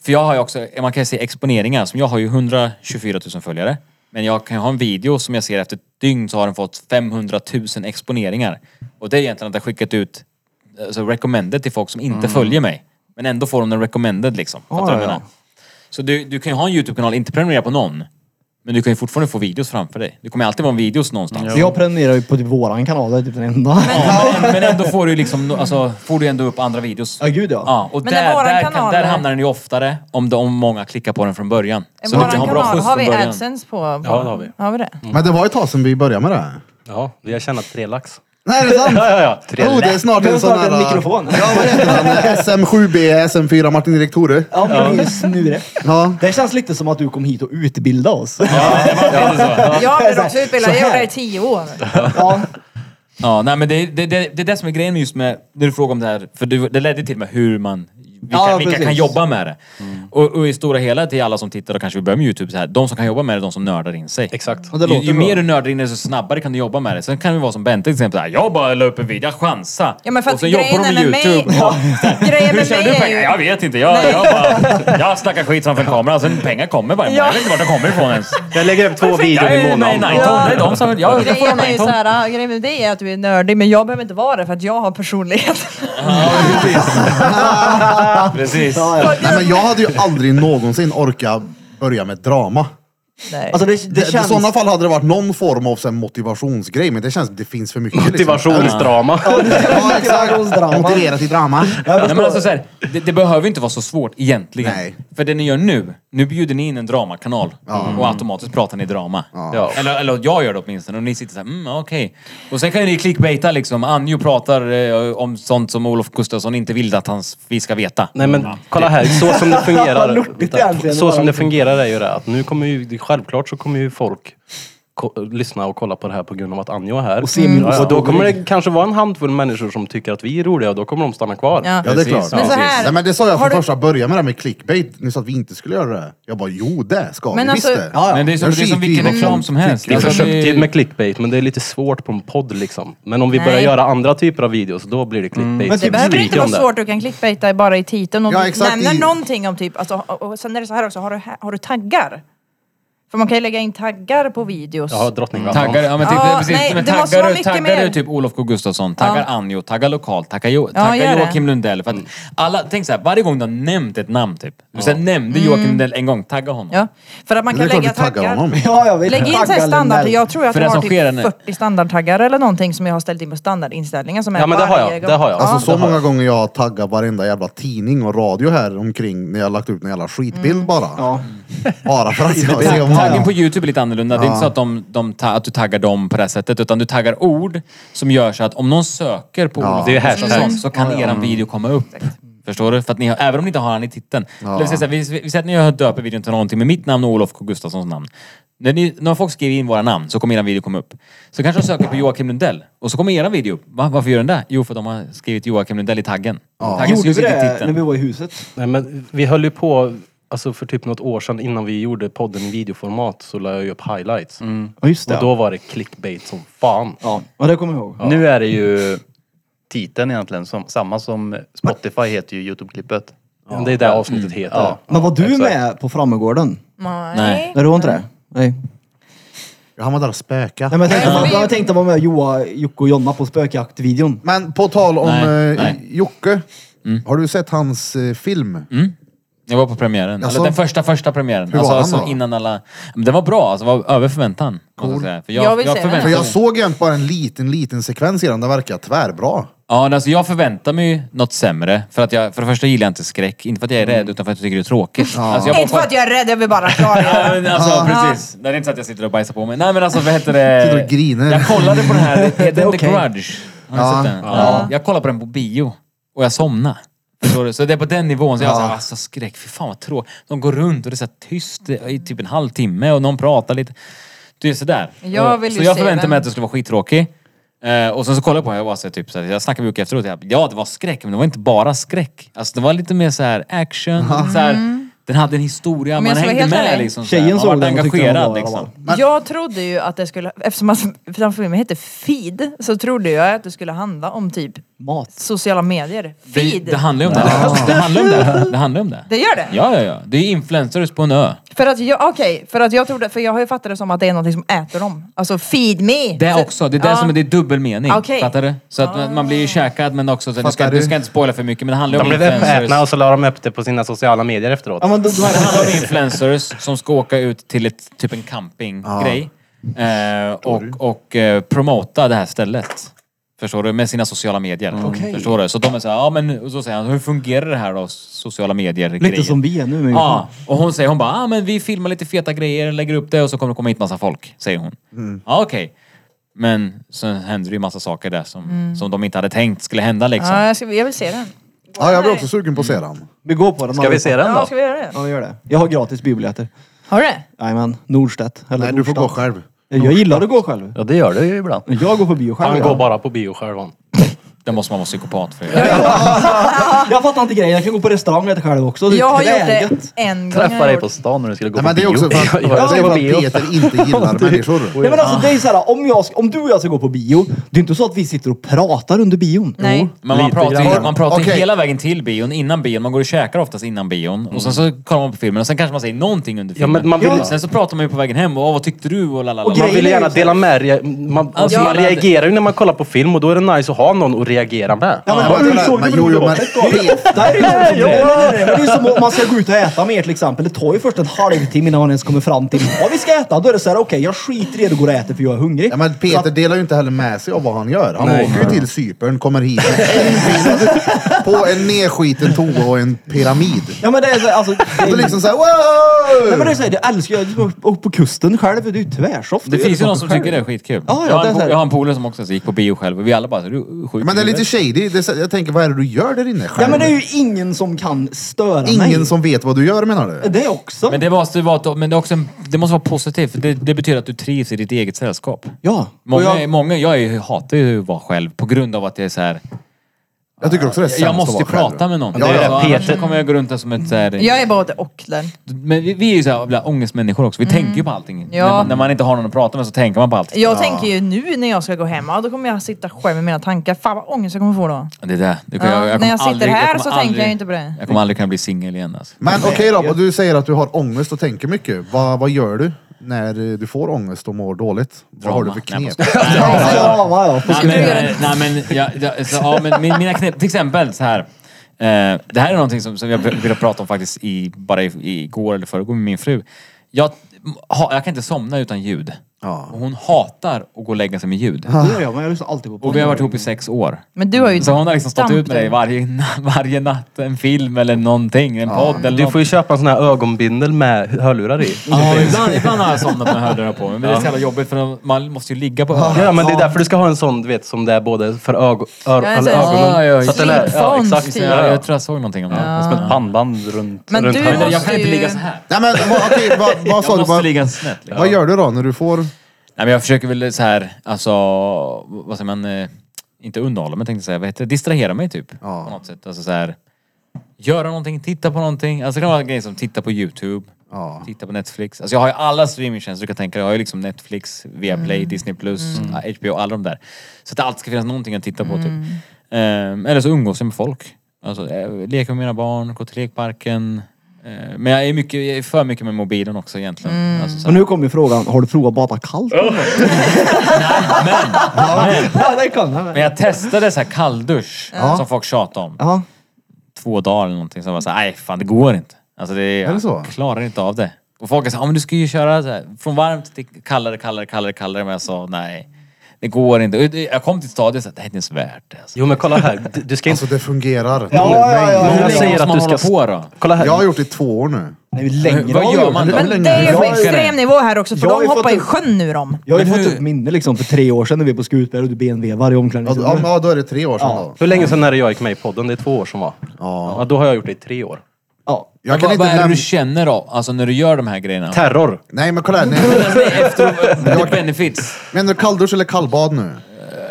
För jag har ju också, man kan se exponeringar, som jag har ju 124 000 följare. Men jag kan ju ha en video som jag ser efter ett dygn så har den fått 500 000 exponeringar. Och det är egentligen att jag skickat ut alltså, recommended till folk som inte följer mig. Men ändå får de den recommended liksom. Fattar du vad jag
Mm. ja, ja.
menar? Så du, du kan ju ha en YouTube-kanal, inte prenumerera på någon. Men du kan ju fortfarande få videos framför dig. Det kommer alltid vara en videos någonstans.
Jag prenumererar ju på typ våran kanal, det är typ den enda.
Ja, men, men ändå får du ju liksom, alltså, får du ändå upp andra videos.
Ja, gud ja.
Ja, och
Men är
där,
våran
där, kan,
kanal-
där hamnar den ju oftare om, de, om många klickar på den från början.
Så
du
Våran
kan ha bra
kanal,
skjuts
har
från
vi
början. Mm.
AdSense på? på
Ja, det har vi.
Har vi det?
Men det var ett tag sedan vi började med det. här.
Ja, vi har tjänat tre lax.
Nej, det är sant!
Ja, ja, ja. Tre
Oh, det är snart
Det är
en sån
snart
här... eh,
en mikrofon.
Ja, vad heter han? SM7B, SM4, Martin Erik Tore.
Ja, men det är ju snurre.
Ja.
Det känns lite som att du kom hit och utbilda oss.
Jag
Så
blev
här,
också utbildad,
så
jag gjorde
här.
det i tio år.
Ja,
Ja, nej, men det, det, det, det är det som är grejen just med, när du frågar om det här, för du, det ledde till med hur man, vilka,
Ja,
vilka kan
precis. Mm.
jobba med det. Och, och i stora hela till alla som tittar och kanske vill börja med YouTube, så här, de som kan jobba med det är de som nördar in sig.
Exakt.
det
Ju,
låter
ju
bra.
mer du nördar in dig, så snabbare kan du jobba med det. Sen kan det vara som Bente till exempel, så här, jag bara la upp en video, jag chansade.
Ja, men för
och
att
sen jobbar de
grejen
med
är med
YouTube.
mig-
och-
Grejen
Hur
med
tjänar du
mig är
pengar?
ju...
Jag vet inte. Jag, jag, bara, jag snackar skit framför kameran, sen pengar kommer bara. Jag vet inte vart de kommer ifrån ens.
Jag lägger upp två videor
Jag
i
är liksom- med i
månaden.
Nighton. Det är de som... Jag, jag får
Grejen är ju
Nighton.
såhär, grejen med dig är att du är nördig men jag behöver inte vara det för att jag har personlighet.
Precis.
Nej, men jag hade ju aldrig någonsin orkat börja med drama.
Nej.
alltså det,
Det,
det känns...
I sådana fall hade det varit någon form av så här, motivationsgrej, men det känns det finns för mycket. Liksom.
Motivationsdrama.
Ja, exakt.
Motivationsdrama.
Motiverat till drama.
Nej, men alltså, så här, det, det behöver inte vara så svårt egentligen.
Nej.
För det ni gör nu, nu bjuder ni in en dramakanal och automatiskt pratar ni drama.
Ja.
Eller, eller jag gör det åtminstone och ni sitter såhär, mm, okej. Och sen kan ju ni clickbaita liksom. Anjo pratar eh, om sånt som Olof Gustafsson inte vill att han, vi ska veta.
Nej men kolla här, så
Mm.
som det
Vad
fungerar.
lortigt egentligen.
så som det fungerar är ju det att nu kommer ju, självklart så kommer ju folk ko- lyssna och kolla på det här på grund av att Anjo är här.
Och se min
Ja, Och då
oskuld.
kommer det kanske vara en handfull människor som tycker att vi är roliga och då kommer de stanna kvar.
Ja.
Ja, det är klart.
Men så här-
Nej, men det sa jag
har
från
du-
första början med det här med clickbait. Ni sa att vi inte skulle göra det. Jag bara, jo det ska
Men
vi
alltså-
visst det.
Ja, ja.
Men det är som, det är som vilken reklam som helst.
Vi
Alltså,
försökte ju
det-
med clickbait men det är lite svårt på en podd liksom. Men om vi
Nej.
börjar göra andra typer av videos då blir det
Men
clickbait. Så
Det
typ
vi
behöver inte
skriker
vara
om det.
svårt, du kan clickbaita bara i titeln och
Ja,
du
exakt,
nämner
i-
någonting om typ, alltså, och, och sen är det så här också, har du, ha- har du taggar? För man kan ju lägga in taggar på videos.
Ja, Drottninggatan.
Taggar, ja men typ,
Ja,
precis.
nej,
men
det måste
taggar
vara
du,
mycket
taggar du
mer.
typ Olof K Gustafsson, taggar Anjo, taggar lokal, taggar, jo, taggar
gör det. Mm.
Joakim Lundell. För att alla, tänk såhär, varje gång du har nämnt ett namn typ. Du så här, nämnde
Mm.
Joakim Lundell en gång, tagga honom.
Ja, för att man
Det
kan
är klart vi
lägga
taggar
taggar.
honom.
Ja, jag vet.
Lägg in så här
Taggar
standard,
Lundell.
jag tror att
För
jag
det
har
som sker är
typ
nu-
40 standardtaggar eller någonting som jag har ställt in på standardinställningar som är
Ja, men det har jag.
varje gång.
Det har jag.
Ja.
Alltså så många gånger jag har taggat varenda jävla tidning och radio här omkring när jag har lagt ut en jävla skitbild bara.
Ja.
Bara för att jag ser om
Taggen på Youtube är lite annorlunda. Det är inte så att, de, de ta, att du taggar dem på det här sättet. Utan du taggar ord som gör så att om någon söker på Olof
Det är ju
Gustafsson
hashtags.
så kan eran video komma upp. Förstår du? För att ni har, även om ni inte har han i titeln. Eller vi säger så här, vi, vi säger att ni döper videon till någonting med mitt namn och Olof K Gustafssons namn. När, ni, när folk skriver in våra namn så kommer eran video komma upp. Så kanske de söker på Joakim Lundell och så kommer eran video upp. Va? Varför gör den det? Jo, för att de har skrivit Joakim Lundell i taggen. Taggen
Gjorde
syns
vi
inte i
det när
titeln.
vi var i huset?
Nej, men vi höll ju på, alltså för typ något år sedan innan vi gjorde podden i videoformat så la jag ju upp highlights.
Ja, just det.
Och då var det clickbait som fan.
Ja, ja, det kommer jag ihåg.
Nu är det ju titeln egentligen, som, samma som Spotify heter ju Youtube-klippet.
Men Det är det avsnittet heter.
Ja.
Men var du med på Frammegården?
Nej.
Nej, du var inte det? Nej.
Han var där och spöka.
Nej men jag tänkte, jag hade tänkt att vara med Joa, Jocke och Jonna på spökjakt-videon.
Men på tal om
Nej,
eh,
nej. Mm.
Jocke. Har du sett hans eh, film?
Jag var på premiären.
Jaså?
Eller den första, första premiären.
Alltså, Hur var
alltså,
han
alltså
då?
innan alla... Men den var bra. Alltså, var över förväntan. måste jag säga. För jag,
Jag vill se
För
den.
förväntade
jag
mig,
såg egentligen bara en liten, liten sekvens i den. Den verkar tvärbra.
ja, alltså, jag förväntar mig ju något sämre. För, att jag, för det första gillar jag inte skräck. Inte för att jag är
Mm.
rädd, utan för att jag tycker det är tråkigt. Alltså, jag
Inte för att jag är rädd, jag vill bara
Ja,
klargöra.
men alltså precis. Det är inte så att jag sitter och bajsar på mig. Nej men alltså vad heter det?
Sitter och griner.
Jag kollade på den här, heter den The
okej.
Grudge? Har ni
Ja.
sett den? Ja. Jag kollade på den på bio och jag somnade. Förstår du? Så det är på den nivån. Så jag var såhär, alltså skräck, fy fan vad tråkigt. De går runt och det är så här tyst i typ en halvtimme och någon pratar lite. Det är sådär.
Jag vill
så
ju
jag
se
förväntade
den.
mig att det skulle vara skittråkig. Eh, och sen så kollade jag på den och jag var så här, typ så här, jag snackade med Jocke efteråt. Jag, bara, ja det var skräck, men det var inte bara skräck. Alltså det var lite mer så här action. Så här, Den hade en historia,
Mm. jag
man
ska vara
hängde
helt
med
ärlig.
liksom. så här.
Tjejen
man
såg
vart
den och tyckte den var
engagerad
bra,
liksom.
Jag trodde ju att det skulle, eftersom att, eftersom filmen hette Feed, så trodde jag att det skulle handla om typ
Mat.
sociala medier.
Det,
Feed!
det handlar ju om det. Det handlar om det. Det handlar om det.
Det gör det?
Ja, ja, ja. Det är influencers på en ö.
För att jag, okej, för att jag trodde, för jag har ju fattat det som att det är någonting som äter dem. Alltså feed me!
Det
Så-
också. Det är det
ja.
som är, det är dubbelmening.
Okej. Ah.
Fattar du? Så att man- man blir ju käkad men också... Så du, ska,
Fattar
du
du?
ska inte spoila för mycket men det handlar ju
De
om
blev uppätna och
influencers.
så la de upp det på sina sociala medier efteråt.
Ja, men då, då är
Det
det
handlar om influencers som ska åka ut till ett, typ en campinggrej. Eh, och och eh, promota det här stället. Förstår du? Med sina sociala medier. Förstår du? Så de är såhär, ja men... Och så säger han, hur fungerar det här då? Sociala medier
lite som vi är nu. Men
Ja, och hon säger, hon bara, ah, men vi filmar lite feta grejer, lägger upp det och så kommer det komma hit massa folk, säger hon. Ja, okej. Men sen händer det ju massa saker där som, som de inte hade tänkt skulle hända liksom.
Ja, jag, ska, jag vill se den.
Ja, jag blir också sugen på att se den.
Vi går på den.
Ska vi se den
Ja,
då?
ska vi göra det?
Ja, vi gör det. Jag har gratis biobiljetter.
Har du det?
Jajamän. Nordstedt. Eller
Nej, du får
Nordstan.
gå själv.
Jag gillar att gå själv.
Ja, det gör det ju ibland.
Jag går på bio själv.
Han
ja.
går bara på bio själv han.
Det måste man vara psykopat för. att göra.
Jag fattar inte grejen. Jag kan gå på restaurang och äta själv också. Det är
Jag har gjort
träget.
det en gång.
Träffa
har jag
dig
gjort.
på stan när du skulle gå
Nej,
på
men det är
bio.
också för att,
jag
det är
var
för att
bio.
Peter inte gillar människor.
Nej men alltså det är så här, om, jag, ska- om du och jag ska gå på bio, det är inte så att vi sitter och pratar under bion.
Nej.
Men man
Lite
pratar, ju,
grann.
man pratar ju
Okej.
hela vägen till bion, innan bion. Man går och käkar oftast innan bion. Och sen så kollar man på filmen och sen kanske man säger någonting under filmen.
men man vill-
Sen så pratar man ju på vägen hem och "Ah, vad tyckte du och lalala.
Och
Man
Grejen
vill
är
gärna
ju så här-
dela med re- man, alltså,
Ja,
man
men-
reagerar ju när man kollar på film och då är det nice att ha någon att reagera med.
Ja, men
Ah. Ja,
hur
men-
såg du
men-
på
jo, jo, men-
Nordstedt då? Det är ofta är det ju så som det är. Nej, nej, nej, men det är som om man ska gå ut och äta med er till exempel. Det tar ju först en halvtimme innan man ens kommer fram till vad vi ska äta. Då är det så här, okej jag skiter i det och går och äter för jag är hungrig.
Ja, men Peter delar ju inte heller med sig av vad han gör. Han åker ju till Cypern, kommer hit med en bild på en nedskiten toa och en pyramid.
Ja, men det är så här, alltså...
Det är liksom såhär
Nej men det är
wow!
så här, jag älskar ju att åka på kusten själv. Det är ju tvärsoft.
Det finns ju någon som
själv.
tycker det är skitkul.
Ja, ja,
jag,
det
har
är
en,
så här.
po- jag har en polare som också gick på bio själv och vi alla bara, så, du är sjuk i
Men det är lite
huvudet."
shady. Det är, så- jag tänker, vad är det du gör där inne själv?
Ja men det är ju ingen som kan störa mig.
Ingen som vet vad du gör menar du?
Det också.
Men det måste, vara, men det är också en, det måste vara positivt. för Det, det betyder att du trivs i ditt eget sällskap.
Ja.
Många,
och
jag... många jag är, ju- hatar ju att vara själv på grund av att det är så här.
Jag tycker också det är sämst
Jag måste ju
att vara själv.
prata med någon.
Ja,
Det är
ja.
så, Annars så kommer jag gå runt där som ett så här,
Jag är både och där.
Men vi, vi är ju så här, jävla ångestmänniskor också. Vi tänker ju på allting.
Mm. Ja.
När, man, när man inte har någon att prata med så tänker man på allt.
Jag tänker ju nu när jag ska gå hem, ja, då kommer jag sitta själv med mina tankar. Fan vad ångest jag kommer få då.
Det är det. Det kan-
Ja,
kommer
när jag sitter
aldrig-
här
kommer
så tänker jag inte på det.
Jag kommer aldrig kunna bli singel igen alltså.
Men okej då, du säger att du har ångest och tänker mycket. Vad, vad gör du när eh, du får ångest och mår dåligt? Vad har du för
Drama. Nej,
knep?
jag
Ja, ja, ja.
Nej
du göra
men, eh, nej, men, jag, jag, så, ja, men min, mina knep, till exempel så här. Eh, det här är någonting som, som jag ville prata om faktiskt i, bara i, igår eller förrgår med min fru. Jag, ha, jag kan inte somna utan ljud.
Ja.
Och hon hatar att gå och lägga sig med ljud.
Det gör jag, men jag lyssnar alltid på
Och vi har varit ihop i sex år.
Men du har ju
Så hon har liksom stått
stamp
ut med dig
där.
varje, na- varje natt, en film eller någonting, en podd eller
Du
något.
får ju köpa en sån här ögonbindel med hörlurar i.
Ja, ibland, ibland har jag somnat med hörlurar på mig. Men det är så jävla jobbigt för man måste ju ligga på öronen.
Ja, men det är därför du ska ha en sån, du vet, som det är både för ögo, ör,
Ja, en sån
eller
här-
ögonen.
Ja, ja,
Så att den är, ja,
Sleepphones
exakt.
typ.
Ja, jag tror jag såg någonting om det.
Som ett pannband runt,
Men
runt
du
halsen.
Men Jag
måste
kan inte
ju-
ligga så här.
Nej men vad, okej, vad, vad sa
Jag
du?
måste
Vad,
ligga snett. liksom.
vad gör du då när du får...
Nej, men jag försöker väl så här, alltså, vad säger man, eh, inte underhålla men tänkte säga, vad heter det? Distrahera mig typ.
Ja.
På något sätt. Alltså så här, göra någonting, titta på någonting. Alltså det kan vara grejer som titta på YouTube,
Ja.
titta på Netflix. Alltså jag har ju alla streamingtjänster du kan tänka dig. Jag har ju liksom Netflix, Viaplay,
Mm.
Disney+, Plus, eh, HBO, alla de där. Så att det alltid ska finnas någonting att titta på
Mm.
typ. Ehm, eller så umgås jag med folk. Alltså eh, leka med mina barn, gå till lekparken. Eh, men jag är, mycket, jag är för mycket med mobilen också egentligen.
Mm.
Alltså, så
Men
här,
nu kommer ju frågan, har du provat bada kallt?
men,
Ja, det kan jag.
Men jag testade så här kalldusch som folk tjatade om.
Ja.
Två dagar eller någonting. Så jag var så här, nej fan det går inte. Alltså det är,
Är det så?
Jag klarar inte av det. Och folk är så här, "Ja, men du ska ju köra så här, från varmt till kallare, kallare, kallare, kallare. Men jag sa nej. Det går inte. Och det- Jag kom till stadiet så här, det här är inte ens värt det. Alltså.
Jo men kolla här, Du- du ska inte...
Alltså det fungerar.
Ja, ja, ja.
Många
Hur länge
säger
måste
att
man
du
hålla
ska...
på då?
Kolla här.
Jag har gjort det i två år nu.
Nej, längre
Vad gör man då?
Men det är ju på
Hur funkar det?
extrem nivå här också för
Jag har
de
ju
hoppar
fått
i
upp-
sjön nu de.
Jag har ju
Men
fått
hur-
upp minne liksom för tre år sedan när vi var på Skutberg och du benvevade i
Ja,
Alltså,
då-
omklädningsrummet.
Ja, då är det tre år sedan då.
Hur länge sedan är det jag gick med i podden? Det är två år som var. Ja. då har jag gjort det i tre år.
Ja.
Jag kan
Vad,
inte
vad är det
nämna...
du känner då? Alltså när du gör de här grejerna?
Terror.
Nej men kolla här. Nej,
The benefits.
menar du kalldusch eller kallbad nu?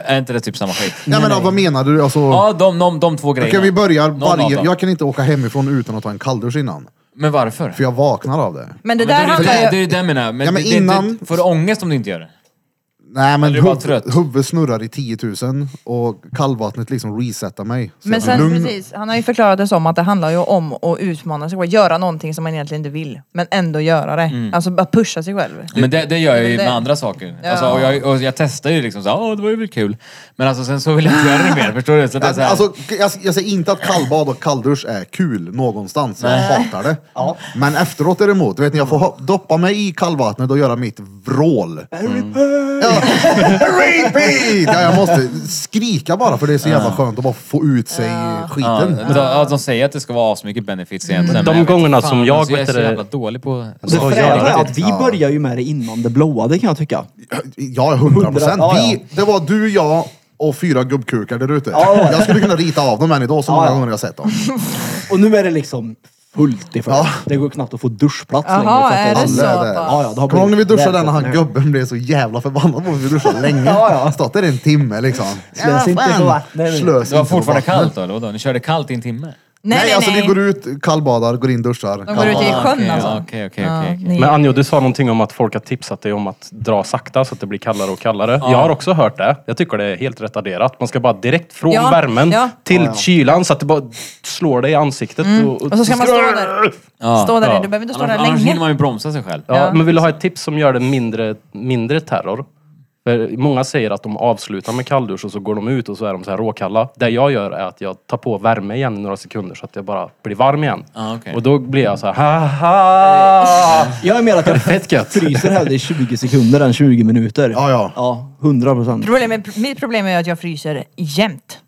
Är inte det typ samma skit?
Nej men vad menar du? Alltså,
Ja, de, de, de två grejerna.
kan vi börja
Någon av
varje...
dem.
Jag kan inte åka hemifrån utan att ta en kalldusch innan.
Men varför?
För jag vaknar av det.
Men det där
Men det, är
handlar
det, det är
ju...
ju det jag menar. Men
Ja, men
det, det,
innan-
det, får du ångest om du inte gör det?
Nej men
Eller är du bara
huv-
trött?
huvudet snurrar i 10 000 och kallvattnet liksom resetar mig. Så
Men
jag
sen
blir lugn.
precis, han har ju förklarat det som att det handlar ju om att utmana sig själv. Göra någonting som man egentligen inte vill. Men ändå göra det.
Mm.
Alltså bara pusha sig själv.
Men det, det gör jag ju
Men det-
med andra saker.
Ja.
Alltså, och, jag, och jag testar ju liksom såhär, åh det var ju väl kul. Men alltså sen så vill jag inte göra det mer, förstår du? Så det är
Ja,
så här,
Alltså, jag, jag säger inte att kallbad och kalldusch är kul någonstans. Jag hatar det. Men efteråt är det emot. Du vet när jag får hop- doppa mig i kallvattnet och göra mitt vrål.
Mm.
Ja. Repeat! Ja, jag måste skrika bara för det är så jävla skönt att bara få ut sig
ja,
skiten.
men de, ja, de säger att det ska vara asmycket benefits egentligen.
Mm. De
men jag vet
gångerna
fan,
som jag,
alltså, jag är
vet
så
du det- Alltså,
jävla dålig på...
Det
Ja,
fräna
jävlar.
är att vi börjar ju med det innan det blåade kan jag tycka.
Ja, hundra procent.
Ja, ja.
Vi- Det var du, jag och fyra gubbkukar där ute.
Ja, ja.
Jag skulle kunna rita av dem än idag så
Ja,
många
ja.
gånger jag har sett dem.
Och nu är det liksom fullt i fält.
Ja.
Det går knappt att få duschplats längre.
Jaha,
för att
är det
är
så?
Alla är där.
Ja, ja, det har
Kommer ihåg när vi
blivit
duschade när han
väldigt
gubben blev så jävla förbannad på att vi duschade länge.
Ja, ja.
Stått där en timme liksom.
Slös inte
fan.
på vattnet.
Slös
Det var
inte på
fortfarande
vattnet.
kallt då, eller vadå? Ni körde kallt i en timme?
Nej,
Nej,
alltså vi
nej,
går
nej.
ut, kallbadar, går in, duschar.
De går ut i
Ah,
sjön
okej,
alltså.
ja, Okej, okej,
Ja,
okej. okej.
ni-
Men Anjo, du sa någonting om att folk har tipsat dig om att dra sakta så att det blir kallare och kallare. Jag har också hört det. Jag tycker det är helt retarderat. Man ska bara direkt från
Ja,
värmen
ja. Mm.
till kylan så att det bara slår dig i ansiktet. Och,
Och så ska man stå där. Stå där,
Ja.
du behöver inte stå
Annars,
där
annars hinner
länge.
man ju bromsa sig själv.
Ja,
Ja.
Men vill du ha ett tips som gör det mindre, mindre terror? För många säger att de avslutar med kalldusch och så går de ut och så är de så här råkalla. Det jag gör är att jag tar på värme igen i några sekunder så att jag bara blir varm igen.
Ah, okej.
Och då blir jag så här, haha!
Jag är mer att jag fryser hellre i 20 sekunder än 20 minuter.
Ja, ja.
Ja, 100 procent.
Problemet, mitt problem är att jag fryser jämt.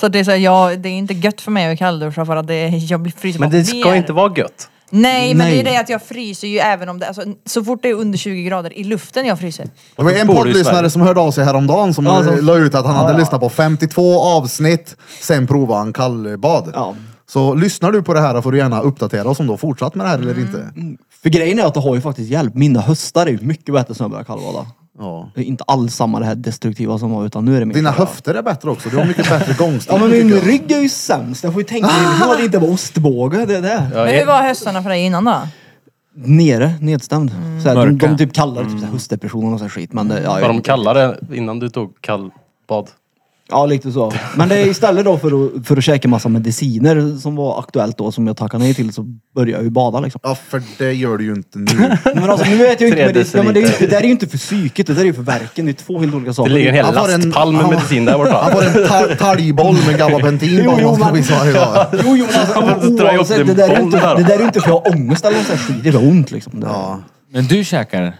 Så det är, så här, jag, det är inte gött för mig att kallduscha för att det, jag blir fryser
Men
bara
det ska
mer.
inte vara gött.
Nej, men
Nej.
det är det att jag fryser ju även om det, alltså, så fort det är under 20 grader i luften jag fryser.
Det var en
Bor du i Sverige?
poddlyssnare som hörde av sig häromdagen som
Ja, som-
la ut att han hade
ja.
lyssnat på 52 avsnitt, sen provade han kallbad.
Ja.
Så lyssnar du på det här får du gärna uppdatera oss om du har fortsatt med det här eller inte.
För grejen är att det har ju faktiskt hjälpt. Mina höstar är ju mycket bättre sen jag började kallbada.
Ja.
Det är inte alls samma det här destruktiva som var utan nu är det mer
Dina
så här-
höfter är bättre också, du har mycket bättre gångstil.
Ja men
tycker
min
jag.
rygg är ju sämst. Jag får ju tänka på att det inte var ostbåge. Det är det.
Men hur var höstarna för dig innan då?
Nere, nedstämd. Såhär, de,
Mörka.
de typ kallar det typ
Mm.
såhär höstdepression och sån skit. Men det, ja,
Vad
jag,
de kallar det innan du tog kallbad.
ja, lite så. Men det är istället då för att, för att käka massa mediciner som var aktuellt då, som jag tackade nej till, så började jag ju bada liksom.
Ja, för det gör du ju inte nu.
Nej, Men alltså, nu vet jag ju inte, men
Tre
det, ja, men det, är ju inte-
deciliter.
det där är ju inte för psyket, det där är ju för verken. Det är två helt olika
Det
saker.
ligger en hel
Han får en-
lastpall med
han-
medicin där
Han
borta.
får en ta- talgboll med gabapentin
Jo,
på
jo,
honom som
men-
vi sa idag.
Jo, jo, men alltså,
måste dra ihop
oavsett,
din
det, där är ju
boll
inte,
där.
det där är ju inte för jag har ångest eller något sånt skit. Det är för ont liksom. Det, ja.
Men du käkar,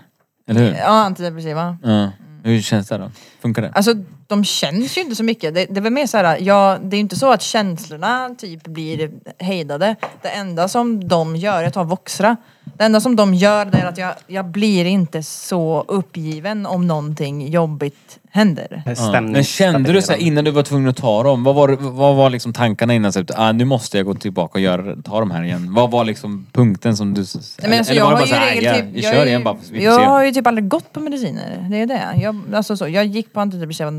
eller hur?
Ja, antidepressiva.
Ja. Hur känns det då? Funkar det?
Alltså de känns ju inte så mycket. Det, det är väl mer så här, ja, det är ju inte så att känslorna typ blir hejdade. Det enda som de gör, jag tar Voxra. Det enda som de gör det är att jag, jag blir inte så uppgiven om någonting jobbigt händer.
Men kände du så här, innan du var tvungen att ta dem, vad var, vad var liksom tankarna innan? Så att, ah, nu måste jag gå tillbaka och göra, ta de här igen. Vad var liksom punkten som du...
Nej, men alltså, jag har ju
här, "Ah,
regel
vi
typ,
kör
jag, är
igen bara.
ju-
Vi
jag har
jag,
ju typ aldrig gått på mediciner. Det är det. Jag, alltså, så, jag gick på antidepressiva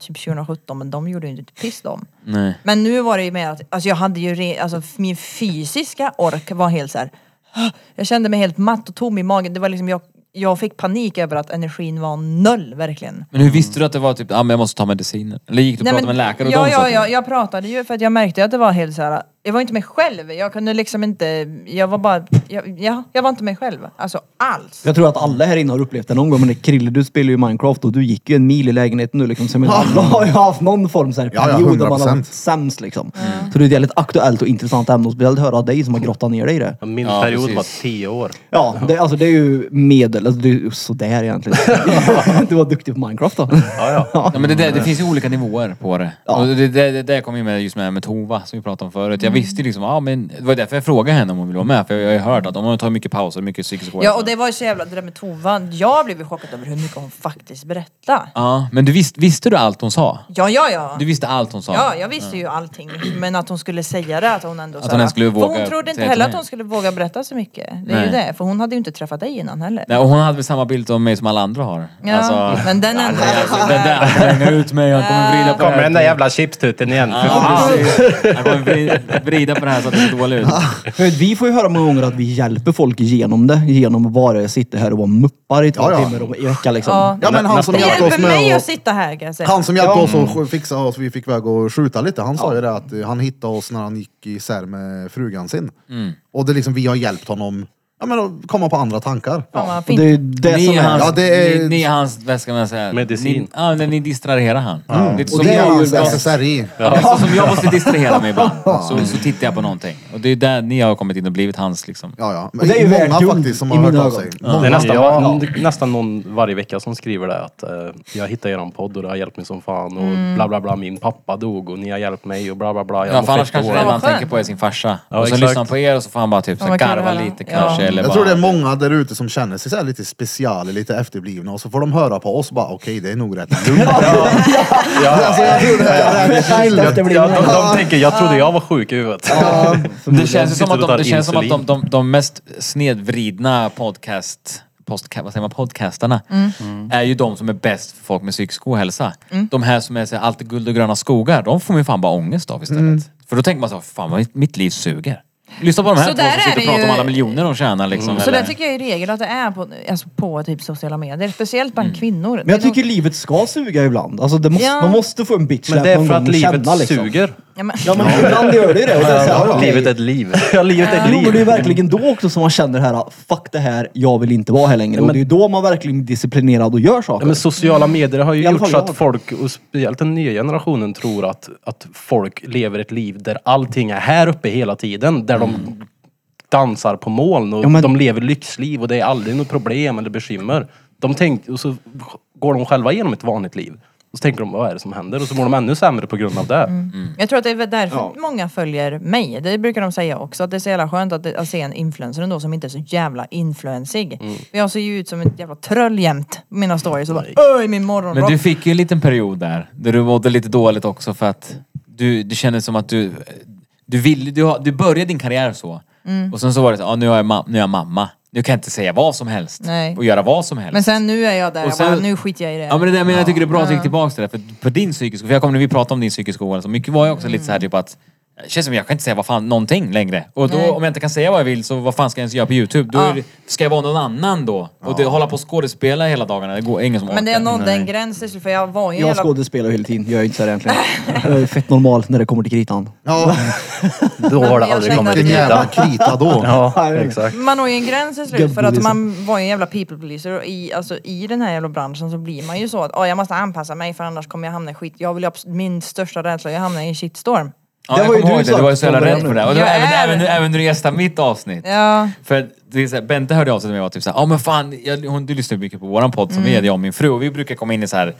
typ 2017 men de gjorde ju inte ett piss de.
Nej.
Men nu var det ju mer att, alltså jag hade ju, re, alltså min fysiska ork var helt så här. "Åh!" jag kände mig helt matt och tom i magen. Det var liksom, jag, jag fick panik över att energin var noll verkligen.
Men hur visste du att det var typ, ah, men jag måste ta mediciner? Eller gick du och pratade med en läkare och
ja,
de sa
ja,
till
ja,
dig?
jag pratade ju för att jag märkte att det var helt så här. jag var inte mig själv. Jag kunde liksom inte, jag var bara, jag, ja, jag var inte mig själv. Alltså alls.
Jag tror att alla här inne har upplevt det någon gång, men det- Krille du spelar ju Minecraft och du gick ju en mil i lägenheten nu liksom. Så jag menar, alla har ju haft någon form så här
Ja, Mm. ja,
period där man har
100%.
varit sämst liksom. Så det är ett väldigt aktuellt och intressant ämne och speciellt höra dig som har grottat ner dig i det.
Min
Ja,
period
precis.
var tio år.
Ja, det, alltså det är ju medel, alltså det är ju sådär egentligen. du var duktig på Minecraft då.
Ja, men det, där, det finns ju olika nivåer på det.
Ja.
Och det, det, det, det kom ju med just med, med Tova som vi pratade om förut.
Mm.
Jag visste ju liksom, ja men det var därför jag frågade henne om hon ville vara med. För jag, jag har ju hört att om hon tar mycket pauser, mycket psykisk
Ja och det var ju så jävla, det där med Tova, jag blev ju chockad över hur mycket hon faktiskt berättade.
Ja, men du visst, visste du allt hon sa?
Ja, ja, ja.
Du visste allt hon sa?
Ja, jag visste ju allting. Men att hon skulle säga det, att hon ändå...
Att
så
hon
här-
ens skulle
för
våga
hon trodde inte
säga
heller
till
att hon
mig.
skulle våga berätta så mycket. Det är ju
Nej.
det, för hon hade ju inte träffat dig innan heller.
Nej, och hon hade väl samma bild om mig som alla andra har. Alltså,
Ja, men den ändå...
Den där, han kommer hänga ut mig, han kommer vrida på
Kommer
här.
den där jävla chipstuten igen?
Ja, precis. Han kommer vrida, försökt vrida på det här så att det ser dåligt ut.
För att vi får ju höra många gånger att vi hjälper folk igenom det. Genom att bara sitta här och vara muppar i två
Ja, ja.
timmar och eka liksom.
Ja.
Ja men han som
Det
hjälpte oss
hjälper mig
med
att
att...
sitta här kan jag säga.
Han som hjälpte oss att sk- fixa oss, vi fick väg att skjuta lite, han sa ju det att eh, han hittade oss när han gick isär med frugan sin. Och det är liksom, vi har hjälpt honom ja, men att komma på andra tankar.
Fan, vad
Och
fint.
det är det
Ni
som
är
är...
hans,
Ja, det är-
ni, ni är hans vad ska man säga?
Medicin.
Ni, ja, när ni distraherar han. Det är
Och
som
det är
jag,
hans
jag,
SSRI.
ja. som jag måste distrahera mig ibland. Så, så tittar jag på någonting. Och det är där ni har kommit in och blivit hans liksom.
Ja, ja. Men
Och det är ju värt
många
guld
faktiskt som
i
har hört
mina
av
ögon.
sig.
Det är
Många.
nästan,
Ja.
var, nästan någon varje vecka som skriver det att eh, jag hittade eran podd och det har hjälpt mig som fan och bla bla bla min pappa dog och ni har hjälpt mig och bla bla bla. Jag
Mm. Ja,
mår
för annars
fett
kanske det
dåligt.
enda han
Vad skönt.
tänker på är sin farsa.
Ja,
och så
exakt.
lyssnar han på er och så får han bara typ
Ja,
så här,
vad kul
garva
det här.
lite
Ja.
kanske. Eller
Jag
bara,
tror det är många där ute som känner sig så här lite special, lite efterblivna och så får de höra på oss bara okej det är nog rätt lugnt. Alltså, jag tror det här är rätt chill.
Det blir-
Ja, de, de tänker, jag trodde jag var sjuk i huvudet.
Det känns ju som
Sitter
att
och
de,
tar
det känns som att de,
insulin.
de, de mest snedvridna podcast Postka, vad säger man, podcastarna
Mm.
är ju de som är bäst för folk med psykisk ohälsa. De här som är så här, alltid guld och gröna skogar, de får man ju fan bara ångest av istället. För då tänker man så här, fan vad mitt- mitt liv suger. Lyssna på de här
Mm. Så
två
där
som
är
sitter
det
och pratar
ju-
om
Mm.
alla miljoner de tjänar liksom.
Så
eller-
där tycker jag i regel att det är på, alltså på typ sociala medier. Speciellt bland
Mm.
kvinnor.
Men jag tycker livet ska suga ibland. Alltså det måste,
Ja.
man måste få en bitch
Men
slap
det är
någon
för
gång
att
och
livet
känna, liksom.
suger.
Ja, men,
Ja men ibland gör det ju det. Och det är så här, okej.
Livet är ett liv.
Ja, livet är ett
Jo, men det är
liv.
verkligen då också som man känner det här, fuck det här, jag vill inte vara här längre. och det är ju då man verkligen är disciplinerad och gör saker.
Ja, men sociala medier har ju
I alla
gjort så
fall
att
jag.
folk, och speciellt den nya generationen, tror att, att folk lever ett liv där allting är här uppe hela tiden. Där de dansar på moln och
Ja, men-
de lever lyxliv och det är aldrig något problem eller bekymmer. De tänk, och så går de själva igenom ett vanligt liv. Och så tänker de, vad är det som händer? Och så mår de ännu sämre på grund av det.
jag tror att det är väl därför många följer mig. Det brukar de säga också. Att det är så jävla skönt att, det, att se en influencer ändå som inte är så jävla influensig. För Jag ser ju ut som ett jävla tröll jämt. på Mina stories och bara öj min
Men
morgonrock.
du fick ju en liten period där, där du mådde lite dåligt också för att du, det kändes som att du, du ville, du, har- du började din karriär så.
Mm.
Och sen så var det så, ah, nu, är jag ma- nu är jag mamma. Nu kan jag inte säga vad som helst
Nej.
och göra vad som helst.
Men sen nu är jag där.
Och
Jag bara,
sen-
nu skiter jag i det.
Ja men det där men jag tycker det är bra att du gick tillbaka till det. För på din psykisk, för jag kommer när vi pratade om din psykiska ohälsa, mycket var jag också lite så här
Mm.
typ att det känns som jag kan inte säga vad fan, någonting längre. Och då, om jag inte kan säga vad jag vill så vad fan ska jag ens göra på youtube? Då är det, ska jag vara någon annan då? Och det, hålla på och skådespela hela dagarna, det går ingen som
Men det
orkar.
är någon den gränsen till slut, för jag var ju en
jag
jävla...
skådespelar ju hela tiden, jag är ju inte så här egentligen. Jag är fett normal när det kommer till kritan.
Ja,
Då har det
Jag
aldrig
känner
kommit
att
en
till
jävla
ytan.
krita då.
Ja, exakt.
Man når ju en gräns till slut för att
Gubbpolisen.
man var ju en jävla people pleaser och i, alltså, i den här jävla branschen så blir man ju så att oh, jag måste anpassa mig för annars kommer jag hamna i skit. Jag vill ju abs- min största rädsla, jag hamnar i en shitstorm.
Ja,
Det
jag
var ju
kommer
du
ihåg det.
som
Du var ju så jävla
sa det.
rädd för det. Och det var
Jag
även,
är-
även, även när du gästade mitt avsnitt.
Ja.
För det är så här, Bente hörde av sig till mig och var typ såhär, ja men fan, jag, hon, du lyssnar ju mycket på våran podd
Mm.
som vi är, jag och min fru. Och vi brukar komma in i så här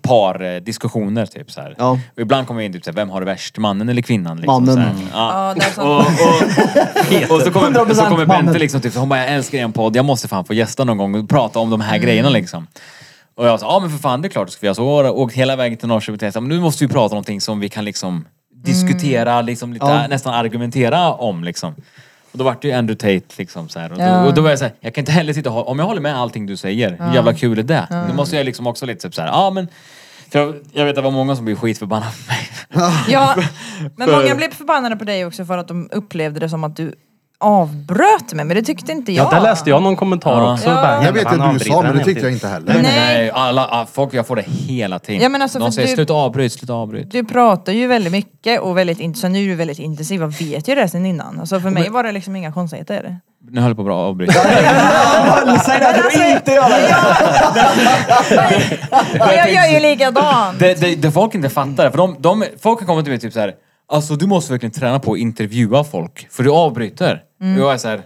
par eh, diskussioner typ så här.
Ja.
Och ibland kommer vi in typ såhär, vem har det värst? Mannen eller kvinnan? Liksom,
Mannen.
Så här. Ja.
Ja, det är
Och,
så.
och, och så kommer,
100%
så kommer Bente
mannen.
liksom typ, så hon bara, jag älskar er podd, jag måste fan få gästa någon gång och prata om de här grejerna liksom. Och jag sa, ja men för fan det är klart, vi har så åkt hela vägen till Norrköping och tänkte, men nu måste vi prata om någonting som vi kan liksom diskutera, liksom lite, nästan argumentera om liksom. Och då vart det ju Andrew Tate liksom så här. Och, då,
Ja.
och då var jag såhär, jag kan inte heller sitta och, hå- om jag håller med allting du säger, hur jävla kul är det? Då måste jag liksom också lite typ såhär, ja men, för jag, jag vet att det var många som blev skitförbannade på mig.
Ja, men många blev förbannade på dig också för att de upplevde det som att du avbröt mig, men det tyckte inte jag.
Ja, där läste jag någon kommentar
Ja.
också.
Ja.
Bara,
Jag vet
han
att du
avbryter
sa men det
den hela
tyckte jag
tiden.
inte heller.
Nej.
alla, alla folk, jag får det hela tiden.
Ja, men alltså,
de
för
säger
du-
sluta avbryt, sluta avbryt.
Du pratar ju väldigt mycket och väldigt int- sen är du väldigt intensiv, jag vet ju det sen innan. Alltså för mig var det liksom inga konstigheter. Alltså,
Nu höll jag på att bra avbryta.
Säg det att du inte gör det!
Men jag gör ju likadant!
det, det, det folk inte fattar, för de, de, folk kan komma till mig typ så här. Alltså du måste verkligen träna på att intervjua folk, för du avbryter.
Mm.
Och jag är så här,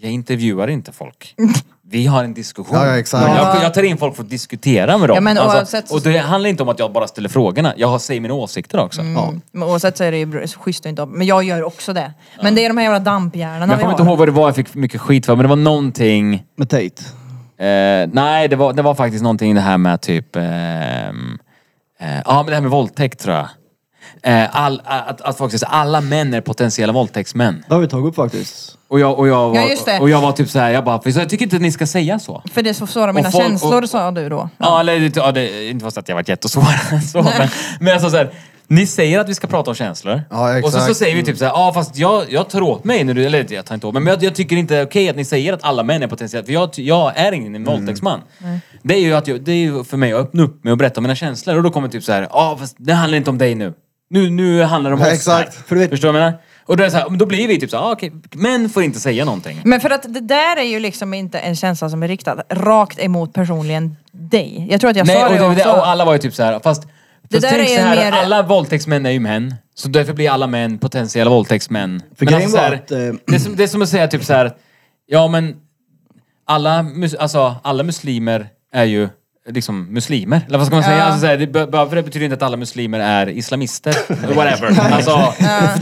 jag intervjuar inte folk. Vi har en diskussion.
Ja, ja, exakt.
Jag, jag tar in folk för att diskutera med dem. Alltså,
Ja, men oavsett så-
och det handlar inte om att jag bara ställer frågorna, jag har- säger mina åsikter också.
Mm. Men oavsett så är det ju br- schysst att inte Men jag gör också det. Men det är de här jävla damphjärnorna
Men jag
vi
kommer
har.
inte ihåg vad det var jag fick mycket skit för, men det var någonting...
Med Tate.
Eh, nej, det var, det var faktiskt någonting det här med typ... ehm, eh, ja, men det här med våldtäkt tror jag. Eh, all, att, att folk säger så här, alla män är potentiella våldtäktsmän.
Det har vi tagit upp faktiskt.
Och jag, och jag, var,
Ja, just det.
Och jag var typ så här, jag bara, för så jag tycker inte att ni ska säga så.
För det sårar mina
Och folk-
känslor
och-
sa du då.
Ja, eller det- ja, det, inte fast att jag varit jättesvår. så, men, men alltså så här, Ni säger att vi ska prata om känslor.
Ja, exakt.
Och så, så säger vi typ så här, ja ah, fast jag, jag tar åt mig när du, eller jag tar inte åt mig, men jag, jag tycker inte det är okej att ni säger att alla män är potentiellt, för jag, ty- jag är
Mm.
ingen våldtäktsman. Det är ju att jag, det är ju för mig att öppna upp mig och berätta om mina känslor och då kommer typ så här, ja ah, fast det handlar inte om dig nu. Nu, nu handlar det om
Ja,
oss.
exakt.
Här. Förstår du vad jag menar? Och då, är det så här, men då blir vi typ så här, ah, okej, män får inte säga någonting.
Men för att det där är ju liksom inte en känsla som är riktad rakt emot personligen dig. Jag tror att jag
Nej,
sa
och,
det,
det,
också.
det, och alla var ju typ så här, fast,
Det
fast
där
tänk
är ju
så här,
mer-
alla våldtäktsmän är ju män. Så därför blir alla män potentiella våldtäktsmän.
För
men
grejen
alltså, så
var
här,
att, eh,
det, är som, det är som att säga typ så här, ja men alla, mus, alltså, alla muslimer är ju liksom muslimer. Eller vad ska man säga? Alltså, så här, det, be- bara för det betyder inte att alla muslimer är islamister. Whatever. Alltså,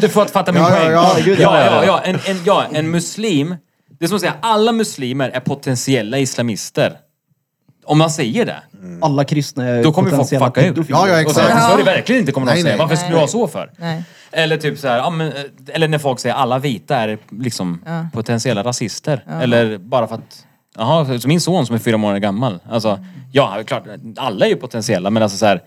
du får att fatta min
Ja, ja,
poäng.
ja, gud,
ja, ja, ja. En, en, ja, en muslim, det är som att säga alla muslimer är potentiella islamister. Om man säger det.
Mm.
Alla kristna är
Då kommer folk
potentiella
fucka ut.
pedofiler.
Ja, ja,
Och så,
exakt.
så är det verkligen inte kommer någon
Nej,
säga.
nej.
Varför skulle du ha så för?
Nej.
Eller typ så här, ja, men, eh, eller när folk säger alla vita är liksom potentiella rasister. Eller bara för att, jaha, så min son som är fyra månader gammal. Alltså, ja, klart, alla är ju potentiella men alltså så här,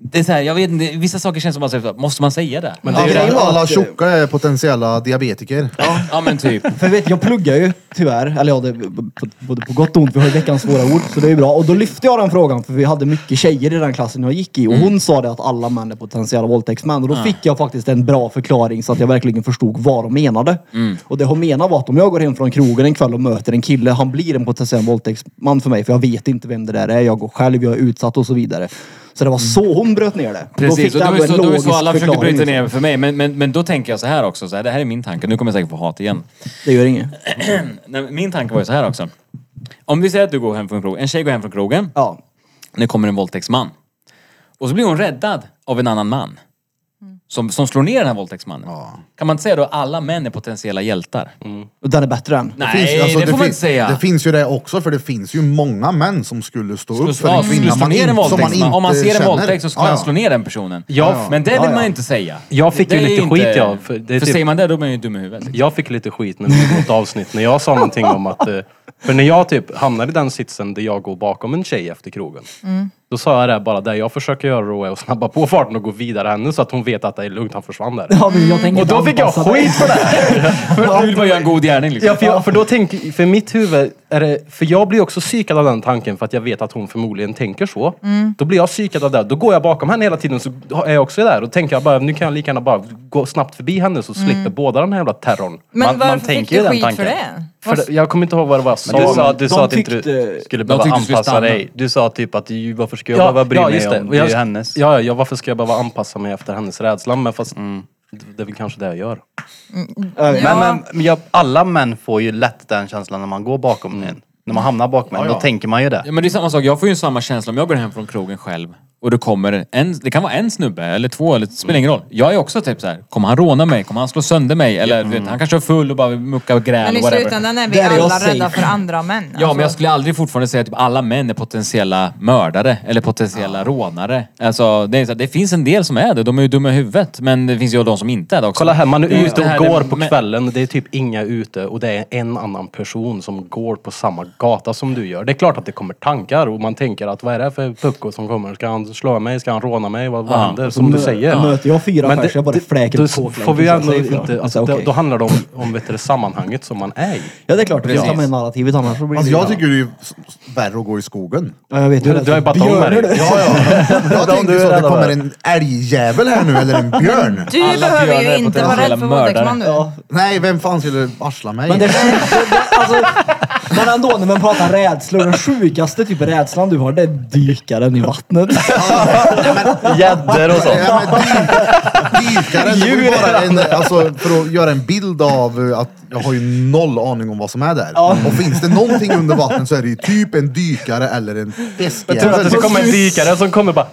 det är så här, jag vet inte, vissa saker känns som att man säger, måste man säga det?
det är ju
Alla,
det.
alla tjocka är potentiella diabetiker.
Ja men typ.
För vet, jag pluggar ju tyvärr, eller ja, det, på- både på gott och ont. Vi har ju veckans svåra ord, så det är ju bra. Och då lyfte jag den frågan, för vi hade mycket tjejer i den klassen jag gick i. Och hon sa det att alla män är potentiella våldtäktsmän. Och då fick jag faktiskt en bra förklaring så att jag verkligen förstod vad de menade. Och det hon menade var att om jag går hem från krogen en kväll och möter en kille, han blir en potentiell våldtäktsman för mig. För jag vet inte vem det där är, jag går själv, jag är utsatt och så vidare. Så det var så hon bröt ner det. då
Precis,
fick
och
det
det var
ändå
ju
en
så, det var ju
logisk
så alla försökte
förklaring.
bryta ner för mig. Men, men, men då tänker jag så här också, så här, det här är min tanke, nu kommer jag säkert få hat igen.
Det gör inget.
Nej, men min tanke var ju så här också. Om vi säger att du går hem från krogen, en tjej går hem från krogen,
Ja.
nu kommer en våldtäktsman. Och så blir hon räddad av en annan man. Som, som slår ner den här våldtäktsmannen. Kan man inte säga då att alla män är potentiella hjältar?
Mm.
Och den är bättre än.
Nej,
Finns ju-
det,
alltså,
får man
fin-
inte säga.
Det finns ju det också, för det finns ju många män som skulle stå upp för en
Ja,
kvinna
slå
man
ner en
inte- som man
våldtäktsman.
inte
Om man ser en
känner.
våldtäkt så ska
Ja,
man
ja.
slå ner den personen.
Ja.
Men det vill
Ja, ja.
man inte säga.
Jag fick
Det
ju
är
lite skit, ja,
För,
för det är typ-
säger man det då är man ju dum i huvudet.
Jag fick lite skit när vi något avsnitt när jag sa någonting om att... eh, För när jag typ hamnar i den sitsen där jag går bakom en tjej efter krogen. Då sa jag det här bara, det jag försöker göra då är att snabba på farten och gå vidare henne så att hon vet att det är lugnt, han försvann där.
Ja, men jag tänker
Och då
inte
fick jag
anpassa mig.
skit för det!
Du vill bara göra en god gärning liksom.
Ja, för, jag, för då tänker, för mitt huvud, är det, för jag blir också psykad av den tanken för att jag vet att hon förmodligen tänker så. Då blir jag psykad av det. Då går jag bakom henne hela tiden så är jag också där. Då tänker jag bara, nu kan jag lika gärna bara gå snabbt förbi henne så slipper båda den här jävla terrorn.
Men
Man- man
varför fick du
tänker ju den
skit för
tanken.
det?
För det, jag kommer inte ihåg vad det var jag sa.
Men du sa, du
de
sa att inte du
tyckte-
skulle
de
behöva
tyckte du skulle
anpassa
stanna.
dig. Du sa typ att ju, varför ska jag behöva bry mig
just det.
om
Och
det
jag-
är ju hennes.
Ja, ja, ja, varför ska jag behöva anpassa mig efter hennes rädsla? Men fast
Mm.
det, det är väl kanske det jag gör.
Men, men, men jag, alla män får ju lätt den känslan när man går bakom en. När man hamnar bakom en, då tänker man ju det.
Ja, men det är samma sak. Jag får ju samma känsla om jag går hem från krogen själv och det kommer en, det kan vara en snubbe eller två, eller, det spelar ingen
Mm.
roll. Jag är också typ så här. kommer han råna mig? Kommer han slå sönder mig? Eller
Mm.
du vet, han kanske är full och bara vill mucka och gräl
Men i
och whatever.
slutändan är vi
Där är jag
alla
safe.
rädda för andra män.
Ja, men jag
alltså.
skulle aldrig fortfarande säga att typ alla män är potentiella mördare eller potentiella rånare. Alltså, det, är så här, det finns en del som är det. De är ju dumma i huvudet. Men det finns ju de som inte är det också.
Kolla här, man är
Det-
ute
det här
och
är-
går på
men-
kvällen. Det är typ inga ute och det är en annan person som går på samma gata som du gör. Det är klart att det kommer tankar och man tänker att vad är det för pucko som kommer? Ska han slå mig? Ska han råna mig? Vad, vad
Ja.
händer? Som du
mö-
säger.
möter jag fyra
Men
pers,
det-
jag bara
det-
fläker
då
på kåklänken,
Får vi
så
ju
jag
ändå
säger, ja.
inte... Alltså,
Så,
då,
okej.
då handlar det om, om vet du, det sammanhanget som man är i.
Ja det är klart, det
Precis.
är samma i narrativet annars så blir det
Alltså,
ju-
jag tycker det är ju s- s- värre att gå i skogen.
Ja, jag vet ju
Du,
det.
du har ju bara tagit med dig. Ja, ja.
Jag tänkte
du
så
är
att det
rädd
kommer
för.
en älgjävel här nu, eller en björn.
Du
Alla
behöver
björnar
ju
är
inte vara
potentiella
rädd för våldtäktsman nu.
Ja.
Nej, vem fan skulle arsla mig?
Men det, det, alltså, men ändå när man pratar rädslor, den sjukaste typ rädslan du har det är dykaren i vattnet.
Gäddor och sånt.
Ja, men dy- Dykaren, det var ju bara en, alltså, för att göra en bild av eh, att jag har ju noll aning om vad som är där. Och finns det någonting under vattnet så är det ju typ en dykare eller en
Tur att det
fiskjävel.
ska komma en dykare som kommer bara...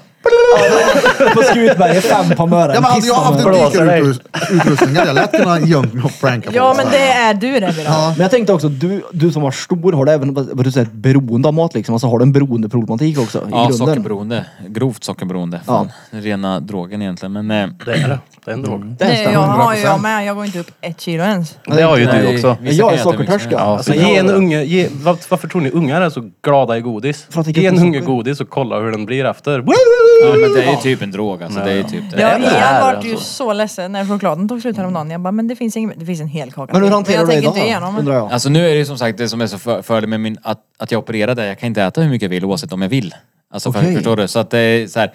På Skutberget, fem på Möra.
Ja, men hade jag haft en
Blåsa dig.
dykarutrustning hade jag lätt kunnat gömt mig och pranka
Ja,
folk
men
där.
det är du det Birra.
Men jag tänkte också, du, du som var stor, har du även vad du säger, ett beroende av mat liksom? Alltså har du en beroendeproblematik också
Ja,
i grunden?
sockerberoende. Grovt sockerberoende. Fan. Rena drogen egentligen. Men eh,
Det är det. Det är en drog.
Det
Det
stämmer.
jag har ju jag med. Jag går inte upp ett kilo ens.
Det har ju
nej,
du också.
vissa
Men Jag
kan
är
äta hur mycket som
sockertörska.
helst.
Alltså, ge en unge, ge, var, varför tror ni ungar är så glada i godis?
För att det
ge en
inte-
unge godis och kolla hur den blir efter.
men det är ju typ en drog alltså. Det är ju typ det.
Ja,
det här,
jag vart
alltså.
ju så ledsen när chokladen tog slut häromdagen. Jag bara, men det finns, ingen, det finns en hel kaka
Men hur
till.
hanterar
jag
du det
tänker inte
idag
igenom
undrar jag?
Alltså nu är det ju som sagt det som är så för- fördel med min, att, att jag opererade. Jag kan inte äta hur mycket jag vill oavsett om jag vill. Alltså för,
Okej.
förstår du? Så att det är så här,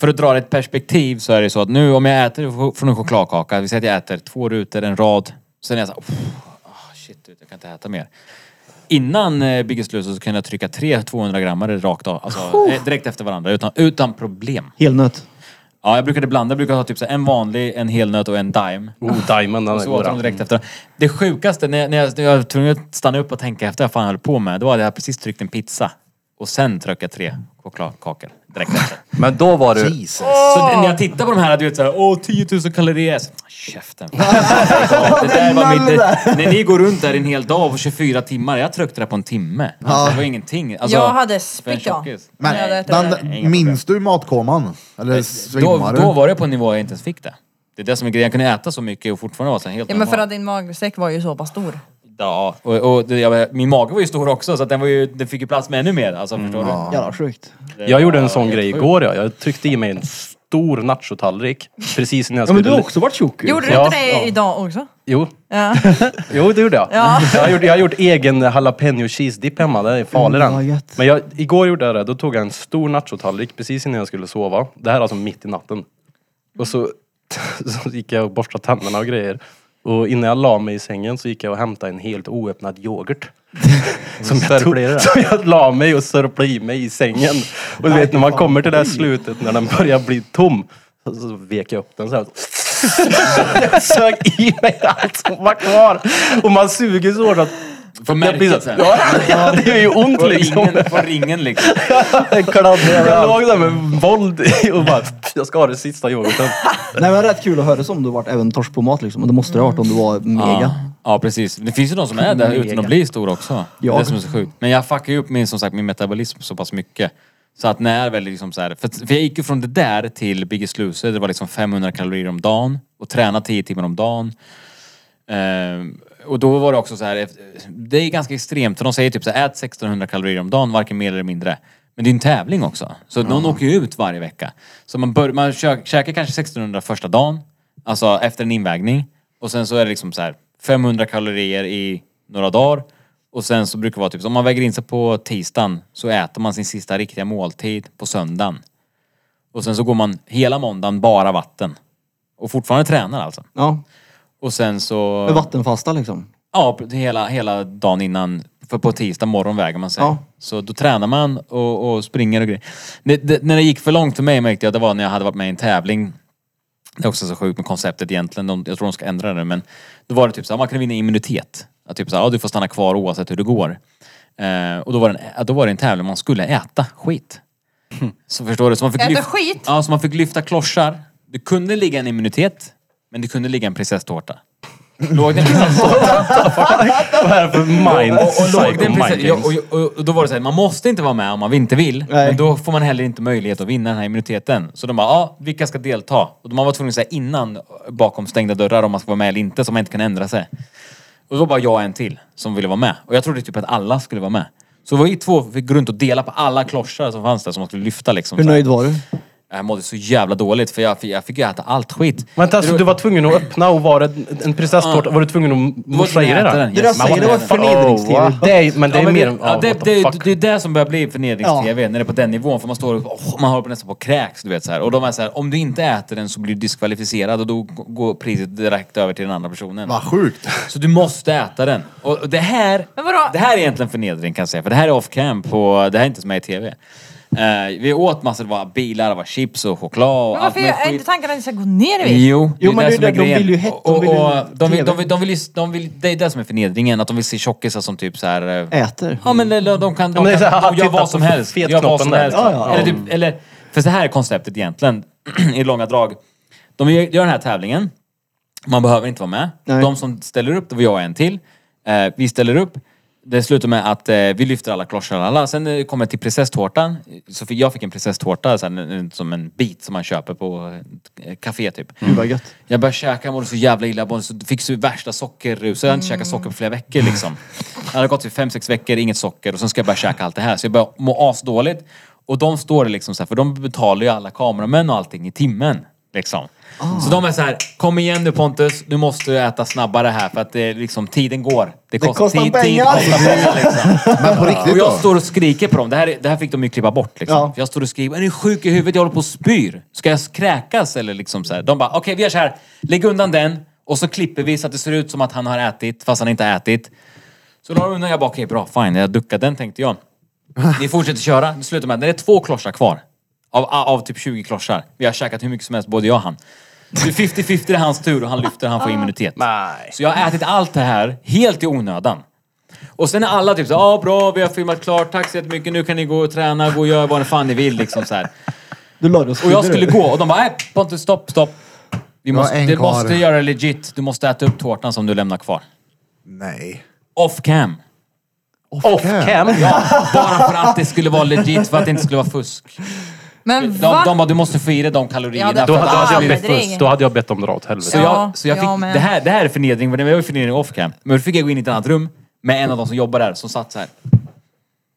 för att dra det i ett perspektiv så är det så att nu om jag äter f- från en chokladkaka, vi säger att jag äter två rutor, en rad, sen är jag så här, "Oh, shit, jag kan inte äta mer. Innan eh, Biggest Loser så kunde jag trycka tre 200-grammare rakt av, alltså, eh, direkt efter varandra utan, utan problem.
Helnöt.
Ja, jag brukade blanda. Jag brukade ha typ så här, en vanlig, en helnöt och en dime.
Oh, Diamond, den
Och
är
så åt de
goda.
direkt efter. Det sjukaste, när jag, när jag, när jag var tvungen att stanna upp och tänka efter vad jag fan höll på med, det var att jag precis tryckt en pizza. Och sen tryckte jag tre chokladkakor direkt efter.
Men då var du...
Jesus.
Så när jag tittar på de här, du vet såhär, åh 10 000 kalorier. Så, "Ah, Käften. det där var mitt, det, när ni går runt där en hel dag på 24 timmar, jag tryckte det på en timme. Alltså, det var ingenting. Alltså,
jag hade
för en
spytt ja.
tjockis.
Men,
när jag hade ätit det där.
inga
den, minns du matkoman? Eller
då,
svimmar
då
du?
var jag på en nivå jag inte ens fick det. Det är det som är grejen, jag kunde äta så mycket och fortfarande vara så här helt
Ja men för
normal.
att din magsäck var ju så pass stor.
Ja, och, och det, jag, min mage var ju stor också så att den, var ju, den fick ju plats med ännu mer. Alltså, förstår du?
Jävla sjukt.
Jag gjorde en sån grej igår. Ja. Jag tryckte i mig en stor nachotallrik precis innan jag
Ja men
skulle...
du har också varit tjock ju.
Gjorde du
Ja,
inte det idag också?
Jo,
Ja.
jo, det gjorde jag.
Ja.
Jag, har gjort, jag har gjort egen jalapeno cheese dip hemma. Den är farlig
Mm, vad
den.
gött.
Men jag, igår gjorde jag det. Då tog jag en stor nachotallrik precis innan jag skulle sova. Det här är alltså mitt i natten. Och så, så gick jag och borstade tänderna och grejer. Och innan jag la mig i sängen så gick jag och hämtade en helt oöppnad yoghurt. som, jag tog, som jag la mig och sörplade i mig i sängen. Och du vet när man kommer till det här slutet när den börjar bli tom. Så, så vek jag upp den så här. jag sög i mig allt som var kvar. Och man suger så hårt att...
Får
Jag blir
märket
så,
sen.
ja, ja, det är ju ont
Får
liksom.
ringen, får ringen liksom.
Jag låg där med våld i och bara, jag ska ha det sista yoghurten.
Nej men rätt kul att höra som du varit även torsk på mat liksom. Och det måste det ha varit om du var
Ja.
mega.
ja, precis. Det finns ju de som är där utan att bli stor också. Det är det som är så sjukt. Men jag fuckar ju upp min, som sagt, min metabolism så pass mycket. Så att när jag väl liksom så här, för, för jag gick ju från det där till Biggest Loser, det var liksom 500 kalorier om dagen och träna 10 timmar om dagen. Ehm, och då var det också så här, efter- det är ganska extremt för de säger typ så här, ät 1600 kalorier om dagen, varken mer eller mindre. Men det är en tävling också. Så någon åker ju ut varje vecka. Så man, bör, man kö- käkar kanske 1600 första dagen, alltså efter en invägning. Och sen så är det liksom så här 500 kalorier i några dagar. Och sen så brukar det vara typ, så om man väger in sig på tisdagen så äter man sin sista riktiga måltid på söndagen. Och sen så går man hela måndagen bara vatten. Och fortfarande tränar alltså.
Ja.
Och sen så...
Med vattenfasta liksom.
Ja, pr- hela, hela dagen innan. För på tisdag morgon väger man sig.
Ja.
Så då tränar man och, och springer och grejer. Det, det, när det gick för långt för mig märkte jag att det var när jag hade varit med i en tävling. Det är också så sjukt med konceptet egentligen. De, jag tror de ska ändra det men. Då var det typ så här, man kan vinna immunitet. Att typ så här, ja, du får stanna kvar oavsett hur det går. Eh, och då var, det en, ja, då var det en tävling man skulle äta skit. Så förstår du? Så man fick
Äta
lyft-
skit?
Ja, så man fick lyfta klossar. Det kunde ligga en immunitet, men det kunde ligga en prinsesstårta. Låg det en prinsesstårta
Vad är det för mind?
och, och, låg det
Psycho mind
precis, ja,
games.
och, och, och då var det så här, man måste inte vara med om man inte vill. Men då får man heller inte möjlighet att vinna den här immuniteten. Så de bara, ja, vilka ska delta? Och man var tvungen att säga innan, bakom stängda dörrar, om man ska vara med eller inte, så man inte kan ändra sig. Och då var bara jag och en till som ville vara med. Och jag trodde typ att alla skulle vara med. Så vi två fick gå runt och dela på alla klossar som fanns där som man skulle lyfta liksom.
Hur
Så här.
nöjd var du?
Jag mådde så jävla dåligt för jag, fick- jag fick ju äta allt skit.
Vänta, alltså, du var tvungen att öppna och var det en prinsesstårta? Var du tvungen att
Du var
morsa i dig
tvungen att äta
den?
den,
Det
yes.
där
Man
säger det var
tvungen att äta den.
förnedrings-tv.
Det är, men det är
ja, men
mer...
det, ja, det,
what the
det,
fuck.
det, det är det som börjar bli förnedrings-tv, när det är på den nivån. För man står och åh, man håller på nästan på och kräks, du vet så här. Och de är så här, om du inte äter den så blir du diskvalificerad och då g- går priset direkt över till den andra personen.
Vad sjukt.
Så du måste äta den. Och och det här,
Men vadå?
det här är egentligen förnedring kan jag säga, för det här är off-cam på, det här är inte som är i tv. Eh, vi åt massor, det var bilar, det var chips och choklad och
Men varför
möjligt
är inte tanken att det ska gå ner i vikt?
Jo,
Jo, men det är
som är
det, de
grejen.
vill ju hett- de
Och- och-
vill ju
de vill- de
TV.
vill- de vill ju- de vill- Det är det som är förnedringen, att de vill se tjockisar som typ så här. eh,
Äter.
Ja men eller de kan, de
men det är så här,
kan de gör
titta
vad som
på
helst.
fet
Gör vad
knoppen
som
där. liksom.
helst.
Ja, ja, ja.
Eller, typ, eller, för så här är konceptet egentligen, i långa drag. De gör gör den här tävlingen, man behöver inte vara med.
Nej.
De som ställer upp, det var jag och en till. Eh, vi ställer upp. Det slutar med att eh, vi lyfter alla klossar och alla. Sen eh, kommer jag till prinsesstårtan. Så fick, jag fick en prinsesstårta, så här, en- en- som en bit som man köper på eh, café typ.
Mm.
Gud vad gött.
Jag började käka, jag mådde så jävla illa. Jag mådde så- fick så värsta sockerrus. Jag hade inte käkat socker på flera veckor
Mm.
typ liksom. Det hade gått till fem sex veckor, inget socker. Och sen ska jag börja käka allt det här. Så jag började må asdåligt. Och de står liksom så här, för de betalar ju alla kameramän och allting i timmen. Liksom. Så
Ah.
de är så här, kom igen nu Pontus, nu måste du äta snabbare här för att det är liksom, tiden går. Det kostar,
kostar
tid,
pengar.
Tid, kostar pengar liksom.
Men på
Och
riktigt
jag
då?
står och skriker på dem. Det här, det här fick de ju klippa bort. Liksom.
Ja.
För Jag står och skriker, är ni sjuk i huvudet? Jag håller på och spyr. Ska jag kräkas? Eller liksom så här. De bara, okej vi gör så här. Lägg undan den och så klipper vi så att det ser ut som att han har ätit fast han inte har ätit. Så la de undan. Jag bara, okej bra, fine. Jag duckar den tänkte jag. Ni fortsätter köra. Det slutar med att det är två klossar kvar. Av, av typ 20 klossar. Vi har käkat hur mycket som helst, både jag och han. Det är 50-50, det är hans tur och han lyfter, han får immunitet. Så jag har ätit allt det här helt i onödan. Och sen är alla typ så ja ah, bra, vi har filmat klart, tack så jättemycket, nu kan ni gå och träna, gå och göra vad fan ni vill liksom så här.
Du la dig och
Och
spydde,
jag skulle
du.
gå och de bara, nej Pontus, stopp, stopp. Vi
har
måste,
en
du
kvar.
måste göra det legit, du måste äta upp tårtan som du lämnar kvar.
Nej.
Off cam.
Off cam?
Ja, bara för att det skulle vara legit, för att det inte skulle vara fusk.
Men
De,
va?
de bara, du måste få i dig de kalorierna.
Ja, det-
för
Då,
att
hade- då, hade jag
Aldrig.
bett, då hade jag bett dem dra åt helvete.
Så
Ja,
jag, så jag fick,
jag med.
det, här, det här är förnedring, men det var ju förnedring off cam. Men då fick jag gå in i ett annat rum med en av de som jobbar där som satt så här.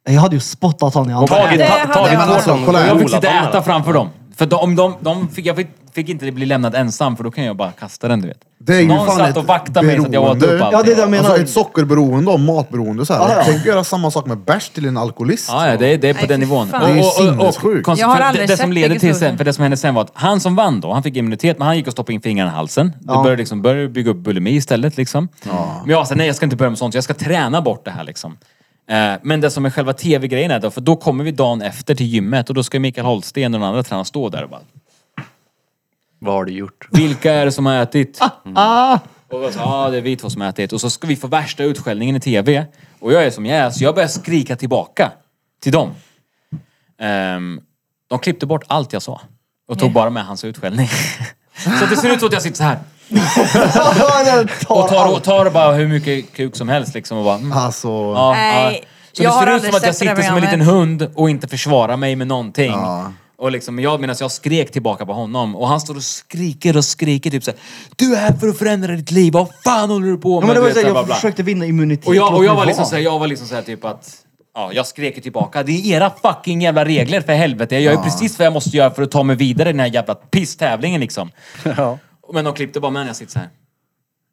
Jag hade ju spottat han i ansiktet.
Tagit
Det
ta-
hade
tagit
jag-
Men alltså,
tårtan
kolla
och
här.
Jag fick sitta och
rullat
äta
dem.
framför dem. För de, om de, de fick, jag fick, fick inte bli lämnad ensam för då kan jag bara kasta den du vet.
Det är ju
Någon
fan
satt
ett
och vaktade mig så att jag åt
beroende.
upp allt.
Ja, det är det jag menar.
Alltså ett sockerberoende och matberoende så här.
Ja, ja.
Tänk att göra samma sak med bärs till en alkoholist.
Ja, ja, det, är- det är på
Nej,
den
fy
nivån.
fan.
Och-
Det
är ju
och- och- och-
sinnessjukt.
konst-
Jag har
för
aldrig
det, det som
sett
leder
Biggie
till
Sutton.
sen, för det som hände sen var att han som vann då, han fick immunitet men han gick och stoppade in fingrarna i halsen.
Ja.
Det började, liksom, började bygga upp bulimi istället liksom. Men jag sa nej jag ska inte börja med sånt, jag ska träna bort det här liksom. Eh, Men det som är själva tv-grejen är då, för då kommer vi dagen efter till gymmet och då ska Mikael Holsten och de andra tränarna stå där och bara
Vad har du gjort? Mm.
vilka är det som har ätit?
Ah,
Och jag sa, ja det är vi två som har ätit. Och så ska vi få värsta utskällningen i TV. Och jag är som jag är, så jag börjar skrika tillbaka till dem. Ehm, de klippte bort allt jag sa. Och tog bara med hans utskällning. så det ser ut som att jag sitter så här.
Jag tar
Och tar,
allt.
och tar bara hur mycket kuk som helst liksom och bara... Mm,
Alltså,
ja,
Nej,
ja. Så
jag har
det ser ut
aldrig
som att jag
sett det där
sitter som en liten
programmet.
hund och inte försvarar mig med någonting. Och liksom, jag medan jag skrek tillbaka på honom och han står och skriker och skriker typ såhär Du är här för att förändra ditt liv, vad fan håller du på
Ja, men det
med? Du
var
vet,
så här,
så här, bla,
jag
bla.
försökte vinna immunitet.
Och jag,
låt
och jag
mig
var liksom
vara.
såhär, jag var liksom såhär typ att Ja, jag skrek ju tillbaka. Det är era fucking jävla regler för helvete. Jag gör ju precis vad jag måste göra för att ta mig vidare i den här jävla pisstävlingen liksom. Men de klippte bara med när jag sitter såhär.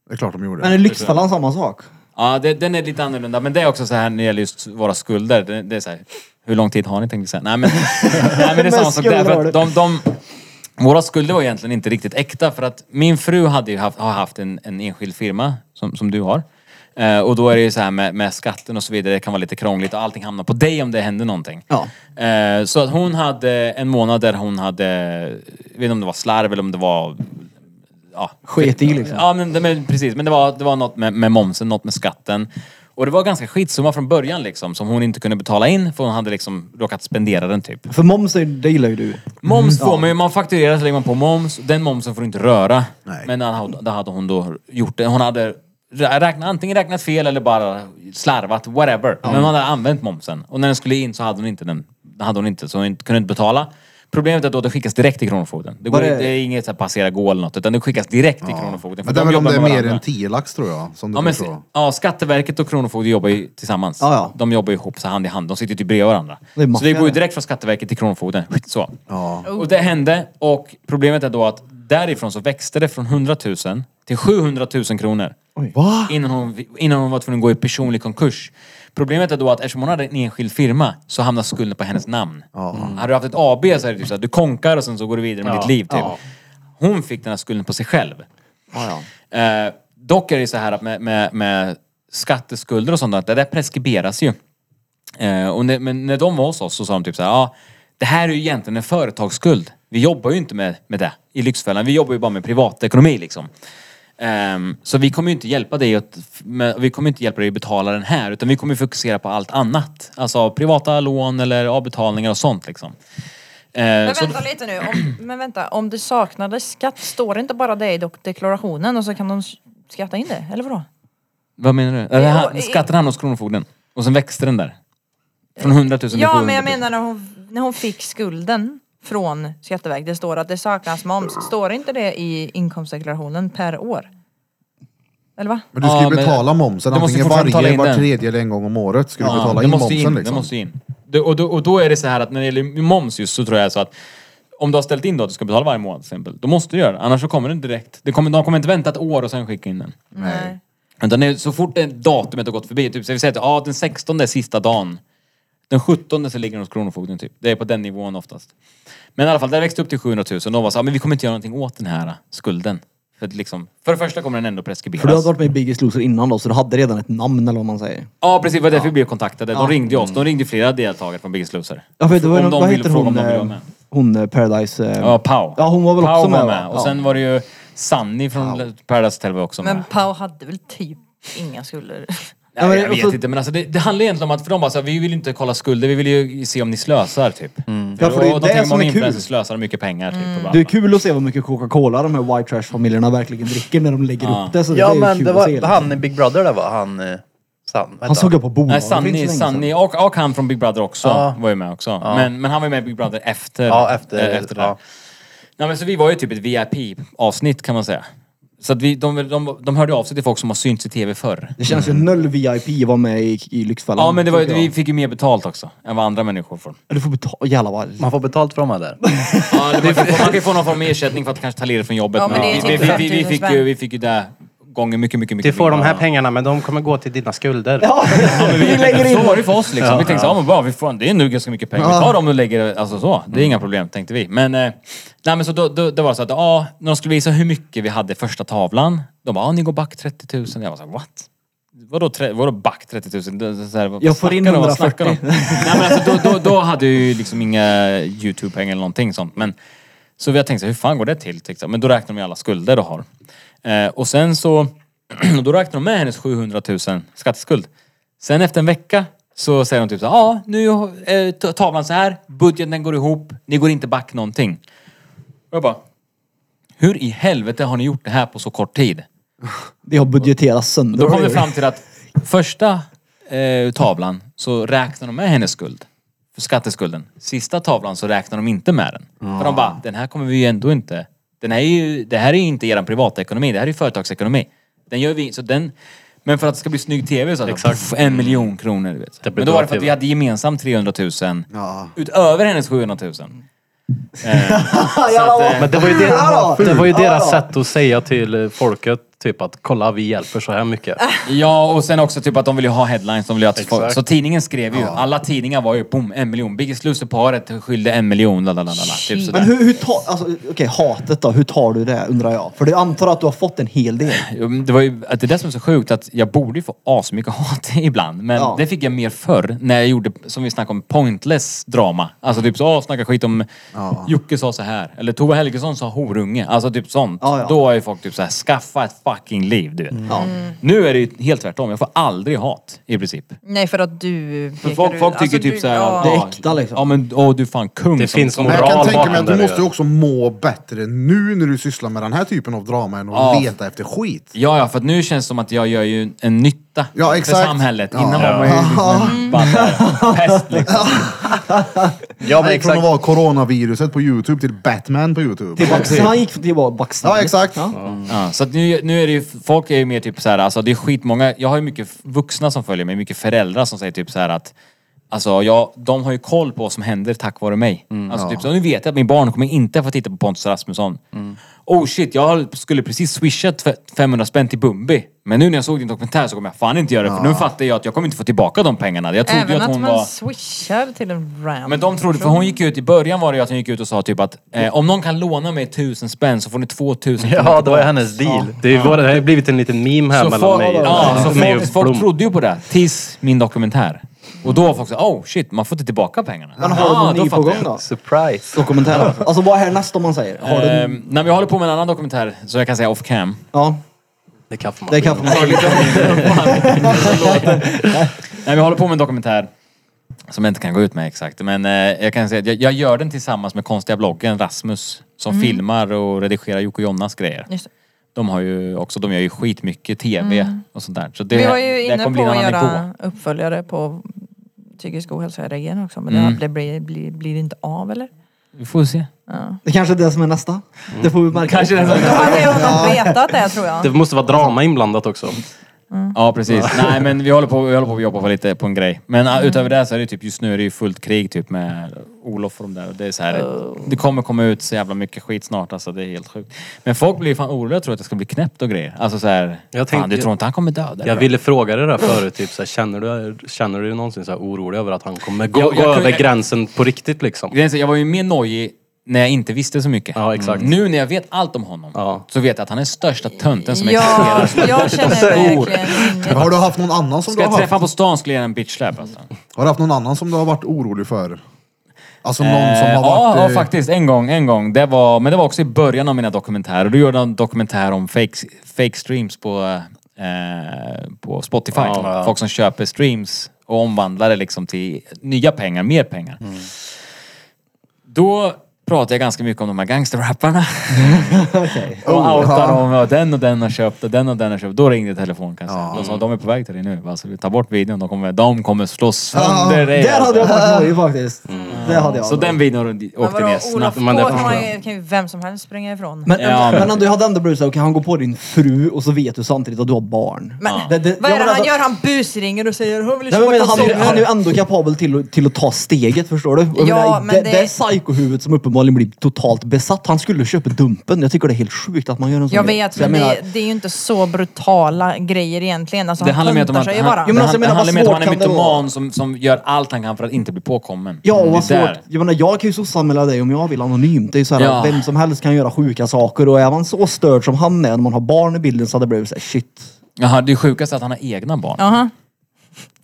det är klart de gjorde.
Men är Lyxfällan samma sak?
Ja, det, den är lite annorlunda. Men det är också så här när det gäller just våra skulder. Det, det är så här, hur lång tid har ni tänkt säga? Nej men, nej, men det är samma sak där.
skulder har
För
du.
att de, de, våra skulder var egentligen inte riktigt äkta för att min fru hade ju haft, har haft en, en enskild firma som, som du har. Eh, och då är det ju så här med, med skatten och så vidare, det kan vara lite krångligt och allting hamnar på dig om det händer någonting.
Ja.
Eh, så att hon hade en månad där hon hade, jag vet inte om det var slarv eller om det var ja,
Sket i liksom.
Ja, men, men precis. Men det var, det var något med, med momsen, något med skatten. Och det var ganska skitsumma från början liksom, som hon inte kunde betala in för hon hade liksom råkat spendera den typ.
För moms, är- det gillar ju du.
Moms
Mm.
får man ju, man fakturerar så lägger man på moms. Den momsen får du inte röra.
Nej.
Men han hade- det hade hon då gjort. det. Hon hade rä- räknat, antingen räknat fel eller bara slarvat, whatever. Men hon hade använt momsen. Och när den skulle in så hade hon inte den. Det hade hon inte, så hon inte, kunde inte betala. Problemet är då att det skickas direkt till Kronofogden. Det, går,
Var det-
det... är inget så här passera gå eller något, utan det skickas direkt till Kronofogden.
Men det är väl om
jobbar
det är
med
mer
varandra.
än 10 lax tror jag. Som det
Ja, men,
brukar vara.
ja, Skatteverket och Kronofogden jobbar ju tillsammans.
Ja, ja.
De jobbar ju ihop så hand i hand. De sitter ju typ bredvid varandra.
Det är
så det
maffia
går ju
det.
direkt från Skatteverket till Kronofogden. Så.
Ja.
Och det hände och problemet är då att därifrån så växte det från 100 000 till 700 000 kronor.
Va?
Innan hon, innan hon var tvungen att gå i personlig konkurs. Problemet är då att eftersom hon hade en enskild firma så hamnar skulden på hennes namn. Mm. Hade du haft ett AB så är det typ så att du konkar och sen så går du vidare med ditt liv. Typ. Hon fick den här skulden på sig själv. Eh, dock är det så här att med, med, med skatteskulder och sånt, där, det där preskriberas ju. Eh, och när, men när de var hos oss så sa de typ så här, ja, det här är ju egentligen en företagsskuld. Vi jobbar ju inte med, med det i Lyxfällan. Vi jobbar ju bara med privatekonomi liksom. Ehm, så vi kommer ju inte hjälpa dig att, med, vi kommer inte hjälpa dig att betala den här utan vi kommer ju fokusera på allt annat. Alltså privata lån eller avbetalningar och sånt liksom. Eh,
Men
så-
vänta lite nu, om, men vänta, om det saknades skatt, står det inte bara det i dok- deklarationen och så kan de s- skatta in det, eller vadå?
Vad menar du? Eller
i-
han, skatten hamnade hos Kronofogden. Och sen växte den där. Från 100 000 till 700
Ja,
000.
men jag menar när hon, när hon fick skulden från Skatteverket, det står att det saknas moms, står inte det i inkomstdeklarationen per år? Eller va?
Men du ska ju
Ja, men-
betala momsen
Du måste
antingen
fortfarande betala
varje,
in
var
den.
tredje eller en gång om året. Ska du
Ja,
betala
det
in
måste
momsen
in, Det
liksom?
måste in. Det- Och då, och då är det så här att när det gäller moms just så tror jag så att om du har ställt in då att du ska betala varje månad till exempel, då måste du göra det. Annars så kommer den direkt. Det kommer, de kommer inte vänta ett år och sen skicka in den.
Nej.
Utan det är, så fort det datumet har gått förbi, typ, så vi säger att ah, den 16 är sista dagen. Den 17 så ligger den hos Kronofogden typ. Det är på den nivån oftast. Men i alla fall, det växte upp till 700 000 och de var så ah, men vi kommer inte göra någonting åt den här skulden. För, att liksom, för det första kommer den ändå preskriberas.
För du hade varit med i Biggest Loser innan då, så du hade redan ett namn eller vad man säger.
Ja precis, det var därför vi blev kontaktade. De ringde oss. De ringde flera deltagare från Biggest Loser.
Ja, för det var ju någon,
om de
vad
ville
heter
fråga
hon?
om de vill vara
eh,
med.
Hon eh, Paradise... eh,
Ja, Pau.
Ja, hon var väl också
Pau
med,
var
va?
med. Och
Ja.
sen var det ju Sanni från Paradise Hotel var också med.
Men Pau hade väl typ inga skulder.
Nej,
men
jag
och
vet
så-
inte men alltså det, det handlar egentligen om att för de bara så här, vi vill inte kolla skulder, vi vill ju se om ni slösar typ.
Mm. Ja, för det är
och
det
då tänker
som
man
är
om influencers
kul.
slösar mycket pengar typ. och bla,
Det är
bla.
kul att se vad mycket Coca-Cola de här white trash-familjerna verkligen dricker när de lägger upp det. Så
Ja
det är ju
men
kul
det
att se,
var
liksom.
han i Big Brother där var han... eh, San, vad
Han
hette
såg jag på bolaget
Nej,
för inte
Sanni,
så länge sedan.
Sanni och, och han från Big Brother också
Ja.
var ju med också. Men, men han var ju med i Big Brother efter.
Ja, efter-
eh, efter det.
ja.
Nej, men så vi var ju typ ett VIP-avsnitt kan man säga. Så att vi, de, de, de hörde av sig till folk som har synts i TV förr.
Det känns
Mm.
ju noll VIP var med i, i Lyxfällan.
Ja men det var, ju-
tycker jag.
vi fick ju mer betalt också än vad andra människor får.
Du får betala, jävlar vad...
Man får betalt för de här där.
Ja, eller man, kan få, man kan ju få någon form av ersättning för att kanske ta ledigt från jobbet.
Ja, men det är
vi, vi,
typ
vi, vi,
50
vi,
000
fick ju, vi fick ju det gånger mycket, mycket, mycket.
Du får de här
mindre.
pengarna men de kommer gå till dina skulder.
Ja, vi lägger
Så
in...
var det för oss liksom. Vi tänkte ja. men bra, vi får, det är nu ganska mycket pengar. Vi tar dem och lägger alltså så. Det är inga problem tänkte vi. Men, eh, nej, men så då, då, det var så att ja, när de skulle visa hur mycket vi hade första tavlan. De bara, ja ni går back 30 000. Jag var så här, what? Vadå, tre, vadå back 30 000? Det, det, så här, vad
Jag får in
snackar de om? Vad
140.
snackar de om? Nej men alltså då, då, då hade jag ju liksom inga YouTube-pengar eller någonting sånt. Men, så vi har tänkt så här, hur fan går det till? Tänkte jag. Men då räknar de ju alla skulder och har. Eh, och sen så, då räknar de med hennes 700 000 skatteskuld. Sen efter en vecka så säger de typ så här, ja nu är t- tavlan så här, budgeten går ihop, ni går inte back någonting. Och jag bara, hur i helvete har ni gjort det här på så kort tid?
Vi har budgeterat sönder.
Då kom vi fram till att första eh, tavlan så räknar de med hennes skuld. För skatteskulden. Sista tavlan så räknar de inte med den. För de bara, den här kommer vi ju ändå inte... Den här är ju, det här är ju inte eran privatekonomi, det här är ju företagsekonomi. Den gör vi, så den... Men för att det ska bli snygg TV så att Pff, en miljon kronor. Du vet. Men då var det för att vi hade gemensamt 300 000
Ja.
utöver hennes 700 000. eh,
Men det var ju, deras, det var ju deras
Ja.
sätt att säga till eh, folket typ att kolla vi hjälper så här mycket.
Ja, och sen också typ att de vill ju ha headlines. De vill ju att folk, så tidningen skrev ju, alla tidningar var ju boom, en miljon. Biggest Loser-paret skyllde en miljon, lalalala. Typ sådär.
Men hur, hur tar... Alltså, Okej, hatet då. Hur tar du det undrar jag? För du antar att du har fått en hel del.
Jo, men Det var ju att det är det som är så sjukt, att jag borde ju få asmycket hat ibland. Men
Ja.
det fick jag mer förr, när jag gjorde, som vi snackade om, pointless drama. Alltså typ så, "Åh, snacka skit om Jocke sa så här. Eller Tove Helgesson sa horunge. Alltså typ sånt.
Ja, Mm. ja.
Då har ju folk typ så här, skaffa ett fucking liv, du vet.
Ja.
Nu är det ju helt tvärtom, jag får aldrig hat i princip.
Nej för att du
För
pekar
folk,
ut-
folk tycker
alltså,
typ
du-
såhär...
ja.
Ja,
Det är äkta, liksom.
Ja men åh du är fan kung.
Det
som-
finns
som-
Men jag kan
Moral
tänka mig att
bakom
du
det,
måste ju
det.
också må bättre nu när du sysslar med den här typen av drama än att
Ja.
leta efter skit.
Ja ja, för att nu känns det som att jag gör ju en nytta
Ja,
för
exakt.
samhället.
Ja.
Innan var man ju liksom en bara där, pest liksom.
Ja men
Nej, från
exakt.
att vara coronaviruset på Youtube till Batman på Youtube.
Till Pakistan. Han gick till Pakistan.
Ja, exakt.
Ja, så att nu, nu är det ju, folk är ju mer typ såhär, alltså det är skitmånga, jag har ju mycket vuxna som följer mig, mycket föräldrar som säger typ så här att Alltså jag, de har ju koll på vad som händer tack vare mig. alltså typ så, nu vet jag att min barn kommer inte få titta på Pontus Rasmusson. Oh shit, jag skulle precis swishat för 500 spänn till Bumbi. Men nu när jag såg din dokumentär så kommer jag fan inte göra det. För nu fattar jag att jag kommer inte få tillbaka de pengarna. Jag trodde ju
Även
att
att
hon
man
var...
swishar till en random
Men de trodde, för
person.
hon gick ut, i början var det ju att hon gick ut och sa typ att eh, om någon kan låna mig tusen spänn så får ni 2000 kronor
Ja det var ju hennes deal.
Det, är vår, det har ju blivit en liten meme här
så
mellan
folk,
mig,
ja, så
mig
folk, folk trodde ju på det tills min dokumentär. Och då var folk så oh shit, man får inte tillbaka pengarna.
Men har
Ja,
du någon ny på
fattar
gång
jag.
då?
Surprise.
Dokumentären. Alltså vad är härnäst om man säger? Har du...
Ehm, nej, men jag håller på med en annan dokumentär, så jag kan säga off cam.
Ja,
Det kan man.
det kan man
Nej, men jag håller på med en dokumentär som jag inte kan gå ut med exakt. Men eh, jag kan säga att jag, jag gör den tillsammans med konstiga bloggen Rasmus som
Mm.
filmar och redigerar Jocke och Jonnas grejer.
Just det.
De har ju också, de gör ju skitmycket TV och sånt där. Så det,
Mm. Vi var ju
det
inne
kommer
på
bli en
att
annan
göra
nivå.
uppföljare på psykisk ohälsa i regionen också men
Mm.
det, det blir, blir, blir det inte av eller?
Vi får se.
Det kanske är det som är nästa. Det får vi märka. Kanske
De hade redan vetat det tror jag.
Det måste vara drama inblandat också.
Ja, precis. Nej, men vi håller på, vi håller på att jobba på lite på en grej. Men
Mm.
ah, utöver det så är det typ, just nu är det ju fullt krig typ med Olof och de där. Och det, är så här,
Oh.
det kommer komma ut så jävla mycket skit snart alltså. Det är helt sjukt. Men folk blir ju fan oroliga och tror att det ska bli knäppt och grejer. Alltså så här,
Jag
fan
tänkte-
du tror inte han kommer döda
Jag ville fråga dig där förut, typ, så här, känner, du, känner du dig någonsin så här, orolig över att han kommer gå,
Jag- jag
gå
kunde-
över gränsen på riktigt liksom?
Grejen är så, Jag var ju mer nojig när jag inte visste så mycket.
Ja, exakt.
Mm. Nu när jag vet allt om honom
Ja.
så vet jag att han är största tönten som Alltså,
Ja,
existerar.
jag känner verkligen inget.
Har du haft någon annan som
Ska
du har
jag
haft?
träffa honom på stan skulle jag ge en bitch slap alltså.
Har du haft någon annan som du har varit orolig för? Alltså någon som
Eh,
har
ja,
varit...
ja,
eh,
faktiskt. En gång. En gång. Det var, men det var också i början av mina dokumentärer. Du gjorde jag en dokumentär om fake, fake streams på, eh, på Spotify. Folk som köper streams och omvandlar det liksom till nya pengar, mer pengar.
Mm.
Då pratade jag ganska mycket om de här gangsterrapparna.
Oh,
och outar
ja.
dem. Och den och den har köpt och den och den har köpt. Då ringde telefonen kan jag säga. De sa de är på väg till dig nu. va? Så ta bort videon. De kommer, de kommer slå sönder dig.
Där hade
alltså.
jag varit nojig faktiskt. Det hade jag.
Mm. Så den videon
Men
åkte
vadå,
ner
Olof
snabbt.
K
men det förstår
kan ju- kan ju vem som helst springa ifrån.
Men,
Ja, men-
men, men du hade ändå brytt dig, okej han går på din fru och så vet du samtidigt att du har barn.
Men
Det- det-
vad
jag menar,
är det han
alltså-
gör? Han busringer och säger Hon vill
Nej, men,
köpa
men, han, är-
kalsonger."
han är ju ändå kapabel till, att- till att ta steget, förstår du? Och jag
Ja,
menar,
men
det,
det-
det är psykohuvudet som uppenbarligen blir totalt besatt. Han skulle köpa Dumpen. Jag tycker det är helt sjukt att man gör en sån
Jag
grej.
vet,
jag
men
menar,
det, det är ju inte så brutala grejer egentligen. Alltså,
Det
han
handlar mer om
töntar
att
sig ju
han,
bara.
Jo, men
det
alltså, jag
handlar-
menar,
det handlar
vad
mer om att
svårt
han är
kan det vara?
mytoman som, som gör allt han kan för att inte bli påkommen.
Ja, och
Det är
vad svårt.
där.
Jag, menar, jag kan ju sossa med dig om jag vill anonymt. Det är ju så här,
Ja.
att vem som helst kan göra sjuka saker och är man så störd som han är när man har barn i bilden så hade det blivit såhär, shit.
Jaha, det sjukaste är att han har egna barn.
Jaha.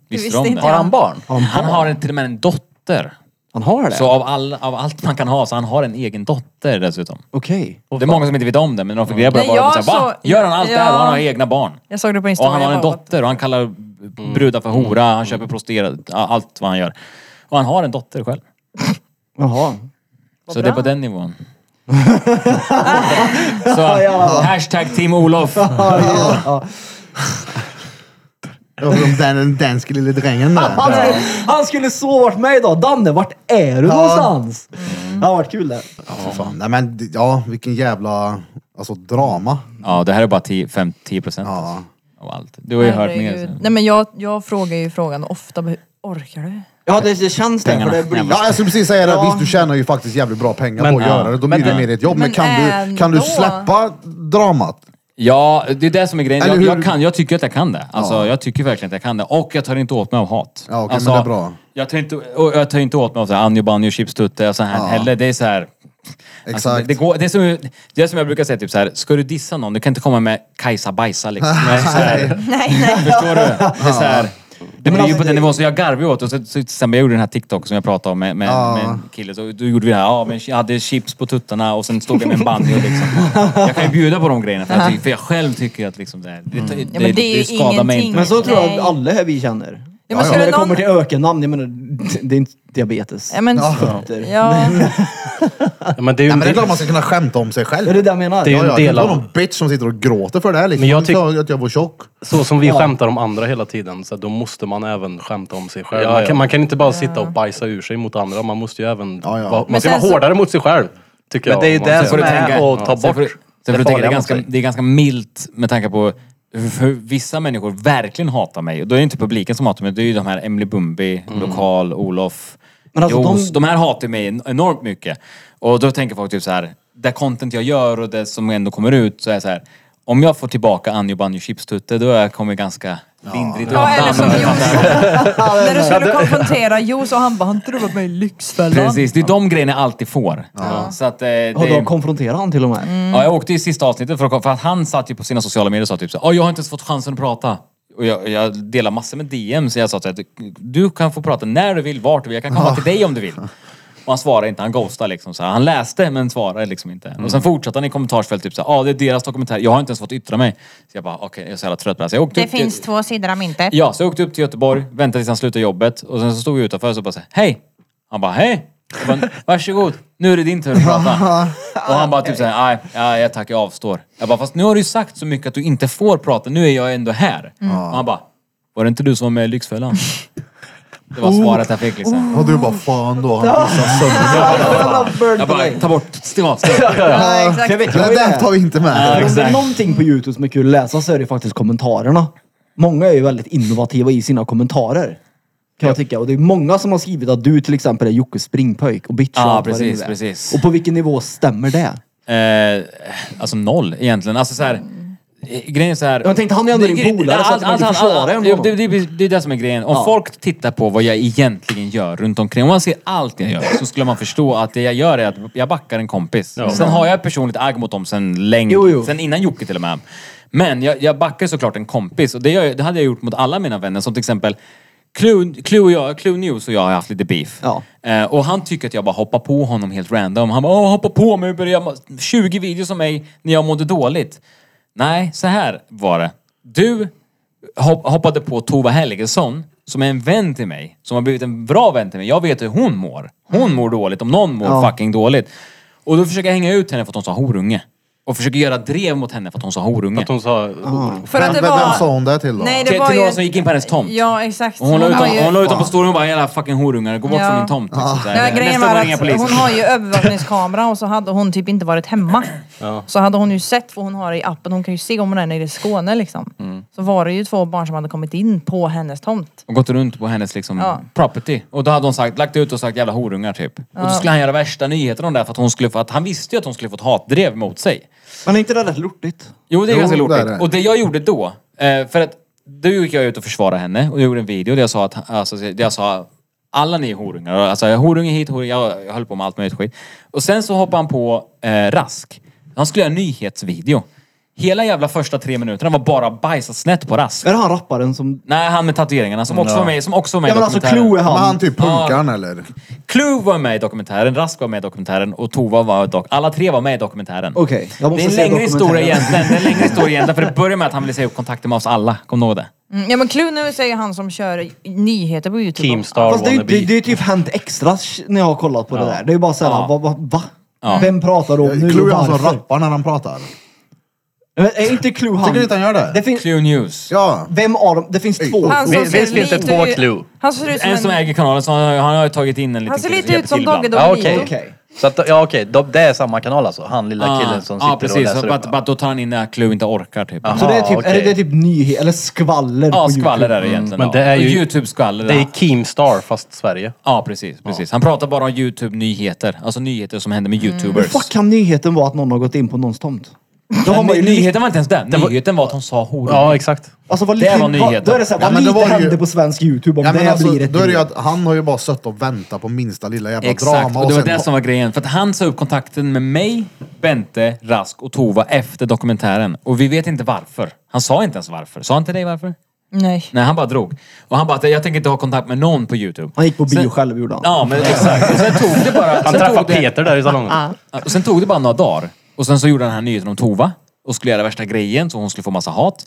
Visste
visste
du om
inte
det?
jag.
Har han barn?
Han,
Han har en, till och med en dotter.
han har det?
Så av, all, av allt man kan ha, så han har en egen dotter dessutom.
Okej.
det är många som inte vet om det, men när de fick reda på det
Nej,
var de
jag
såhär, va?
så-
Gör han allt det här och
Ja.
han har egna barn?
Jag såg det på
Och
Instagram.
han har en
jag bara,
dotter och han kallar
Mm.
brudar för hora, han köper prostituerade, allt vad han gör. Och han har en dotter själv.
Jaha.
Vad
Så
bra.
det är på den nivån. så, hashtag team Olof.
Ja, för Den, den danske lille drängen
Han,
där.
skulle, han skulle så varit med idag. Danne, vart är du någonstans? Det har varit kul det.
Ja, fan. Nej, men, det- ja, vilken jävla alltså, drama.
Ja, det här är bara 10, 5, 10 procent
Ja.
av allt. Du har ju hört
herregud.
mer.
Nej men jag, jag frågar ju frågan ofta, "Hur orkar du?
Ja, det, det känns det. För
Pengarna.
det blir...
Ja, jag skulle precis säga det.
Ja.
Visst, du tjänar ju faktiskt jävligt bra pengar
Men-
på att
ja.
göra det. Då blir det mer ett jobb. Men
Men
kan du, kan du
ändå.
släppa dramat?
Ja, det är det som är grejen.
Eller
Jag,
hur-
jag, kan, jag tycker att jag kan det. Alltså, Jag tycker verkligen att jag kan det. Och jag tar inte åt mig av hat.
Ja, okej, men
alltså,
det är bra.
Jag tar inte, och jag tar inte åt mig av så här Anjo Banjo Chipstutte och så här heller. Det är så här...
Exakt.
Alltså, det, det, går, det, är som, det är som jag brukar säga, typ så här, ska du dissa någon, du kan inte komma med Kajsa Bajsa liksom. Nej, så här,
Nej nej.
förstår du? Det är så här, det blir ju
alltså,
på den
det-
nivån, så jag garvade åt och så, så, till exempel jag gjorde den här TikTok som jag pratade om med, med,
Ja.
med en kille. Så, då gjorde vi det här, ja, men jag hade chips på tuttarna och sen stod jag med en banjo liksom. Jag kan ju bjuda på de grejerna för jag, tycker, för jag själv tycker att liksom det, här- det,
Mm.
det,
Ja, men det är ju
skadar mig
ingenting.
inte.
Men så tror jag
Nej.
att alla här vi känner.
Ja, men
Så
skulle
när det
någon-
kommer till ökennamn, jag menar, det är inte diabetes.
Ja, men, ja.
Fötter.
Ja, men det är ju
Ja,
en
men det är
del,
klart man ska kunna skämta om sig själv.
Är det det jag menar?
Det är ju
Ja, ja,
en
det
del
är
av...
någon bitch som sitter och gråter för det här liksom.
Men jag tyck-
Hon sa att jag var tjock.
Så som vi skämtar om andra hela tiden, så då måste man även skämta om sig själv. Man, kan, man kan inte bara sitta och bajsa ur sig mot andra, man måste ju även...
Ja, ja.
vara-
Men
Man ska
sen
vara
så-
hårdare mot sig själv. Tycker
Men
jag.
det är ju
om man
det
säger.
får
som
du tänka.
är att ta
Sen får
bort
du- Sen får du
det
tänka, det är
farliga mot
ganska,
sig.
det är ganska milt med tanke på hur hur vissa människor verkligen hatar mig. Och Då är det inte publiken som hatar mig, det är ju de här Emily Bumbi, Lokal, Olof,
Men alltså,
Jos.
de-
De... här hatar mig en- enormt mycket. Och då tänker folk typ så här, det content jag gör och det som ändå kommer ut så är det så här. Om jag får tillbaka Anjo Banjo Chipstutte då är jag kommer ganska lindrigt
Ja, eller som
undan.
Jos. När du skulle konfrontera Jos och han bara, har inte du varit med i Lyxfällan?
Precis, det är de grejerna jag alltid får. Så att, eh, det
Har
är-
de konfronterat han till och med?
Mm.
Ja, jag åkte i sista avsnittet för att, för att han satt ju på sina sociala medier och sa typ såhär, jag har inte ens fått chansen att prata. Och jag, jag delar massor med DM, så jag sa såhär, "Du- du kan få prata när du vill, vart du vill, jag kan komma till dig om du vill. Och han svarade inte, han ghostade liksom. Så här. Han läste men svarade liksom inte. Och
Mm.
sen fortsatte han i kommentarsfältet typ såhär, ja det är deras dokumentär, jag har inte ens fått yttra mig. Så jag bara, okej, jag är så jävla trött på det här. Så jag åkte
Det
upp till-
finns två sidor av myntet.
Ja, så jag åkte upp till Göteborg, väntade tills han slutade jobbet och sen så stod jag utanför och så bara så här, hej! Han bara, hej! Jag bara, varsågod, nu är det din tur att prata. Och han bara typ såhär, nej, ja, jag tack, jag avstår. Jag bara, fast nu har du ju sagt så mycket att du inte får prata, nu är jag ändå här. Och han bara, var det inte du som var med i Lyxfällan? Det var svaret jag fick liksom.
Och du bara fan då, han pissar sönder mig.
Jag bara, ta bort, stäng av, stäng av.
Ja,
Jag
exakt.
vet, jag
Men
är
den
med.
tar vi inte med.
Om det är någonting på Youtube som är kul att läsa så är det faktiskt kommentarerna. Många är ju väldigt innovativa i sina kommentarer. Kan jag tycka. Och det är många som har skrivit att du till exempel är Jockes springpojk och bitch
Ja,
och allt vad det
precis,
nu är.
precis.
Och på vilken nivå stämmer det?
Eh, alltså noll egentligen. Alltså så här, eh, grejen är så här, alltså,
Jag tänkte, han är ändå din
Det-
polare, så att man kan
allt-
försvara
allt-
honom.
det, det, det, det är det som är grejen. Om
Ja.
folk tittar på vad jag egentligen gör runt omkring. Om man ser allt jag gör så skulle man förstå att det jag gör är att jag backar en kompis. Sen har jag ett personligt agg mot dem sen länge.
Jo, jo.
Sen innan Jocke till och med. Men jag, jag backar såklart en kompis och det, gör, jag- det hade jag gjort mot alla mina vänner. Som till exempel Clue, Clue, och jag, Clue News och jag har haft lite beef.
Ja.
Eh, och han tycker att jag bara hoppar på honom helt random. Han bara Åh, hoppa på mig och börja ma- 20 videos om mig när jag mådde dåligt. Nej, så här var det. Du hop- hoppade på Tova Helgesson som är en vän till mig. Som har blivit en bra vän till mig. Jag vet hur hon mår. Hon mår dåligt om någon mår
Ja.
fucking dåligt. Och då försöker jag hänga ut henne för att hon sa horunge. Och försöker göra drev mot henne för att hon sa horunge.
Hon
Ah.
sa...
För att
vem, vem, vem
det
sa
var...
hon det till då?
Nej,
Till,
det var
till
ju...
någon som gick in på hennes tomt.
Ja, exakt.
Och hon la ut
har
dem-
ju-
hon la ut dem på storyn och bara jävla fucking horungar, gå bort
Ja.
från min tomt. Liksom, så här.
Ja, grejen
Nästa
var
gång ringer
att
polisen.
hon har ju övervakningskamera och så hade hon typ inte varit hemma. Så hade hon ju sett, för hon har det i appen, hon kan ju se om hon är nere i Skåne liksom.
Mm.
Så var det ju två barn som hade kommit in på hennes tomt.
och gått runt på hennes liksom,
Ja.
property. Och då hade hon sagt, lagt ut och sagt jävla horungar typ. Och då skulle han göra värsta nyheter om det här för att hon skulle få, att han visste ju att hon skulle få ett hatdrev mot sig.
Men är inte det rätt lortigt?
Jo, det är
Jo,
ganska lortigt.
det är det.
Och det jag gjorde då, eh, för att då gick jag ut och försvarade henne och jag gjorde en video där jag sa att, alltså, där jag sa alla ni är horungar. Alltså horunge hit, horunge, jag, jag höll på med allt möjligt skit. Och sen så hoppade han på eh, Rask. Han skulle göra en nyhetsvideo. Hela jävla första tre minuterna var bara bajsat snett på Rask.
Är det han rapparen som...
Nej, han med tatueringarna som också var med, som också var med
Ja
i
men alltså
dokumentären.
Clue är
Men
han.
han typ punkaren eller?
Clue var med i dokumentären, Rask var med i dokumentären och Tova var dock. Alla tre var med i dokumentären.
Okej, jag måste
Det är en
se
längre historia
dokumentären.
egentligen. Det är en längre historia egentligen. För det börjar med att han vill säga upp kontakter med oss alla. Kom ihåg det.
Mm. Ja men Clue säger han som kör nyheter på youtube.
Keemstar
Fast det, är ju-
wannabe.
det, det är ju typ hänt extra sh- när jag har kollat på det där. Det är ju bara såhär, va? va, va? Vem pratar du om nu
Clue är han
och
som
varför?
rappar när han pratar.
Men Är inte Clue han?
Tycker du inte han gör
Det
det? oh,
finns...
Clue News.
Ja.
Vem av dem? Det finns två.
Han
Visst
ser
visst finns det
lite
två
ut-
Clue?
Han ser ut som
En som
en...
äger kanalen, så han har, han har ju tagit in en liten
Han ser
kille
lite ut som
hjälper till
Dogge
ibland.
Doggelito.
okej.
Okej.
Så att, ja, okej. då- Det är samma kanal alltså? Han lilla killen
Ah,
som sitter
Ja,
och
precis.
läser
Så
upp?
att, bara, då tar han in när Clue inte orkar typ.
Aha,
Så det är typ, är det,
okej.
det är typ nyhet eller skvaller
Ja,
på
skvaller
YouTube?
är det egentligen.
Men
ja.
det är ju-
Och Youtube-skvaller.
Det
ja.
är Keemstar fast Sverige.
Ja, precis. precis. Han pratar bara om Youtube-nyheter. Alltså nyheter som händer
Mm.
med
Hur
Youtubers.
fuck kan nyheten vara att någon har gått in på någons tomt? Då har
Mm.
man ju nyhet.
Nyheten var inte ens det. Nyheten var att hon sa hora.
Ja, exakt.
Alltså vad
Det
lite,
var nyheten.
vad- Då är det såhär,
Ja,
vad
men då
lite
var det ju-
hände på svensk YouTube om
Ja,
det
men
här
alltså,
blir ett
då är det ju
nyhet.
att han har ju bara suttit och väntat på minsta lilla jävla
Exakt,
drama.
och det var
sen-
det som var grejen. För att han sa upp kontakten med mig, Bente, Rask och Tova efter dokumentären. Och vi vet inte varför. Han sa inte ens varför. Sa han till dig varför?
Nej.
Nej, han bara drog. Och han bara, att jag tänker inte ha kontakt med någon på Youtube.
Han gick på bio
Sen-
själv gjorde han.
Ja, men exakt. Och sen tog det bara...
Han
sen
träffade
tog det-
Peter där i salongen.
Ja, och Sen tog det bara några dagar. Och sen så gjorde han den här nyheten om Tova. Och skulle göra värsta grejen så hon skulle få massa hat.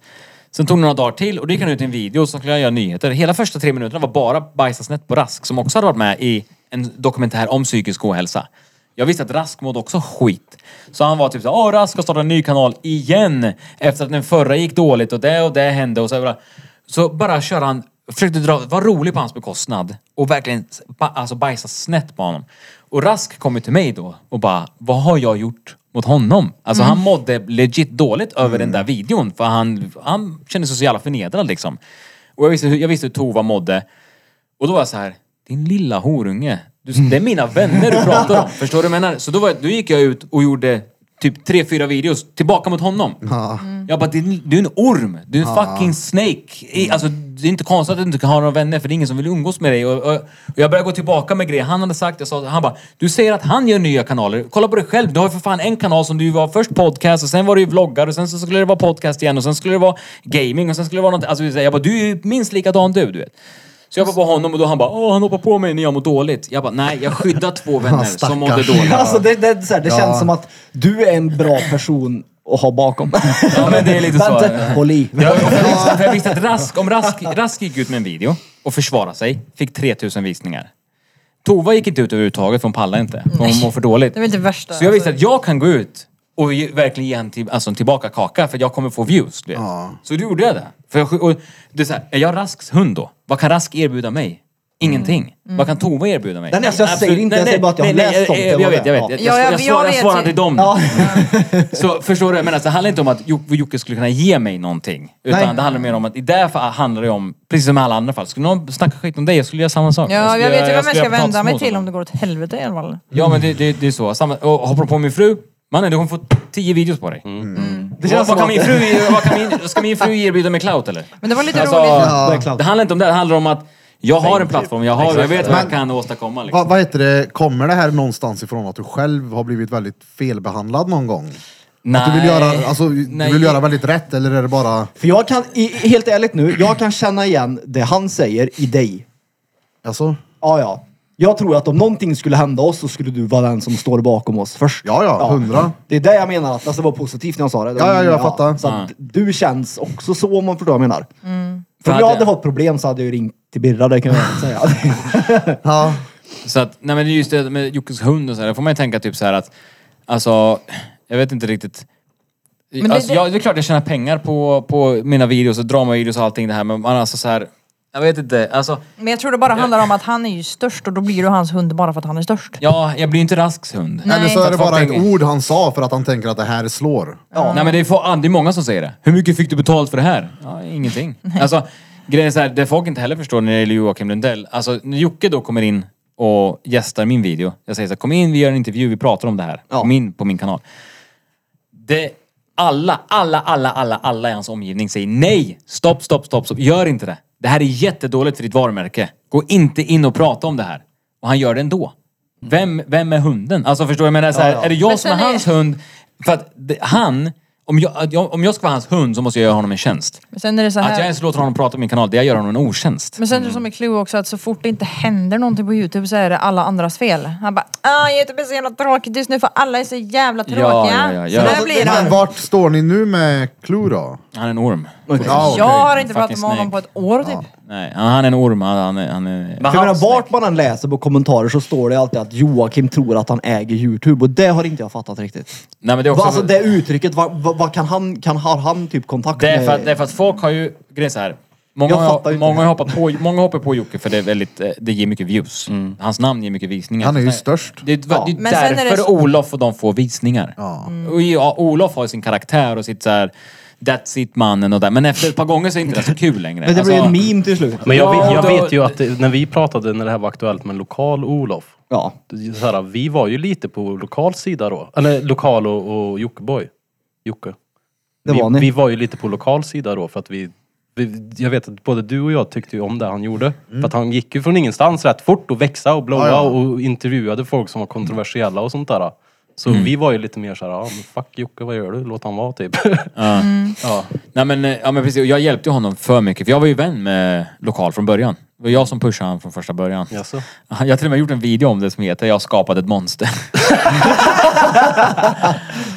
Sen tog det några dagar till och då gick han ut i en video och så skulle han göra nyheter. Hela första tre minuterna var bara bajsa snett på Rask som också hade varit med i en dokumentär om psykisk ohälsa. Jag visste att Rask mådde också skit. Så han var typ såhär, åh Rask har startat en ny kanal igen! Efter att den förra gick dåligt och det och det hände och så bara... Så bara kör han, försökte dra, var rolig på hans bekostnad och verkligen ba, alltså bajsa snett på honom. Och Rask kom ju till mig då och bara, vad har jag gjort mot honom? Alltså han mådde legit dåligt över den där videon för han, han kände sig så jävla förnedrad liksom. Och jag visste, hur- jag visste hur Tova mådde. Och då var jag så här, din lilla horunge. Du, det är mina vänner du pratar om. Förstår du vad jag menar? Så då, var, jag- då gick jag ut och gjorde typ tre, fyra videos tillbaka mot honom. Jag bara, din, du är en orm. Du är en fucking snake. I, alltså, det är inte konstigt att du inte kan ha några vänner för det är ingen som vill umgås med dig. Och, och, och jag började gå tillbaka med grejer han hade sagt. Jag sa, han bara, du säger att han gör nya kanaler. Kolla på dig själv. Du har ju för fan en kanal som du var först podcast och sen var det ju vloggar och sen så skulle det vara podcast igen och sen skulle det vara gaming och sen skulle det vara något. Alltså, jag bara, du är ju minst likadan du, du vet. Så jag var på honom och då han bara Åh, han hoppar på mig när jag mår dåligt. Jag bara, nej jag skyddar två vänner som mådde
stackars.
dåligt.
Alltså det, det, är så här, det känns som att du är en bra person att ha bakom.
Ja, men det är lite så.
Vänta, håll i.
Ja, för jag visste- för jag visste att Rask, om Rask, Rask gick ut med en video och försvarade sig, fick 3000 visningar. Tova gick inte ut överhuvudtaget för hon pallar inte. För hon mår för dåligt.
Det var inte det värsta. alltså,
Så jag visste att jag kan gå ut och ge, verkligen ge en till, alltså en tillbaka kaka för jag kommer få views. Du vet. Så då gjorde jag det. För jag, och det är så här, är jag Rasks hund då? Vad kan Rask erbjuda mig? Ingenting.
Mm.
Vad kan Tova erbjuda mig?
Nej, alltså jag säger inte, jag säger bara att jag har läst om det,
det. Jag
vad
vet,
det
jag
är.
vet. Jag,
Ja, jag-
jag, jag,
jag
svarar, jag
vet.
svarar till dem.
Ja.
Så förstår du? vad jag menar? Så det handlar inte om att Jo- vad Jocke skulle kunna ge mig någonting. Utan
Nej.
det handlar mer om att i det här fallet handlar det om, precis som i alla andra fall, skulle någon snacka skit om dig, jag skulle göra samma sak.
Ja,
skulle
jag vet ju
göra-
vem jag
skulle
ska
göra
vända mig
potatismos
till
åt
om det går åt helvete i alla fall.
Ja men det, det, det är så. Samma, och hoppar på min fru, mannen du kommer få tio videos på dig.
Mm.
Det känns Mm. vad, vad, kan min fru, ge- vad kan min, ska min fru erbjuda mig clout eller?
Men det var lite
Alltså,
roligt.
Det är
Ja.
klart.
Det handlar inte om det, det handlar om att jag har en plattform, jag, har, jag vet vad jag kan åstadkomma. Liksom.
Vad, vad heter det, kommer det här någonstans ifrån att du själv har blivit väldigt felbehandlad någon gång? Att du vill göra, alltså, du
Nej.
vill göra väldigt rätt eller är det bara...
För jag kan, i, i- helt ärligt nu, jag kan känna igen det han säger i dig.
Alltså,
Ja, ja. Jag tror att om någonting skulle hända oss så skulle du vara den som står bakom oss först.
ja, ja, hundra.
Det är det jag menar, att alltså, det var positivt när jag sa det. Det
Ja,
var-
ja, jag fattar.
Så att du känns också så om man förstår vad jag menar. För om
För
jag
hade-
hade fått problem så hade jag ju ringt till Birra, det kan jag säga.
Ja.
Så att, nej men det är just det med Jockes hund och så här, där får man ju tänka typ så här att, alltså, jag vet inte riktigt.
Men det-
alltså,
det-
Jag, det är klart jag tjänar pengar på, på mina videos och dramavideos och allting det här men man alltså så här, jag vet inte, alltså,
Men jag tror det bara handlar om att han är ju störst och då blir du hans hund bara för att han är störst.
ja, jag blir inte Rasks hund.
Nej.
Eller så är det bara ett
Fucking-
ord han sa för att han tänker att det här slår.
Nej men det är, få- det är många som säger det. Hur mycket fick du betalt för det här? Ja, ingenting. Alltså, grejen är så här, det folk inte heller förstår när det gäller Joakim Lundell. Alltså när Jocke då kommer in och gästar min video. Jag säger så här, kom in, vi gör en intervju, vi pratar om det här. Kom in på min kanal. Det, alla, alla, alla, alla, alla i hans omgivning säger nej! Stopp, stopp, stopp, stopp. Gör inte det. Det här är jättedåligt för ditt varumärke. Gå inte in och prata om det här. Och han gör det ändå. Vem, vem är hunden? Alltså förstår jag, menar så här, är det jag
Men
som är
sen är-
hans hund? För att det, han, om jag, att jag, om jag ska vara hans hund så måste jag göra honom en tjänst.
Men sen är det så
Att jag
här.
ens låter honom prata på min kanal, det jag gör honom en otjänst.
Men sen är det som i Clue också att så fort det inte händer någonting på Youtube så är det alla andras fel. Han bara ah, Youtube är så jävla tråkigt just nu för alla är så jävla tråkiga.
ja, ja, ja.
Så där
Alltså,
blir
Men
han.
vart står ni nu med Clue då?
Han är en orm.
Ja, okej.
Jag har inte
Fucking
pratat med honom på
snake.
ett år typ.
Nej, han han är en orm. Han, han, är- han är...
För jag menar, vart man än läser på kommentarer så står det alltid att Joakim tror att han äger Youtube och det har inte jag fattat riktigt.
Nej, men det är också...
Alltså det uttrycket, vad, vad, vad kan han, kan, har han typ kontakt
Det är,
med?
för att, det är för att folk har ju, grejen är så här. Många,
Jag
har,
fattar ju inte.
många, har hoppat på, många hoppar på Jocke för det, är väldigt, eh, det ger mycket views.
Mm.
Hans namn ger mycket visningar.
Han är ju
Det-
störst.
Det, är- det är
Men sen är det
därför
så- Mm.
Olof och de får visningar. Och ja, Olof har ju sin karaktär och sitt så här, that's it mannen och där. Men efter ett par gånger så är inte det så kul längre.
Men det blir
Alltså,
en meme till slut.
Men jag,
Ja,
vet- jag
då-
vet ju att det, när vi pratade, när det här var aktuellt med lokal Olof.
Ja.
det- Så här, vi var ju lite på lokal sida då. Eller lokal och, och Jockeboy. Jocke.
Det
vi,
var ni.
vi var ju lite på lokal sida då för att vi, vi jag vet att både du och jag tyckte ju om det han gjorde.
Mm.
För att han gick ju från ingenstans rätt fort och växa och blowa
Ja, ja.
och intervjuade folk som var kontroversiella och sånt där. Så
Mm.
vi var ju lite mer såhär, ja men fuck Jocke vad gör du? Låt han vara typ. ja.
Nej men, eh, ja, men precis, Och jag hjälpte ju honom för mycket för jag var ju vän med Lokal från början. Det var jag som pushade honom från första början.
Jaså?
Jag har till och med gjort en video om det som heter Jag skapade ett monster.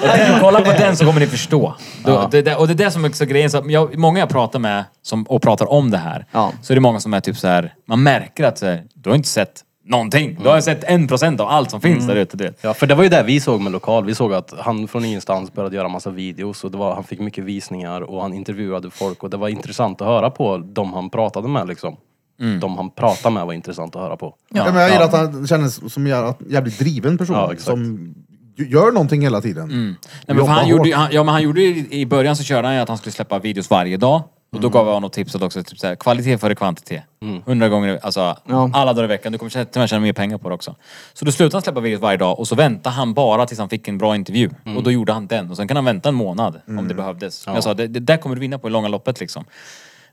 och den, kolla på den så kommer ni förstå. Då, det, det, och det är det som är så grejen. Så att jag, många jag pratar med som, och pratar om det här
Ja.
så är det många som är typ så här. man märker att så här, du har inte sett någonting. Du har sett en procent av allt som finns där ute. Du vet.
Ja, för det var ju det vi såg med lokal. Vi såg att han från ingenstans började göra massa videos och det var, han fick mycket visningar och han intervjuade folk och det var intressant att höra på de han pratade med liksom.
Mm.
De han pratade med var intressant att höra på.
Ja, men jag gillar att han kändes som en jävligt driven person.
Ja, exakt.
som gör någonting hela tiden.
Mm. Nej, men för
Jobba
han, gjorde, ju-
hårt.
han, ja, men han gjorde ju, i början så körde han ju att han skulle släppa videos varje dag. Och
Mm.
då gav jag honom tipset också, typ såhär, kvalitet före kvantitet. Hundra gånger, alltså
Ja.
alla dagar i veckan. Du kommer tjä- till och med tjäna mer pengar på det också. Så då slutade han släppa videos varje dag och så väntade han bara tills han fick en bra intervju.
Mm.
Och då gjorde han den. Och sen kan han vänta en månad om det behövdes. Men Jag sa, det, det där kommer du vinna på i långa loppet liksom.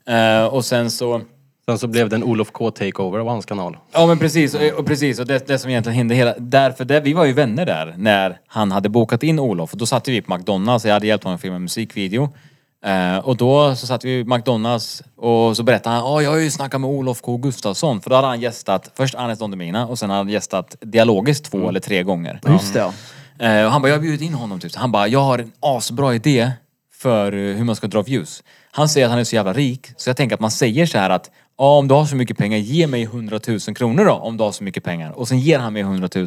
Eh, och sen så...
Sen så blev det en Olof K takeover av hans kanal.
Ja men precis, och, och precis. Och det, det som egentligen hände hela... Därför det, vi var ju vänner där när han hade bokat in Olof. Och då satt vi på McDonalds, jag hade hjälpt honom att filma en musikvideo. Eh, och då så satt vi på McDonalds och så berättade han, ja jag har ju snackat med Olof K Gustafsson. För då hade han gästat, först Anis Don Demina och sen hade han gästat dialogiskt två eller tre gånger.
Mm. Just det ja.
Eh, och han bara, jag har bjudit in honom typ. Så Han bara, jag har en asbra idé för eh, hur man ska dra views. Han säger att han är så jävla rik, så jag tänker att man säger så här att ja, om du har så mycket pengar, ge mig 100 000 kronor då, om du har så mycket pengar. Och sen ger han mig 100 000.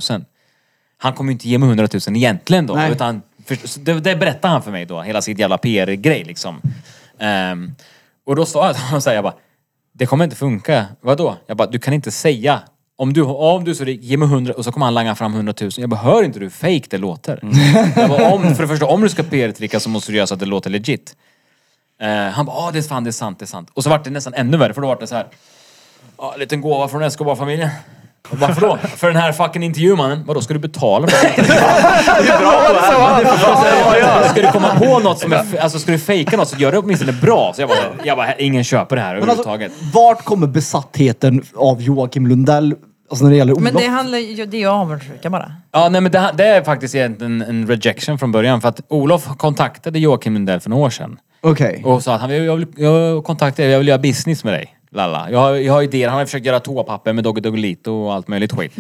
Han kommer ju inte ge mig 100 000 egentligen då,
Nej.
utan för, så det, det berättade han för mig då, hela sitt jävla PR-grej liksom. Ehm, och då sa jag till honom så här, jag bara, det kommer inte funka. Vadå? Jag bara, du kan inte säga. Om du, om du är så rik, ge mig 100 och så kommer han langa fram 100 000. Jag bara, hör inte du hur fake det låter?
Mm.
Jag bara, om, för det första, om du ska PR-tricka så måste du göra så att det låter legit. Eh, han bara, ah, det är fan, det är sant, det är sant. Och så vart det nästan ännu värre, för då vart det så här. Ja, en liten gåva från Escobar-familjen. Och Varför då? För den här fucking intervjun mannen. Vadå, ska du betala för det? Alltså, Ska du komma på något som är... f- Alltså ska du fejka något så gör det åtminstone bra. Så jag bara, jag bara ingen köper det här
Men alltså,
överhuvudtaget.
vart kommer besattheten av Joakim Lundell? Alltså när det gäller Olof?
Men det handlar ju, det är ju avundsjuka bara.
Ja, nej men det, det är faktiskt egentligen en, en rejection från början. För att Olof kontaktade Joakim Lundell för några år sedan.
Okej.
Och sa att han vill, jag, vill, jag kontaktade dig, jag vill göra business med dig. Lalla. Jag, har- jag har idéer, han har försökt göra toapapper med Doggy Doggelito och allt möjligt skit.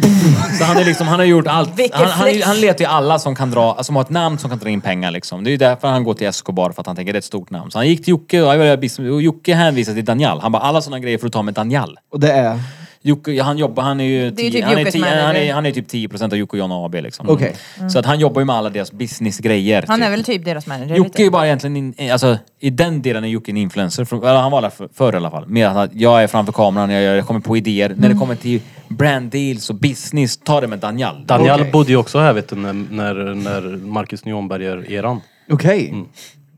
Så han, är liksom, han har gjort allt.
Vilken
Han, han,
flex.
han letar ju alla som kan dra, som har ett namn som kan dra in pengar liksom. Det är ju därför han går till Escobar, för att han tänker det är ett stort namn. Så han gick till Jocke och, jag vill göra business- och Jocke hänvisade till Daniel. Han bara, alla sådana grejer får du ta med Daniel.
Och det är...
Jocke, ja, han jobbar, han är ju...
Det är ju
tio-
typ
han, är
Jockes
tio,
manager.
han, är, han är typ 10% av Jocke och John AB liksom.
Okej.
Så att han jobbar ju med alla deras businessgrejer.
Han
typ.
är väl typ deras manager
Jocke är ju
lite.
bara egentligen, in, alltså i den delen är Jocke en influencer. Från, eller han var där för, förr i alla fall. Mer att jag är framför kameran, jag, gör- jag kommer på idéer. När
Mm.
det kommer till brand deals och business, ta det med Daniel.
Daniel
Okej.
bodde ju också här vet du, när, när, när Marcus Nyonberger-eran.
Okej.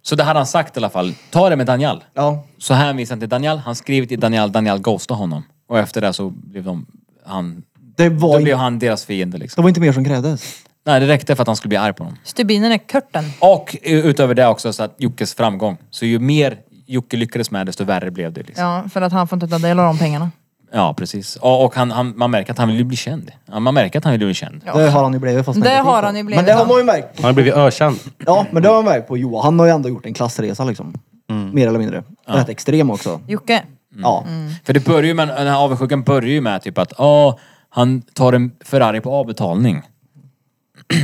Så det hade han sagt i alla fall. Ta det med Daniel.
Ja.
Så hänvisade han till Daniel, han skrev till Daniel, Daniel ghostade honom. Och efter det så blev de, han,
Det var,
då
inte,
blev han deras fiende liksom.
det var inte mer som krävdes.
Nej, det räckte för att han skulle bli arg på dem.
Stubinen är Kurten.
Och eh, utöver det också så att Jockes framgång. Så ju mer Jocke lyckades med desto värre blev det. Liksom.
Ja, för att han får inte ta del av de pengarna.
Ja, precis. Och, och han, han, man märker att han vill ju bli känd. Ja, man märker att han vill bli känd.
Ja.
Det har han ju blivit fast
Det
negativt
har
då.
han ju blivit,
Men det har
han.
man ju märkt.
Han har blivit ökänd.
Ja, men
Mm.
det har man märkt på Johan. Han har ju ändå gjort en klassresa liksom. Mer eller mindre. Rätt extrem också.
Mm.
Jocke.
Ja.
För det börjar ju med, den här avundsjukan börjar ju med typ att ja, han tar en Ferrari på avbetalning.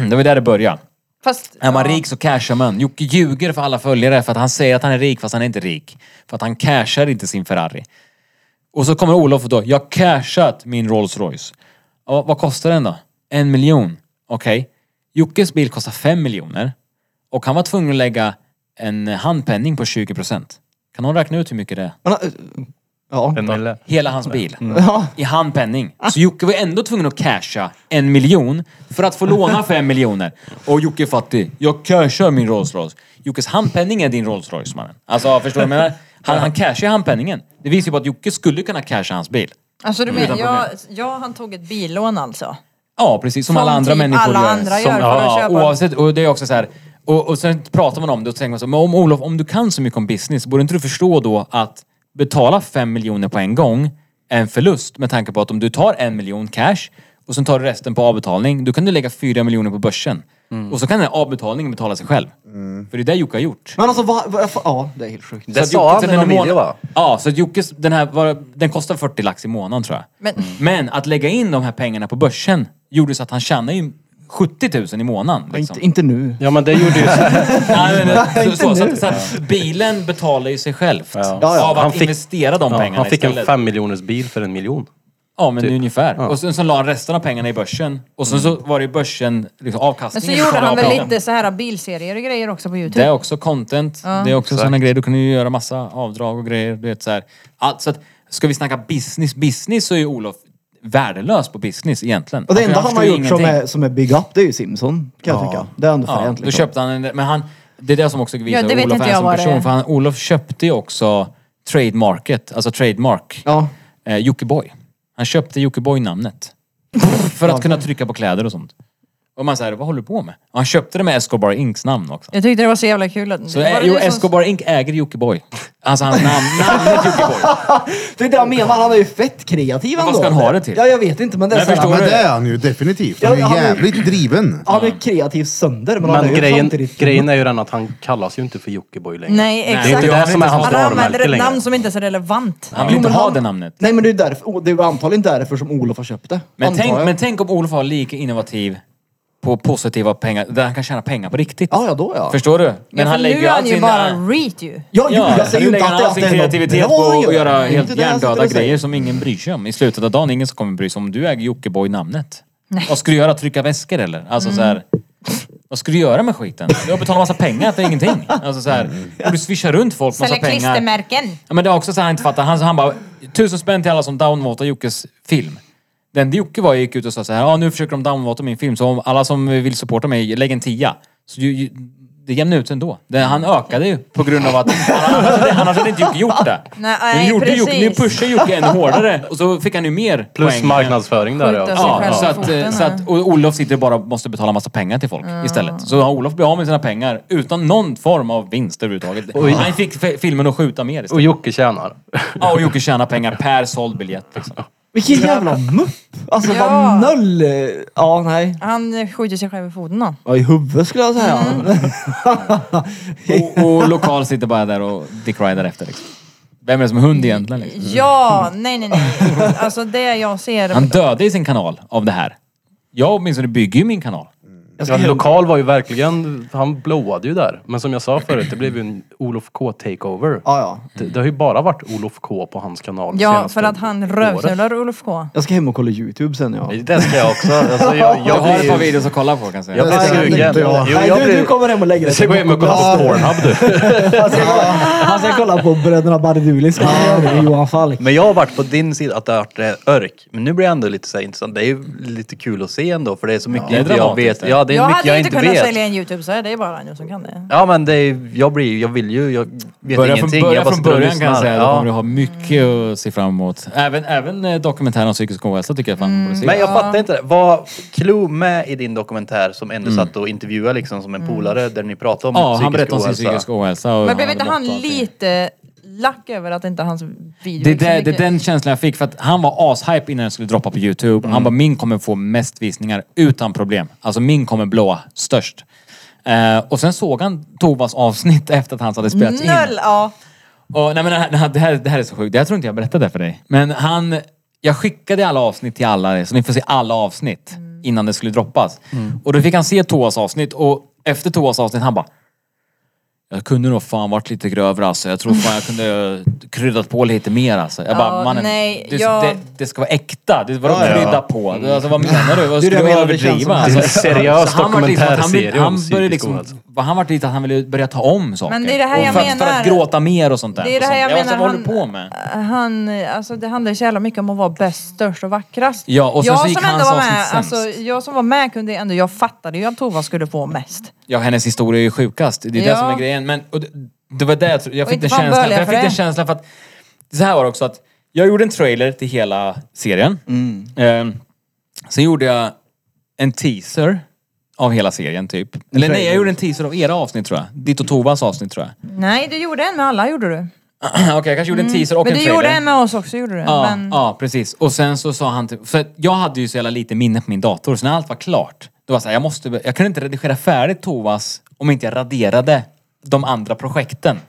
det var där det började.
Fast...
Är man
ja.
rik så cashar man. Jocke ljuger för alla följare för att han säger att han är rik fast han är inte rik. För att han cashar inte sin Ferrari. Och så kommer Olof och då, jag har cashat min Rolls Royce. Ja, vad kostar den då? En miljon. Okej. Jockes bil kostar fem miljoner. Och han var tvungen att lägga en handpenning på 20%. Kan någon räkna ut hur mycket det är?
Men, eh, ja.
En mille.
Hela hans bil.
ja.
I handpenning. Så Jocke var ändå tvungen att casha en miljon för att få låna fem miljoner. Och Jocke är fattig. Jag cashar min Rolls Royce. Jockes handpenning är din Rolls Royce mannen. Alltså förstår du vad jag menar? Han, han cashar handpenningen. Det visar ju på att Jocke skulle kunna casha hans bil.
Alltså du menar,
Utan
ja, ja, han tog ett billån alltså.
Ja, precis. Som,
Som
alla andra
typ
människor
alla
gör.
andra
som,
gör för att
ja,
köpa-
oavsett. Och det är också så här. Och, och sen pratar man om det och så tänker man så, men om Olof, om du kan så mycket om business, borde inte du förstå då att betala fem miljoner på en gång är en förlust med tanke på att om du tar en miljon cash och sen tar du resten på avbetalning, då kan du lägga fyra miljoner på börsen.
Mm.
Och så kan den här avbetalningen betala sig själv. För det är det Jocke har gjort.
men alltså vad... vad ja, det är helt sjukt.
Så
Det
att
sa
Jockes
han i
den
någon
här
video
månaden-
va?
Ja, så att Jockes, den här, var, den kostar 40 lax i månaden tror jag.
Men
Men att lägga in de här pengarna på börsen gjorde så att han tjänade ju 70 000 i månaden. Liksom.
Inte, inte nu.
Ja men det gjorde ju...
Nej, men, så, så, så, att, så att bilen betalar ju sig själv
Ja, ja.
av att
Han fick-
investera de
Ja,
pengarna
han fick en
istället.
fem typ. miljoners bil för en miljon.
ja, men ungefär. Och sen så la han resten av pengarna i börsen. Och sen
Mm.
så var det ju börsen, liksom,
Men så
avkastningen. som
gjorde
var
han väl
avgörande.
lite så här bilserier och grejer också på
Det är
Youtube.
också content. Det är också sådana grejer. Du kan ju göra massa avdrag och grejer. Du vet, så här. Allt, så att, ska vi snacka business, business så är ju Olof värdelös på business egentligen.
Och det enda
Alltså,
han
jag
har
förstår
gjort
ju
som
ingenting.
är, som är big up, det är ju Simson. Kan jag tycka. Det är ändå
Ja,
fränt
då köpte han en, men han, det är det som också visar
Ja, det vet
Olof
inte
är
jag
som
vad det är.
person. För han, Olof köpte ju också trademarket, alltså trademark,
Ja.
eh, Jockiboi. Han köpte Jockiboi-namnet. för att kunna trycka på kläder och sånt. Och man säger, vad håller du på med? Och han köpte det med Escobar Inks namn också.
Jag tyckte det var så jävla kul att...
Så
Var det
eh, jo,
du som-
Escobar Inc äger Jockiboi. Alltså hans namn, namnet Jockiboi.
Det är det jag menar, han är ju fett kreativ ändå.
Vad ska han ha det till?
Ja, jag vet inte men det är
Men
så här,
förstår
Men
du?
det är han ju definitivt. Han är
Ja, han
ju
är-
jävligt driven.
Han är kreativ sönder men, han är
Men
ju
grejen,
samtidigt-
grejen är ju den att han kallas ju inte för Jockiboi längre.
Nej,
Nej,
exakt.
Det är inte det som är hans
Han använder
varumärke
ett
längre.
namn som inte är så relevant.
Han vill
Jo,
inte
men
ha
han-
det namnet.
Nej men det är, därför, och det är antagligen därför som Olof har köpt det.
Men
antar
tänk,
jag.
men tänk om Olof var lika innovativ på positiva pengar, där han kan tjäna pengar på riktigt.
Ja, ja då ja.
Förstår du? Men
Men
han lägger
nu är han ju
sin- eh,
bara reet ju.
Ja, jo,
Ja,
jag säger ju
nu
inte
lägger
att
han
det,
all
att
sin
det är något
kreativitet
bra
på
han
att
gör.
göra
Det är
helt
inte det jag sitter
hjärndöda
och säger.
grejer som ingen bryr sig om. I slutet av dagen, ingen som kommer bry sig om du äger Jockiboi-namnet. Vad ska du göra? Trycka väskor eller? Alltså så här. Vad ska du göra med skiten? Jag betalar massa pengar för ingenting. Alltså så här,
Mm.
och du swishar runt folk massa
Sälja
pengar.
klistermärken.
Ja, men det är också så här, han inte fattar. Han, han bara, tusen spänn till alla som downvotar Jockes film. Det enda Jocke var gick ut och sa så här, ja nu försöker de downvota min film, så om alla som vill supporta mig, lägg en tia. Så ju, ju, det jämnade ut sig ändå. Det, han ökade ju på grund av att annars hade, annars hade inte Jocke gjort det.
Nej,
Nu, gjorde Jocke, nu
precis.
pushar Jocke ännu hårdare och så fick han ju mer
Plus
poäng.
marknadsföring där
Skjuta
ja.
sig
Ja,
själv
så
i
att, eh,
foten,
så att, och Olof sitter bara och måste betala massa pengar till folk istället. Så har Olof blir av med sina pengar utan någon form av vinst överhuvudtaget. Han fick fe- filmen att skjuta mer
Och
istället.
Jocke tjänar.
Ja, och Jocke tjänar pengar per såld biljett. Liksom.
Vilken jävla mupp! Alltså
Ja.
vad noll... eh, Ja, nej.
Han eh, skjuter sig själv i foten
Mm.
då.
Ja, i huvudet skulle jag säga.
Och, och lokal sitter bara där och dick rider efter. Liksom. Vem är det som är hund egentligen? Liksom?
Ja, nej nej nej. Alltså det jag ser.
Han dödade i sin kanal av det här. Jag åtminstone bygger ju min kanal.
Jag ska
Ja,
hem.
lokal var ju verkligen, han blowade ju där. Men som jag sa förut, det blev ju en Olof K takeover.
Ja, ja.
Det, det har ju bara varit Olof K på hans kanal
Ja,
senaste
för att han
året.
rövknullade Ulf K.
Jag ska hem och kolla YouTube sen. Ja.
Det ska jag också. Alltså, jag,
Jag
jag
har ett par
blir ju...
videos att kolla på kan jag säga.
Jag blir
Det ska
sugen.
inte jag.
Jo,
Nej,
jag
du, du
blir...
kommer hem och lägger dig.
Jag ska gå hem och kolla på Pornhub du.
Han ska kolla- Han ska kolla på Bröderna Bardulis. Johan Falk.
Men jag har varit på din sida att det har varit eh, örk. Men nu blir det ändå lite så här intressant. Det är ju lite kul att se ändå för det är så mycket
det är
inte jag
dramatiskt,
vet.
det.
Ja, det är
Jag
mycket
hade
jag
inte
inte
kunnat
vet.
sälja en youtube så det är bara nu som kan det.
Ja men det är, jag blir jag vill ju, jag vet
Börja från,
ingenting.
börja
jag
från
sitter och
början kan jag
lyssnar.
säga. Då
Ja.
kommer du ha mycket att se fram emot. Även, även eh, dokumentären om psykisk ohälsa tycker jag fan man borde se.
Mm. Men jag fattar inte det. Var Klo med i din dokumentär som ändå satt och intervjuade liksom som en
Mm.
polare där ni pratade om
Mm. Ja, han
psykisk
berättar om sin
ohälsa?
psykiska ohälsa. och-
Men blev
ja,
inte
det
han
låter allting.
lite lack över att inte hans video
Det,
gick så
det, det är
mycket?
den känslan jag fick, för att han var ashype innan den skulle droppa på YouTube. Han bara, min kommer få mest visningar utan problem. Alltså min kommer blåa störst. Eh, och sen såg han Tovas avsnitt efter att hans hade spelats in.
Noll, ja.
Och, nej, men, det här- det, här, det här är så sjukt. Jag tror inte jag berättade det för dig. Men han... Jag skickade alla avsnitt till alla, så ni får se alla avsnitt
Mm.
innan det skulle droppas.
Mm.
Och då fick han se Toas avsnitt och efter Toas avsnitt han bara... Jag kunde nog fan varit lite grövre alltså. Jag tror fan jag kunde eh, kryddat på lite mer alltså. Jag bara,
Ja,
mannen,
nej,
det,
jag-
det, det ska vara äkta. Det var ja, krydda på. Det- Alltså, vad menar du?
Mm.
Vad
Det är det
skulle
jag
du
menar, det känns
överdriva?
som-
Alltså,
Det är en seriös
så han vart liksom att han vill-
dokumentärserie om
Han började
psykisk
liksom...
ohälsa.
Han vart lite att han ville börja ta om saker.
Men det är det här
Och
jag
för, att- För
menar.
att gråta mer och sånt där.
Det är det här
Och
jag
sånt.
menar,
Vad håller
han-
du på med?
Han, alltså det handlar ju så jävla mycket om att vara bäst, störst och vackrast.
Ja, och sen
jag
så gick
som ändå
hans
var med,
avsnitt
alltså,
sämst.
Jag som var med kunde ändå, jag fattade ju att Tova skulle få mest.
Ja, hennes historia är ju sjukast. Det är
Ja.
det som är grejen. Men, och det, det var det jag, tro- jag
Och
fick
inte
den
fan
känslan.
böliga
Jag
för
fick
det.
den känslan för att... Så här var det också att jag gjorde en trailer till hela serien.
Mm.
Ehm, sen gjorde jag en teaser av hela serien typ. Eller nej, jag gjorde en teaser av era avsnitt tror jag. Ditt och Tovas avsnitt tror jag.
Nej, du gjorde en med alla gjorde du.
Okej, jag kanske gjorde en teaser och
Mm. men
en
du
trailer.
gjorde en med oss också gjorde du.
Ja,
men,
ja, precis. Och sen så sa han typ, för att jag hade ju så jävla lite minne på min dator, så när allt var klart, då var det så här, jag måste, jag kunde inte redigera färdigt Tovas om inte jag raderade de andra projekten.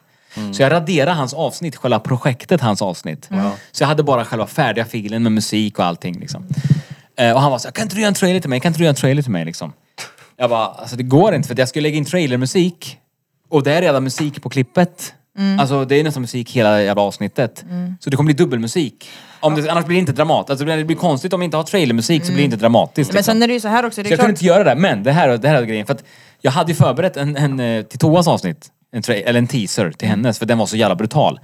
Så jag raderade hans avsnitt, själva projektet hans avsnitt. Mm. Så jag hade bara själva färdiga filen med musik och allting liksom. Eh, Och han var så här, kan inte du göra en trailer till mig? Kan inte du göra en trailer till mig liksom? Jag bara, alltså det går inte för att jag skulle lägga in trailermusik och det är redan musik på klippet. Alltså det är nästan musik hela jävla avsnittet. Så det kommer bli dubbelmusik. Om det, annars blir det inte dramat. Alltså det blir konstigt om vi inte har trailermusik så blir det inte dramatiskt.
men
liksom.
sen är det ju så här också, det
Så
är
jag kunde
klart.
inte göra det. Men det här, det här är grejen. För att jag hade ju förberett en, en eh, till Toas avsnitt. En tra- eller en teaser till
Mm.
hennes för den var så jävla brutal.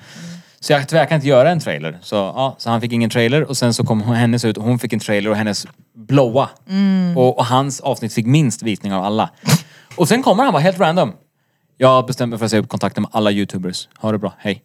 Så jag tvekade inte göra en trailer. Så, ja, så han fick ingen trailer och sen så kom hon- hennes ut och hon fick en trailer och hennes blåa.
Mm.
Och, och hans avsnitt fick minst visning av alla. Och sen kommer han bara helt random. Jag bestämde mig för att säga upp kontakten med alla youtubers. Ha det bra, hej.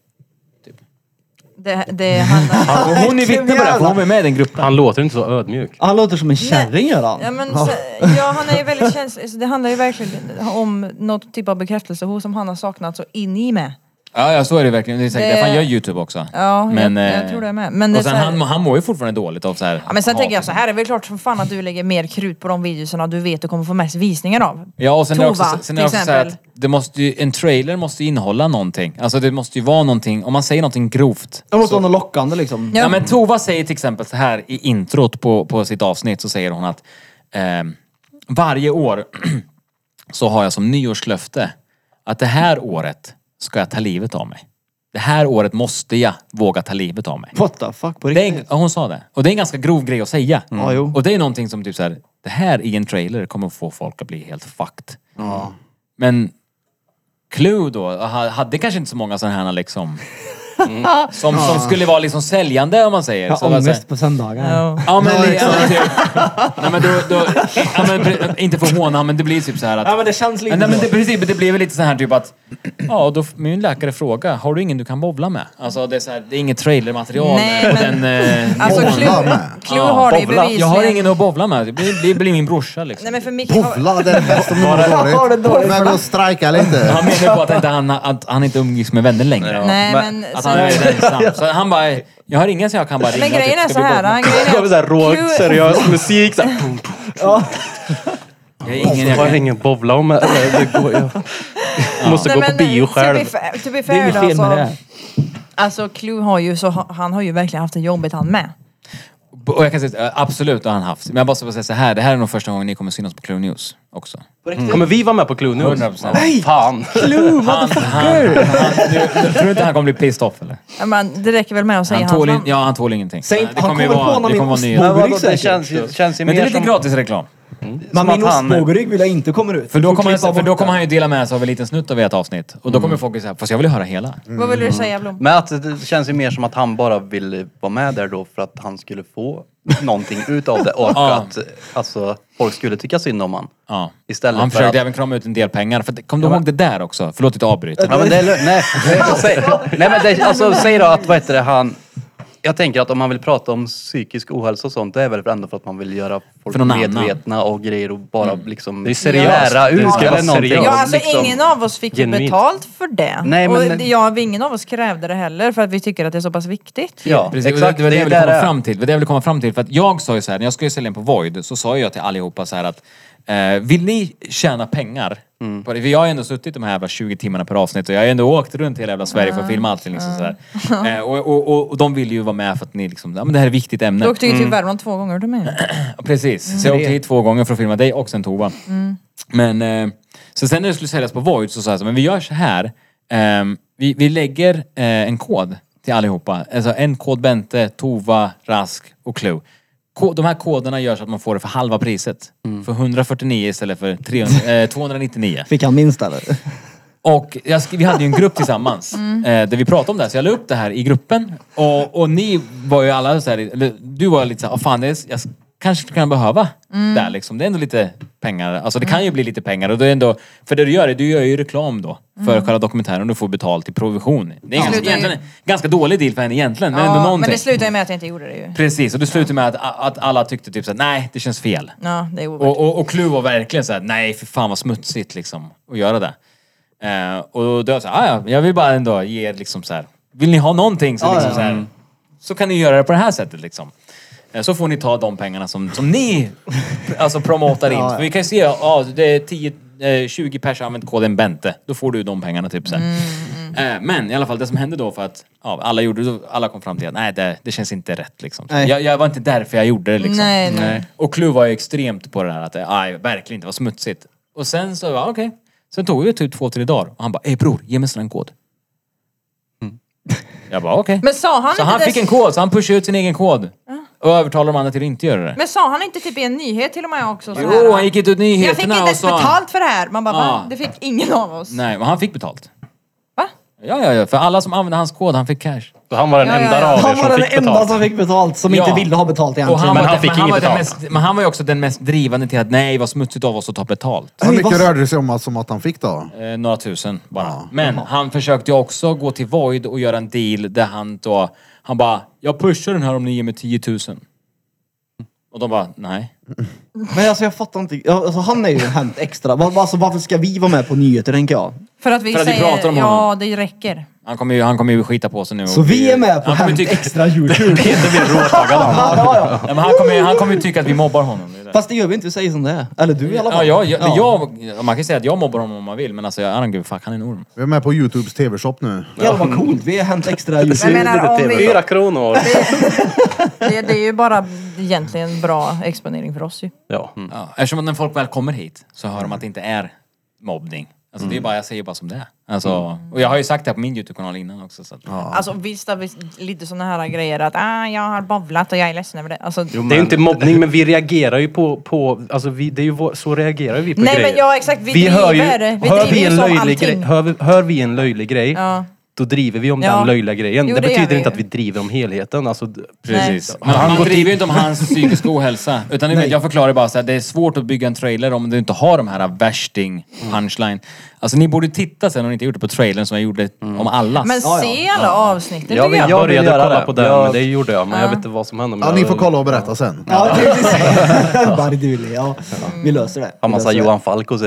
Det, det handlar...
Och hon är vittne på det här, för hon är med i den gruppen.
Han låter inte så ödmjuk.
Han låter som en kärring gör
Ja,
han.
men, så, ja, han är ju väldigt känslig. Så Det handlar ju verkligen om något typ av bekräftelse hos som han har saknat så in i med.
Ja, ja, så är det verkligen. Det är säkert
Det-
därför han gör youtube också.
Ja,
Men,
jag, jag
eh,
tror det med. Men, det är
Och
så
sen,
här,
han, han mår ju fortfarande dåligt av så här.
ja, men sen tänker jag så här, det är väl klart som fan att du lägger mer krut på de videorna du vet du kommer få mest visningar av.
Ja, och sen är det
Tova,
också, sen är
till
det också så här att
exempel.
det måste ju, en trailer måste ju innehålla någonting. Alltså det måste ju vara någonting, om man säger någonting grovt.
Det måste vara något lockande liksom.
Ja. men Tova säger till exempel så här i introt på, på sitt avsnitt så säger hon att ehm, varje år så har jag som nyårslöfte att det här året ska jag ta livet av mig. Det här året måste jag våga ta livet av mig.
What the fuck på
Det är, en-
riktigt?
ja, hon sa det. Och det är en ganska grov grej att säga.
Ja, jo.
Och det är någonting som typ så här, det här i en trailer kommer få folk att bli helt fucked. Men Clue då, ha- hade kanske inte så många sådana här liksom...
Mm.
Som, som skulle vara liksom säljande om man Alltså, säger.
Jag
Så
har
var det så här-
ångest på söndagar.
Ja.
Ja men, li- ja, men, typ. Nej, men, då, då, ja, men pre- inte för att håna, men det blir typ så här att...
Ja, men det känns lite
Men, nej, men
så.
det, precis, men det blir väl lite så här typ att... Ja, då f- min läkare frågar, har du ingen du kan bowla med? Alltså det är, så här, det är inget trailermaterial.
Nej,
och
men-
den, eh,
Alltså
Bowla
Clue,
med.
Clue har det ju
bowla.
bevisligen.
Jag har ingen att bowla med. Det blir, det blir min brorsa liksom.
Nej men för Micke har...
Povla, det är bäst om du mår dåligt. Men gå och strejka lite.
Han menar på att, inte han, att han inte umgicks med vänner längre.
Nej men...
Att
så-
han är ensam. Så han bara, jag har ingen så jag kan bara ringa
Men
och
grejen
typ,
är
ska
så
vi bowla?
här. Grejen är
Så här rå,
Clue-
seriös musik. Så här, pum,
Jag har ingen jag
jag har
kan...
ingen bowla om. eller Det går, jag måste
Nej,
gå
men,
på
eh,
bio
to be
själv.
fa- To be
Det är
fair
inget
då,
fel med
alltså,
det.
alltså Clue har ju, så, han har ju verkligen haft det jobbigt han med.
Och jag kan säga, eh, absolut det har han haft. Men jag bara ska säga så här, det här är nog första gången ni kommer synas på Clue News också.
Kommer vi vara med på Clue nu?
100%.
Nej! Fan!
Clue,
Han, han, han, du, tror du inte han kommer bli pissed off eller?
Ja, Men det räcker väl med att säga
Han
hans
tål, in,
namn.
ja, han tål ingenting.
Säg inte-
det
han
kommer ju
kommer på
vara,
honom
det
i
kommer vara
Oslo.
nyheter.
Men vadå, det
säkert.
känns ju, känns ju
Men det är
mer
lite
som...
gratis reklam.
Men
Som
min
att han-
ostbågerygg vill jag inte kommer ut.
För då,
Får
kommer han,
klippa
för
bort
då
det.
kommer han ju dela med sig av en liten snutt av ert avsnitt. Och då
Mm.
kommer folk säga, fast jag vill ju höra hela.
Vad vill du säga Blom?
Mm.
Men att det känns ju mer som att han bara ville vara med där då för att han skulle få någonting utav det och för att alltså, folk skulle tycka synd om han.
Ja.
Istället
han
för
försökte
att-
även krama ut en del pengar. För, det- kom du ihåg det där också? Förlåt att jag avbryter.
Ja, men det är lugnt. Nej, nej, säg, nej men det, alltså, säg då att vad heter det, han... Jag tänker att om man vill prata om psykisk ohälsa och sånt, det är väl ändå för att man vill göra folk
För någon annan. Mm.
medvetna och grejer och bara liksom
Det är seriöst.
lära ut
Det ska vara
eller någonting.
seriöst.
Ja, alltså
liksom.
ingen av oss fick ju
genuint.
betalt för det.
Nej, men-
och jag, ingen av oss krävde det heller för att vi tycker att det är så pass viktigt.
Ja,
Precis, och
exakt.
det var det, jag ville
där
komma
är.
fram till. Det var det jag ville komma fram till. För att jag sa ju så här, när jag skulle sälja in på Void så sa jag till allihopa så här att eh, vill ni tjäna pengar?
Mm.
På det? För jag har ju ändå suttit de här jävla 20 timmarna per avsnitt och jag har ju ändå åkt runt hela jävla Sverige för att filma allting. Liksom så här. Eh, och, och, och, och de vill ju vara med för att ni liksom, ja men det här är ett viktigt ämne.
Du åkte ju till Värmland två gånger du med.
Ja, Precis, så jag åkte hit två gånger för att filma dig och sen Tova. Men eh, så sen när det skulle säljas på Void så sa jag så här, men vi gör så här. ehm, vi, vi lägger eh, en kod till allihopa. Alltså en kod Bente, Tova, Rask och Clue. Ko- De här koderna gör så att man får det för halva priset. För 149 istället för 300, eh, 299.
Fick han minst eller?
Och jag, sk- vi hade ju en grupp tillsammans
Mm.
eh, där vi pratade om det här. Så jag la upp det här i gruppen. Och, och ni var ju alla så här, eller du var lite så här, "Ah, fan det är, s- jag s- kanske kan behöva
Mm.
det här liksom. Det är ändå lite pengar. Alltså det kan ju bli lite pengar. Och det är ändå, för det du gör, är, du gör ju reklam då för
Mm.
själva dokumentären. Du får betalt i provision. Det är ganska,
Slutar ju-
egentligen, ganska dålig deal för henne egentligen. Men ändå
Ja, men
någonting.
det slutade ju med att jag inte gjorde det ju.
Precis, och det slutade med att, att alla tyckte typ såhär, nej det känns fel.
Ja, det är ovärt.
Och, och, och Clue var verkligen såhär, nej för fan vad smutsigt liksom att göra det. Eh, och då sa jag, "Ah, ja, jag vill bara ändå ge er liksom såhär, vill ni ha någonting så, liksom, så, här, så kan ni göra det på det här sättet liksom. Eh, Så får ni ta de pengarna som, som ni alltså, promotar in. För vi kan ju se, ja det är 10, eh, 20 pers har använt koden Bente. Då får du de pengarna typ så här.
Mm,
Eh, Men i alla fall det som hände då för att ja, alla, gjorde, alla kom fram till att nej det, det känns inte rätt liksom.
Nej.
Jag, jag var inte därför jag gjorde det liksom.
Nej, nej. Nej.
Och Clue var ju extremt på det här att det aj, verkligen inte var smutsigt. Och sen så, ja, okej. Sen tog det typ två, tre dagar och han bara, ey bror, ge mig snälla en kod. Jag bara okej.
Mm. Men sa han
Så
inte
han
det-
fick en kod, så han pushade ut sin egen kod. Och övertalade de andra till att inte göra det.
Men sa han inte typ i en nyhet till och med också? Så här,
Jo, han gick inte ut
jag fick inte
nyheterna och
ens
sa...
betalt för det här. Man bara, va?
Ja.
Det fick ingen av oss.
Nej, men han fick betalt.
Va?
Ja, ja, ja. För alla som använde hans kod, han fick cash.
Så han var den
Ja, ja, ja.
enda av er
Han var
som
den
fick
enda
betalt.
som fick betalt, som
Ja.
inte ville ha betalt
Och
egentligen.
han
Men
var
han
den-
fick
men han
inget
var den
betalt.
mest- Men han var ju också den mest drivande till att nej, vad smutsigt av oss att ta betalt.
Hur
Oj,
mycket
vad-
rörde det sig om att, som att han fick då?
Eh, några tusen bara. Men han försökte ju också gå till Void och göra en deal där han då... Han bara, jag pushar den här om ni ger mig 10 000. Och de bara, nej.
Men alltså jag fattar inte. Ja, Alltså, han är ju hänt extra. Var- Alltså, varför ska vi vara med på nyheter tänker jag?
För att vi
För att vi
säger,
pratar om
ja
honom.
det räcker.
Han kommer ju, han kommer ju skita på sig nu. och
Så vi
bli-
är med på
han kommer
hänt
tycka,
extra Youtube.
Peter blir råtaggad han.
ja, ja, ja.
nej, men han kommer ju han kommer ju tycka att vi mobbar honom. Det är det.
Fast det gör vi inte, vi säger som det är. Eller du i alla
Ja,
fall.
jag, jag, jag, man kan ju säga att jag mobbar honom om man vill, men alltså jag, I don't give a fuck, han är en orm.
Vi är med på Youtubes tv-shop nu.
Jävlar vad coolt, vi är hänt extra
Jag
Youtube.
menar, om vi,
Fyra kronor.
det, det är ju bara egentligen bra exponering för oss ju.
Ja.
Mm. Ja, eftersom att när folk väl kommer hit så hör de att det inte är mobbning. Alltså det är bara, jag säger bara som det är. Alltså, och jag har ju sagt det här på min YouTube-kanal innan också. Så att,
Alltså visst, har vi lite sådana här grejer att ah, jag har bovlat och jag är ledsen över det. Alltså,
Det är ju inte mobbning men vi reagerar ju på, på alltså vi, det är ju vår, så reagerar vi på
Nej
grejer.
men ja exakt, vi,
vi
driver.
hör ju,
vi
hör,
driver
vi
ju
en
som
löjlig
allting.
grej, hör, vi- hör vi en löjlig grej,
Ja.
då driver vi om
Ja.
den löjliga grejen.
Jo,
det,
det gör
betyder
vi
inte
ju.
att vi driver om helheten. Alltså, d-
Precis.
Har han
Man, man
gått
driver ju inte om hans psykiska ohälsa. Utan det- jag förklarar bara så här, det är svårt att bygga en trailer om du inte har de här värsting punchline. Alltså ni borde titta sen om ni inte gjort det på trailern som jag gjorde om allas.
Men
Ja, ja.
se alla avsnitten
jag,
tycker
jag,
jag.
jag vill
började
göra
kolla
det.
på den,
Jag-
men det gjorde jag. Men jag vet inte vad som hände. men
Ja, ni
jag-
får kolla och berätta sen.
Ja, det är precis. Bara du vill, ja. Vi löser det.
Har massa
Vi löser det.
Johan Falk och så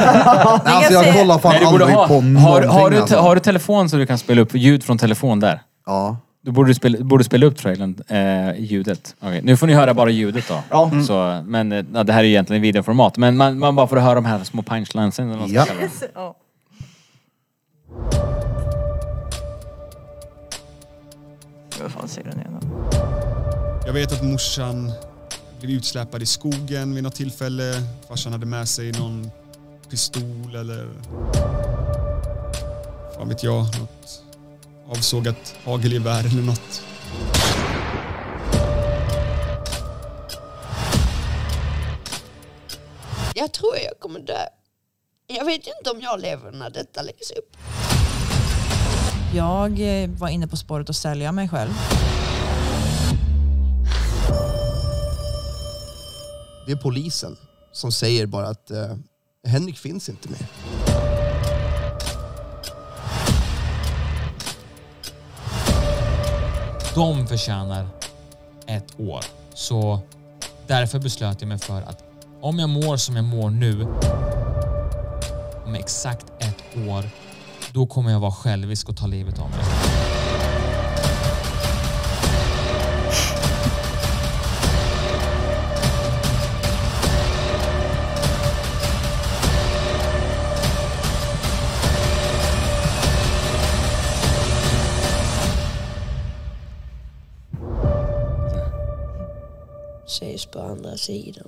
Nej, alltså,
Jag
jag
ser-
kollar fan
Nej, du borde
aldrig
ha,
på
har,
någonting.
har, du,
alltså.
te- har du telefon så du kan spela upp ljud från telefon där?
Ja.
Du borde spela, borde spela upp trailern, eh, ljudet. Okej, Nu får ni höra bara ljudet då.
Ja.
Så, men eh, ja, det här är ju egentligen videoformat. Men man, man bara får höra de här små punchlinesen. eller vad man ska
Ja.
kalla det.
Ja. Vad fan säger den igen då?
Jag vet att morsan blev utsläpad i skogen vid något tillfälle. Farsan hade med sig någon pistol eller... Fan vet jag. Något avsågat hagelgevär eller något.
Jag tror jag kommer dö. Jag vet inte om jag lever när detta läggs upp.
Jag eh, var inne på spåret att sälja mig själv.
Det är polisen som säger bara att eh, Henrik finns inte mer.
De förtjänar ett år. Så därför beslöt jag mig för att om jag mår som jag mår nu, om exakt ett år, då kommer jag vara självisk och ta livet av mig.
Ses på andra sidan.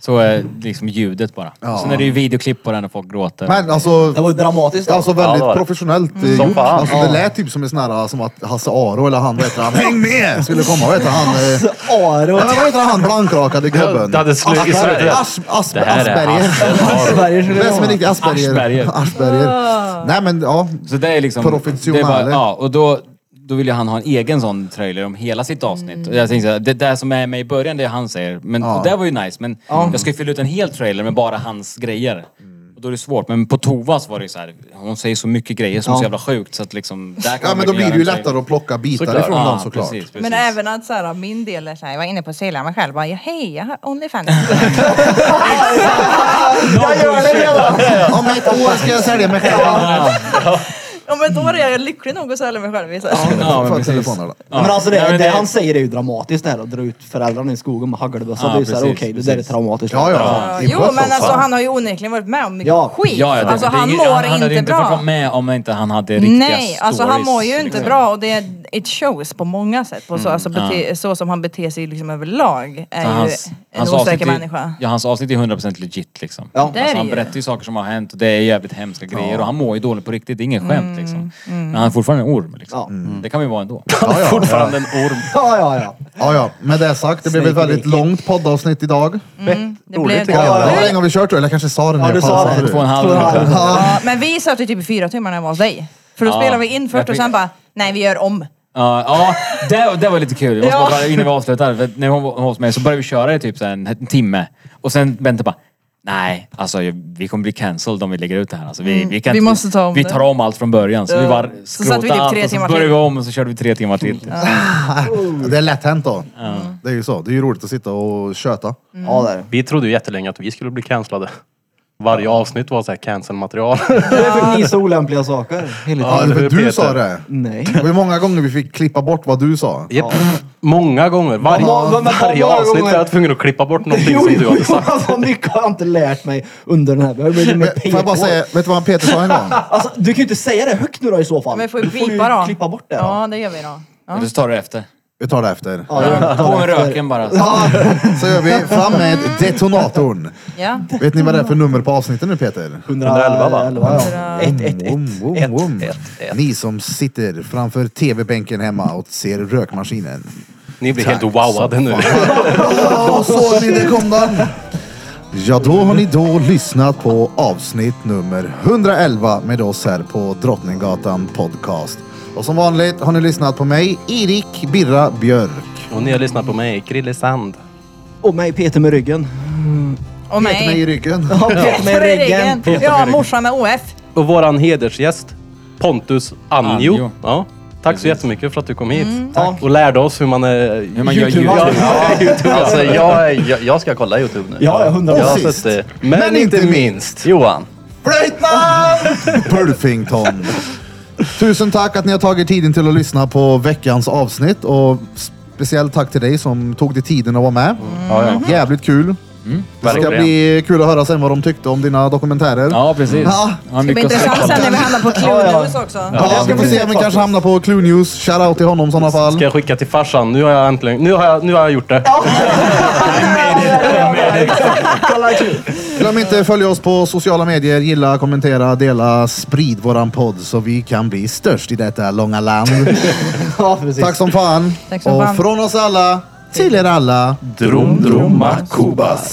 Så eh, liksom ljudet bara.
Ja.
Sen är det ju videoklipp på den när folk gråter.
Men alltså,
Det var ju dramatiskt. då.
alltså väldigt
Ja, det var det.
professionellt eh,
Som
gjort.
fan.
Alltså, det lät typ som en sån här, som att Hasse Aro eller han, vad heter han, Häng med! Skulle komma, vad heter han? Eh,
Så Aro.
Ja, men vad heter han blankrakade gubben?
Det hade slut i slutet.
As, as,
här är
Asperger.
Sverige skulle
Det är som är
vara.
riktigt Asperger.
Asperger.
Ah.
Asperger. Nej men ja.
Så det är liksom...
Professionale.
det är bara- Ja, och då, då vill ju han ha en egen sån trailer om hela sitt avsnitt.
Mm.
Och jag tänkte så här, det där som är med i början, det han säger. Men, och det var ju nice, men jag ska ju fylla ut en hel trailer med bara hans grejer.
Mm.
Och då är det svårt. Men på Tovas var det ju så här, hon säger så mycket grejer som är så jävla sjukt så att liksom... Där kan
Ja
man
men då
verkligen
blir det ju
göra en trailer.
lättare att plocka bitar ifrån dem såklart.
Precis, precis.
Men även att så här, min del är så här, jag var inne på att sälja mig själv. Bara, ja, hej, jag har Onlyfans.
Jag gör det redan!
Om ett år ska jag sälja mig själv.
Om ett år är jag lycklig nog att sälja mig själv. Så här.
Ja, men
För
precis.
telefonen då.
Men alltså det,
Nej, men
det,
det-
han säger är ju dramatiskt det här att dra ut föräldrarna i skogen med hagelbössa.
Ja,
det är ju såhär, okej
precis,
det där är
precis.
traumatiskt.
Ja ja.
Jo
Impuls
men
också.
alltså han har ju onekligen varit med om mycket
Ja.
skit.
Ja, ja, det-
alltså
det är
han
inget-
mår
han hade
inte
inte fått
bra.
vara med om inte han hade riktiga
Nej, alltså han
stories, Mm.
mår ju inte
liksom.
bra och det, it shows på många sätt. På så, alltså bete, så som han beter sig liksom överlag är
Så
ju
hans-
en
hans
osäker
avsnitt är-
människa.
Ja, hans avsnitt är 100% legit liksom.
Ja.
Det är
Alltså,
det
han
ju.
berättar ju saker som har hänt och det är jävligt hemska grejer och han mår ju dåligt på riktigt, det är inget
Mm,
skämt liksom. Men han är fortfarande en orm liksom.
Ja.
Det kan vi vara ändå.
Ja, ja.
Fortfarande en orm.
Ja, ja, ja.
Ja, ja. Med det sagt, det blev ett
Snake
väldigt
Lake.
långt poddavsnitt idag.
Det blev det.
Ja,
ja.
ja. Hur länge har vi kört då? Eller jag kanske sa den
Ja,
här
du sa
pausen.
det.
Två och en halv.
Ja, men vi satt ju typ i fyra timmar när jag var hos dig. För då
Ja.
spelade vi in först och
fick-
sen bara, nej vi gör om.
Ja, ja det, det var lite kul. Jag måste
Ja.
bara, bara, innan vi avslutar. För att när hon var hos mig så började vi köra i typ så här en, en timme. Och sen Bente bara, nej alltså jag- vi kommer bli cancelled om vi lägger ut det här. Alltså, vi, vi, kan
Mm. vi
inte-
måste ta om
Vi
det."
tar om allt från början. Så vi
Ja.
bara
Så satt vi typ
skrotade allt
tre
och så
timmar
började
till. Mm.
vi om och så körde vi tre timmar till.
Det är lätt hänt då. Det är ju så. Det är ju roligt att sitta och köta.
Ja, där.
Vi trodde ju jättelänge att vi skulle bli cancellade. Varje avsnitt var så här cancel-material.
Det är för ni så olämpliga saker. Hela
Ja,
tiden.
för
Peter.
du sa det.
Nej.
Det var ju många gånger vi fick klippa bort vad du sa.
Japp. Många gånger. Varje,
Ja, men- men-
varje
många
avsnitt
gånger.
är jag tvungen att klippa bort någonting
Jo,
som du
jo,
hade
jo,
sagt.
alltså, mycket har jag inte lärt mig under den här. Jag har blivit mer
Får jag bara
PK.
säga, vet du vad Peter sa en gång?
Alltså, du kan ju inte säga det högt nu då i så fall.
Men får vi
Då får du
pipa då?
klippa bort det då.
Ja, det gör vi då. Ja.
Eller så tar du det efter.
Vi tar det efter.
Ja, vi tar det På med efter. röken
bara.
Ja, så gör vi. Fram med detonatorn.
Ja.
Vet ni vad det är för nummer på avsnittet nu Peter?
111, va? 111, ja.
Om, om, om, om. Ni som sitter framför tv-bänken hemma och ser rökmaskinen.
Ni blir helt
Tack
wowade
som
nu.
Då såg ni, där kom den! Ja, då har ni då lyssnat på avsnitt nummer 111 med oss här på Drottninggatan Podcast. Och som vanligt har ni lyssnat på mig, Erik Birra Björk.
Och ni har lyssnat på mig, Krille Sand.
Och mig Peter med ryggen.
Och
Peta mig i
mig.
ryggen.
Ja, Peter med ryggen.
Ja, morsan med OF.
Och våran hedersgäst, Pontus Anjo.
Anjo.
Ja. Tack så jättemycket för att du kom hit.
Ja.
Och lärde oss hur man, hur
man gör
YouTube. Ja, YouTube.
Alltså jag, jag, jag ska kolla Youtube nu.
Ja, ja, hundra
Jag har
procent.
sett, eh,
Men,
Men
inte
inte
minst.
Johan.
Pulfington. Tusen tack att ni har tagit tiden till att lyssna på veckans avsnitt och speciellt tack till dig som tog dig tiden att vara med.
Ja, Mm. ja.
Jävligt kul. Det ska
Verkligen.
bli kul att höra sen vad de tyckte om dina dokumentärer.
Ja, precis.
Ja.
Ja,
Det blir
mycket att
intressant
snacka
sen
om.
när vi hamnar på Clue News också.
Ja, det ska vi se om vi kanske hamnar på Clue News. Shoutout till honom i sådana fall.
Ska jag skicka till farsan? Nu har jag äntligen, nu har jag, nu har jag gjort det.
Glöm inte att följa oss på sociala medier. Gilla, kommentera, dela, sprid våran podd så vi kan bli störst i detta långa land.
Ja, precis.
tack som fan.
Tack som
och
fan.
från oss alla till er alla.
Drum, drum, Kubas.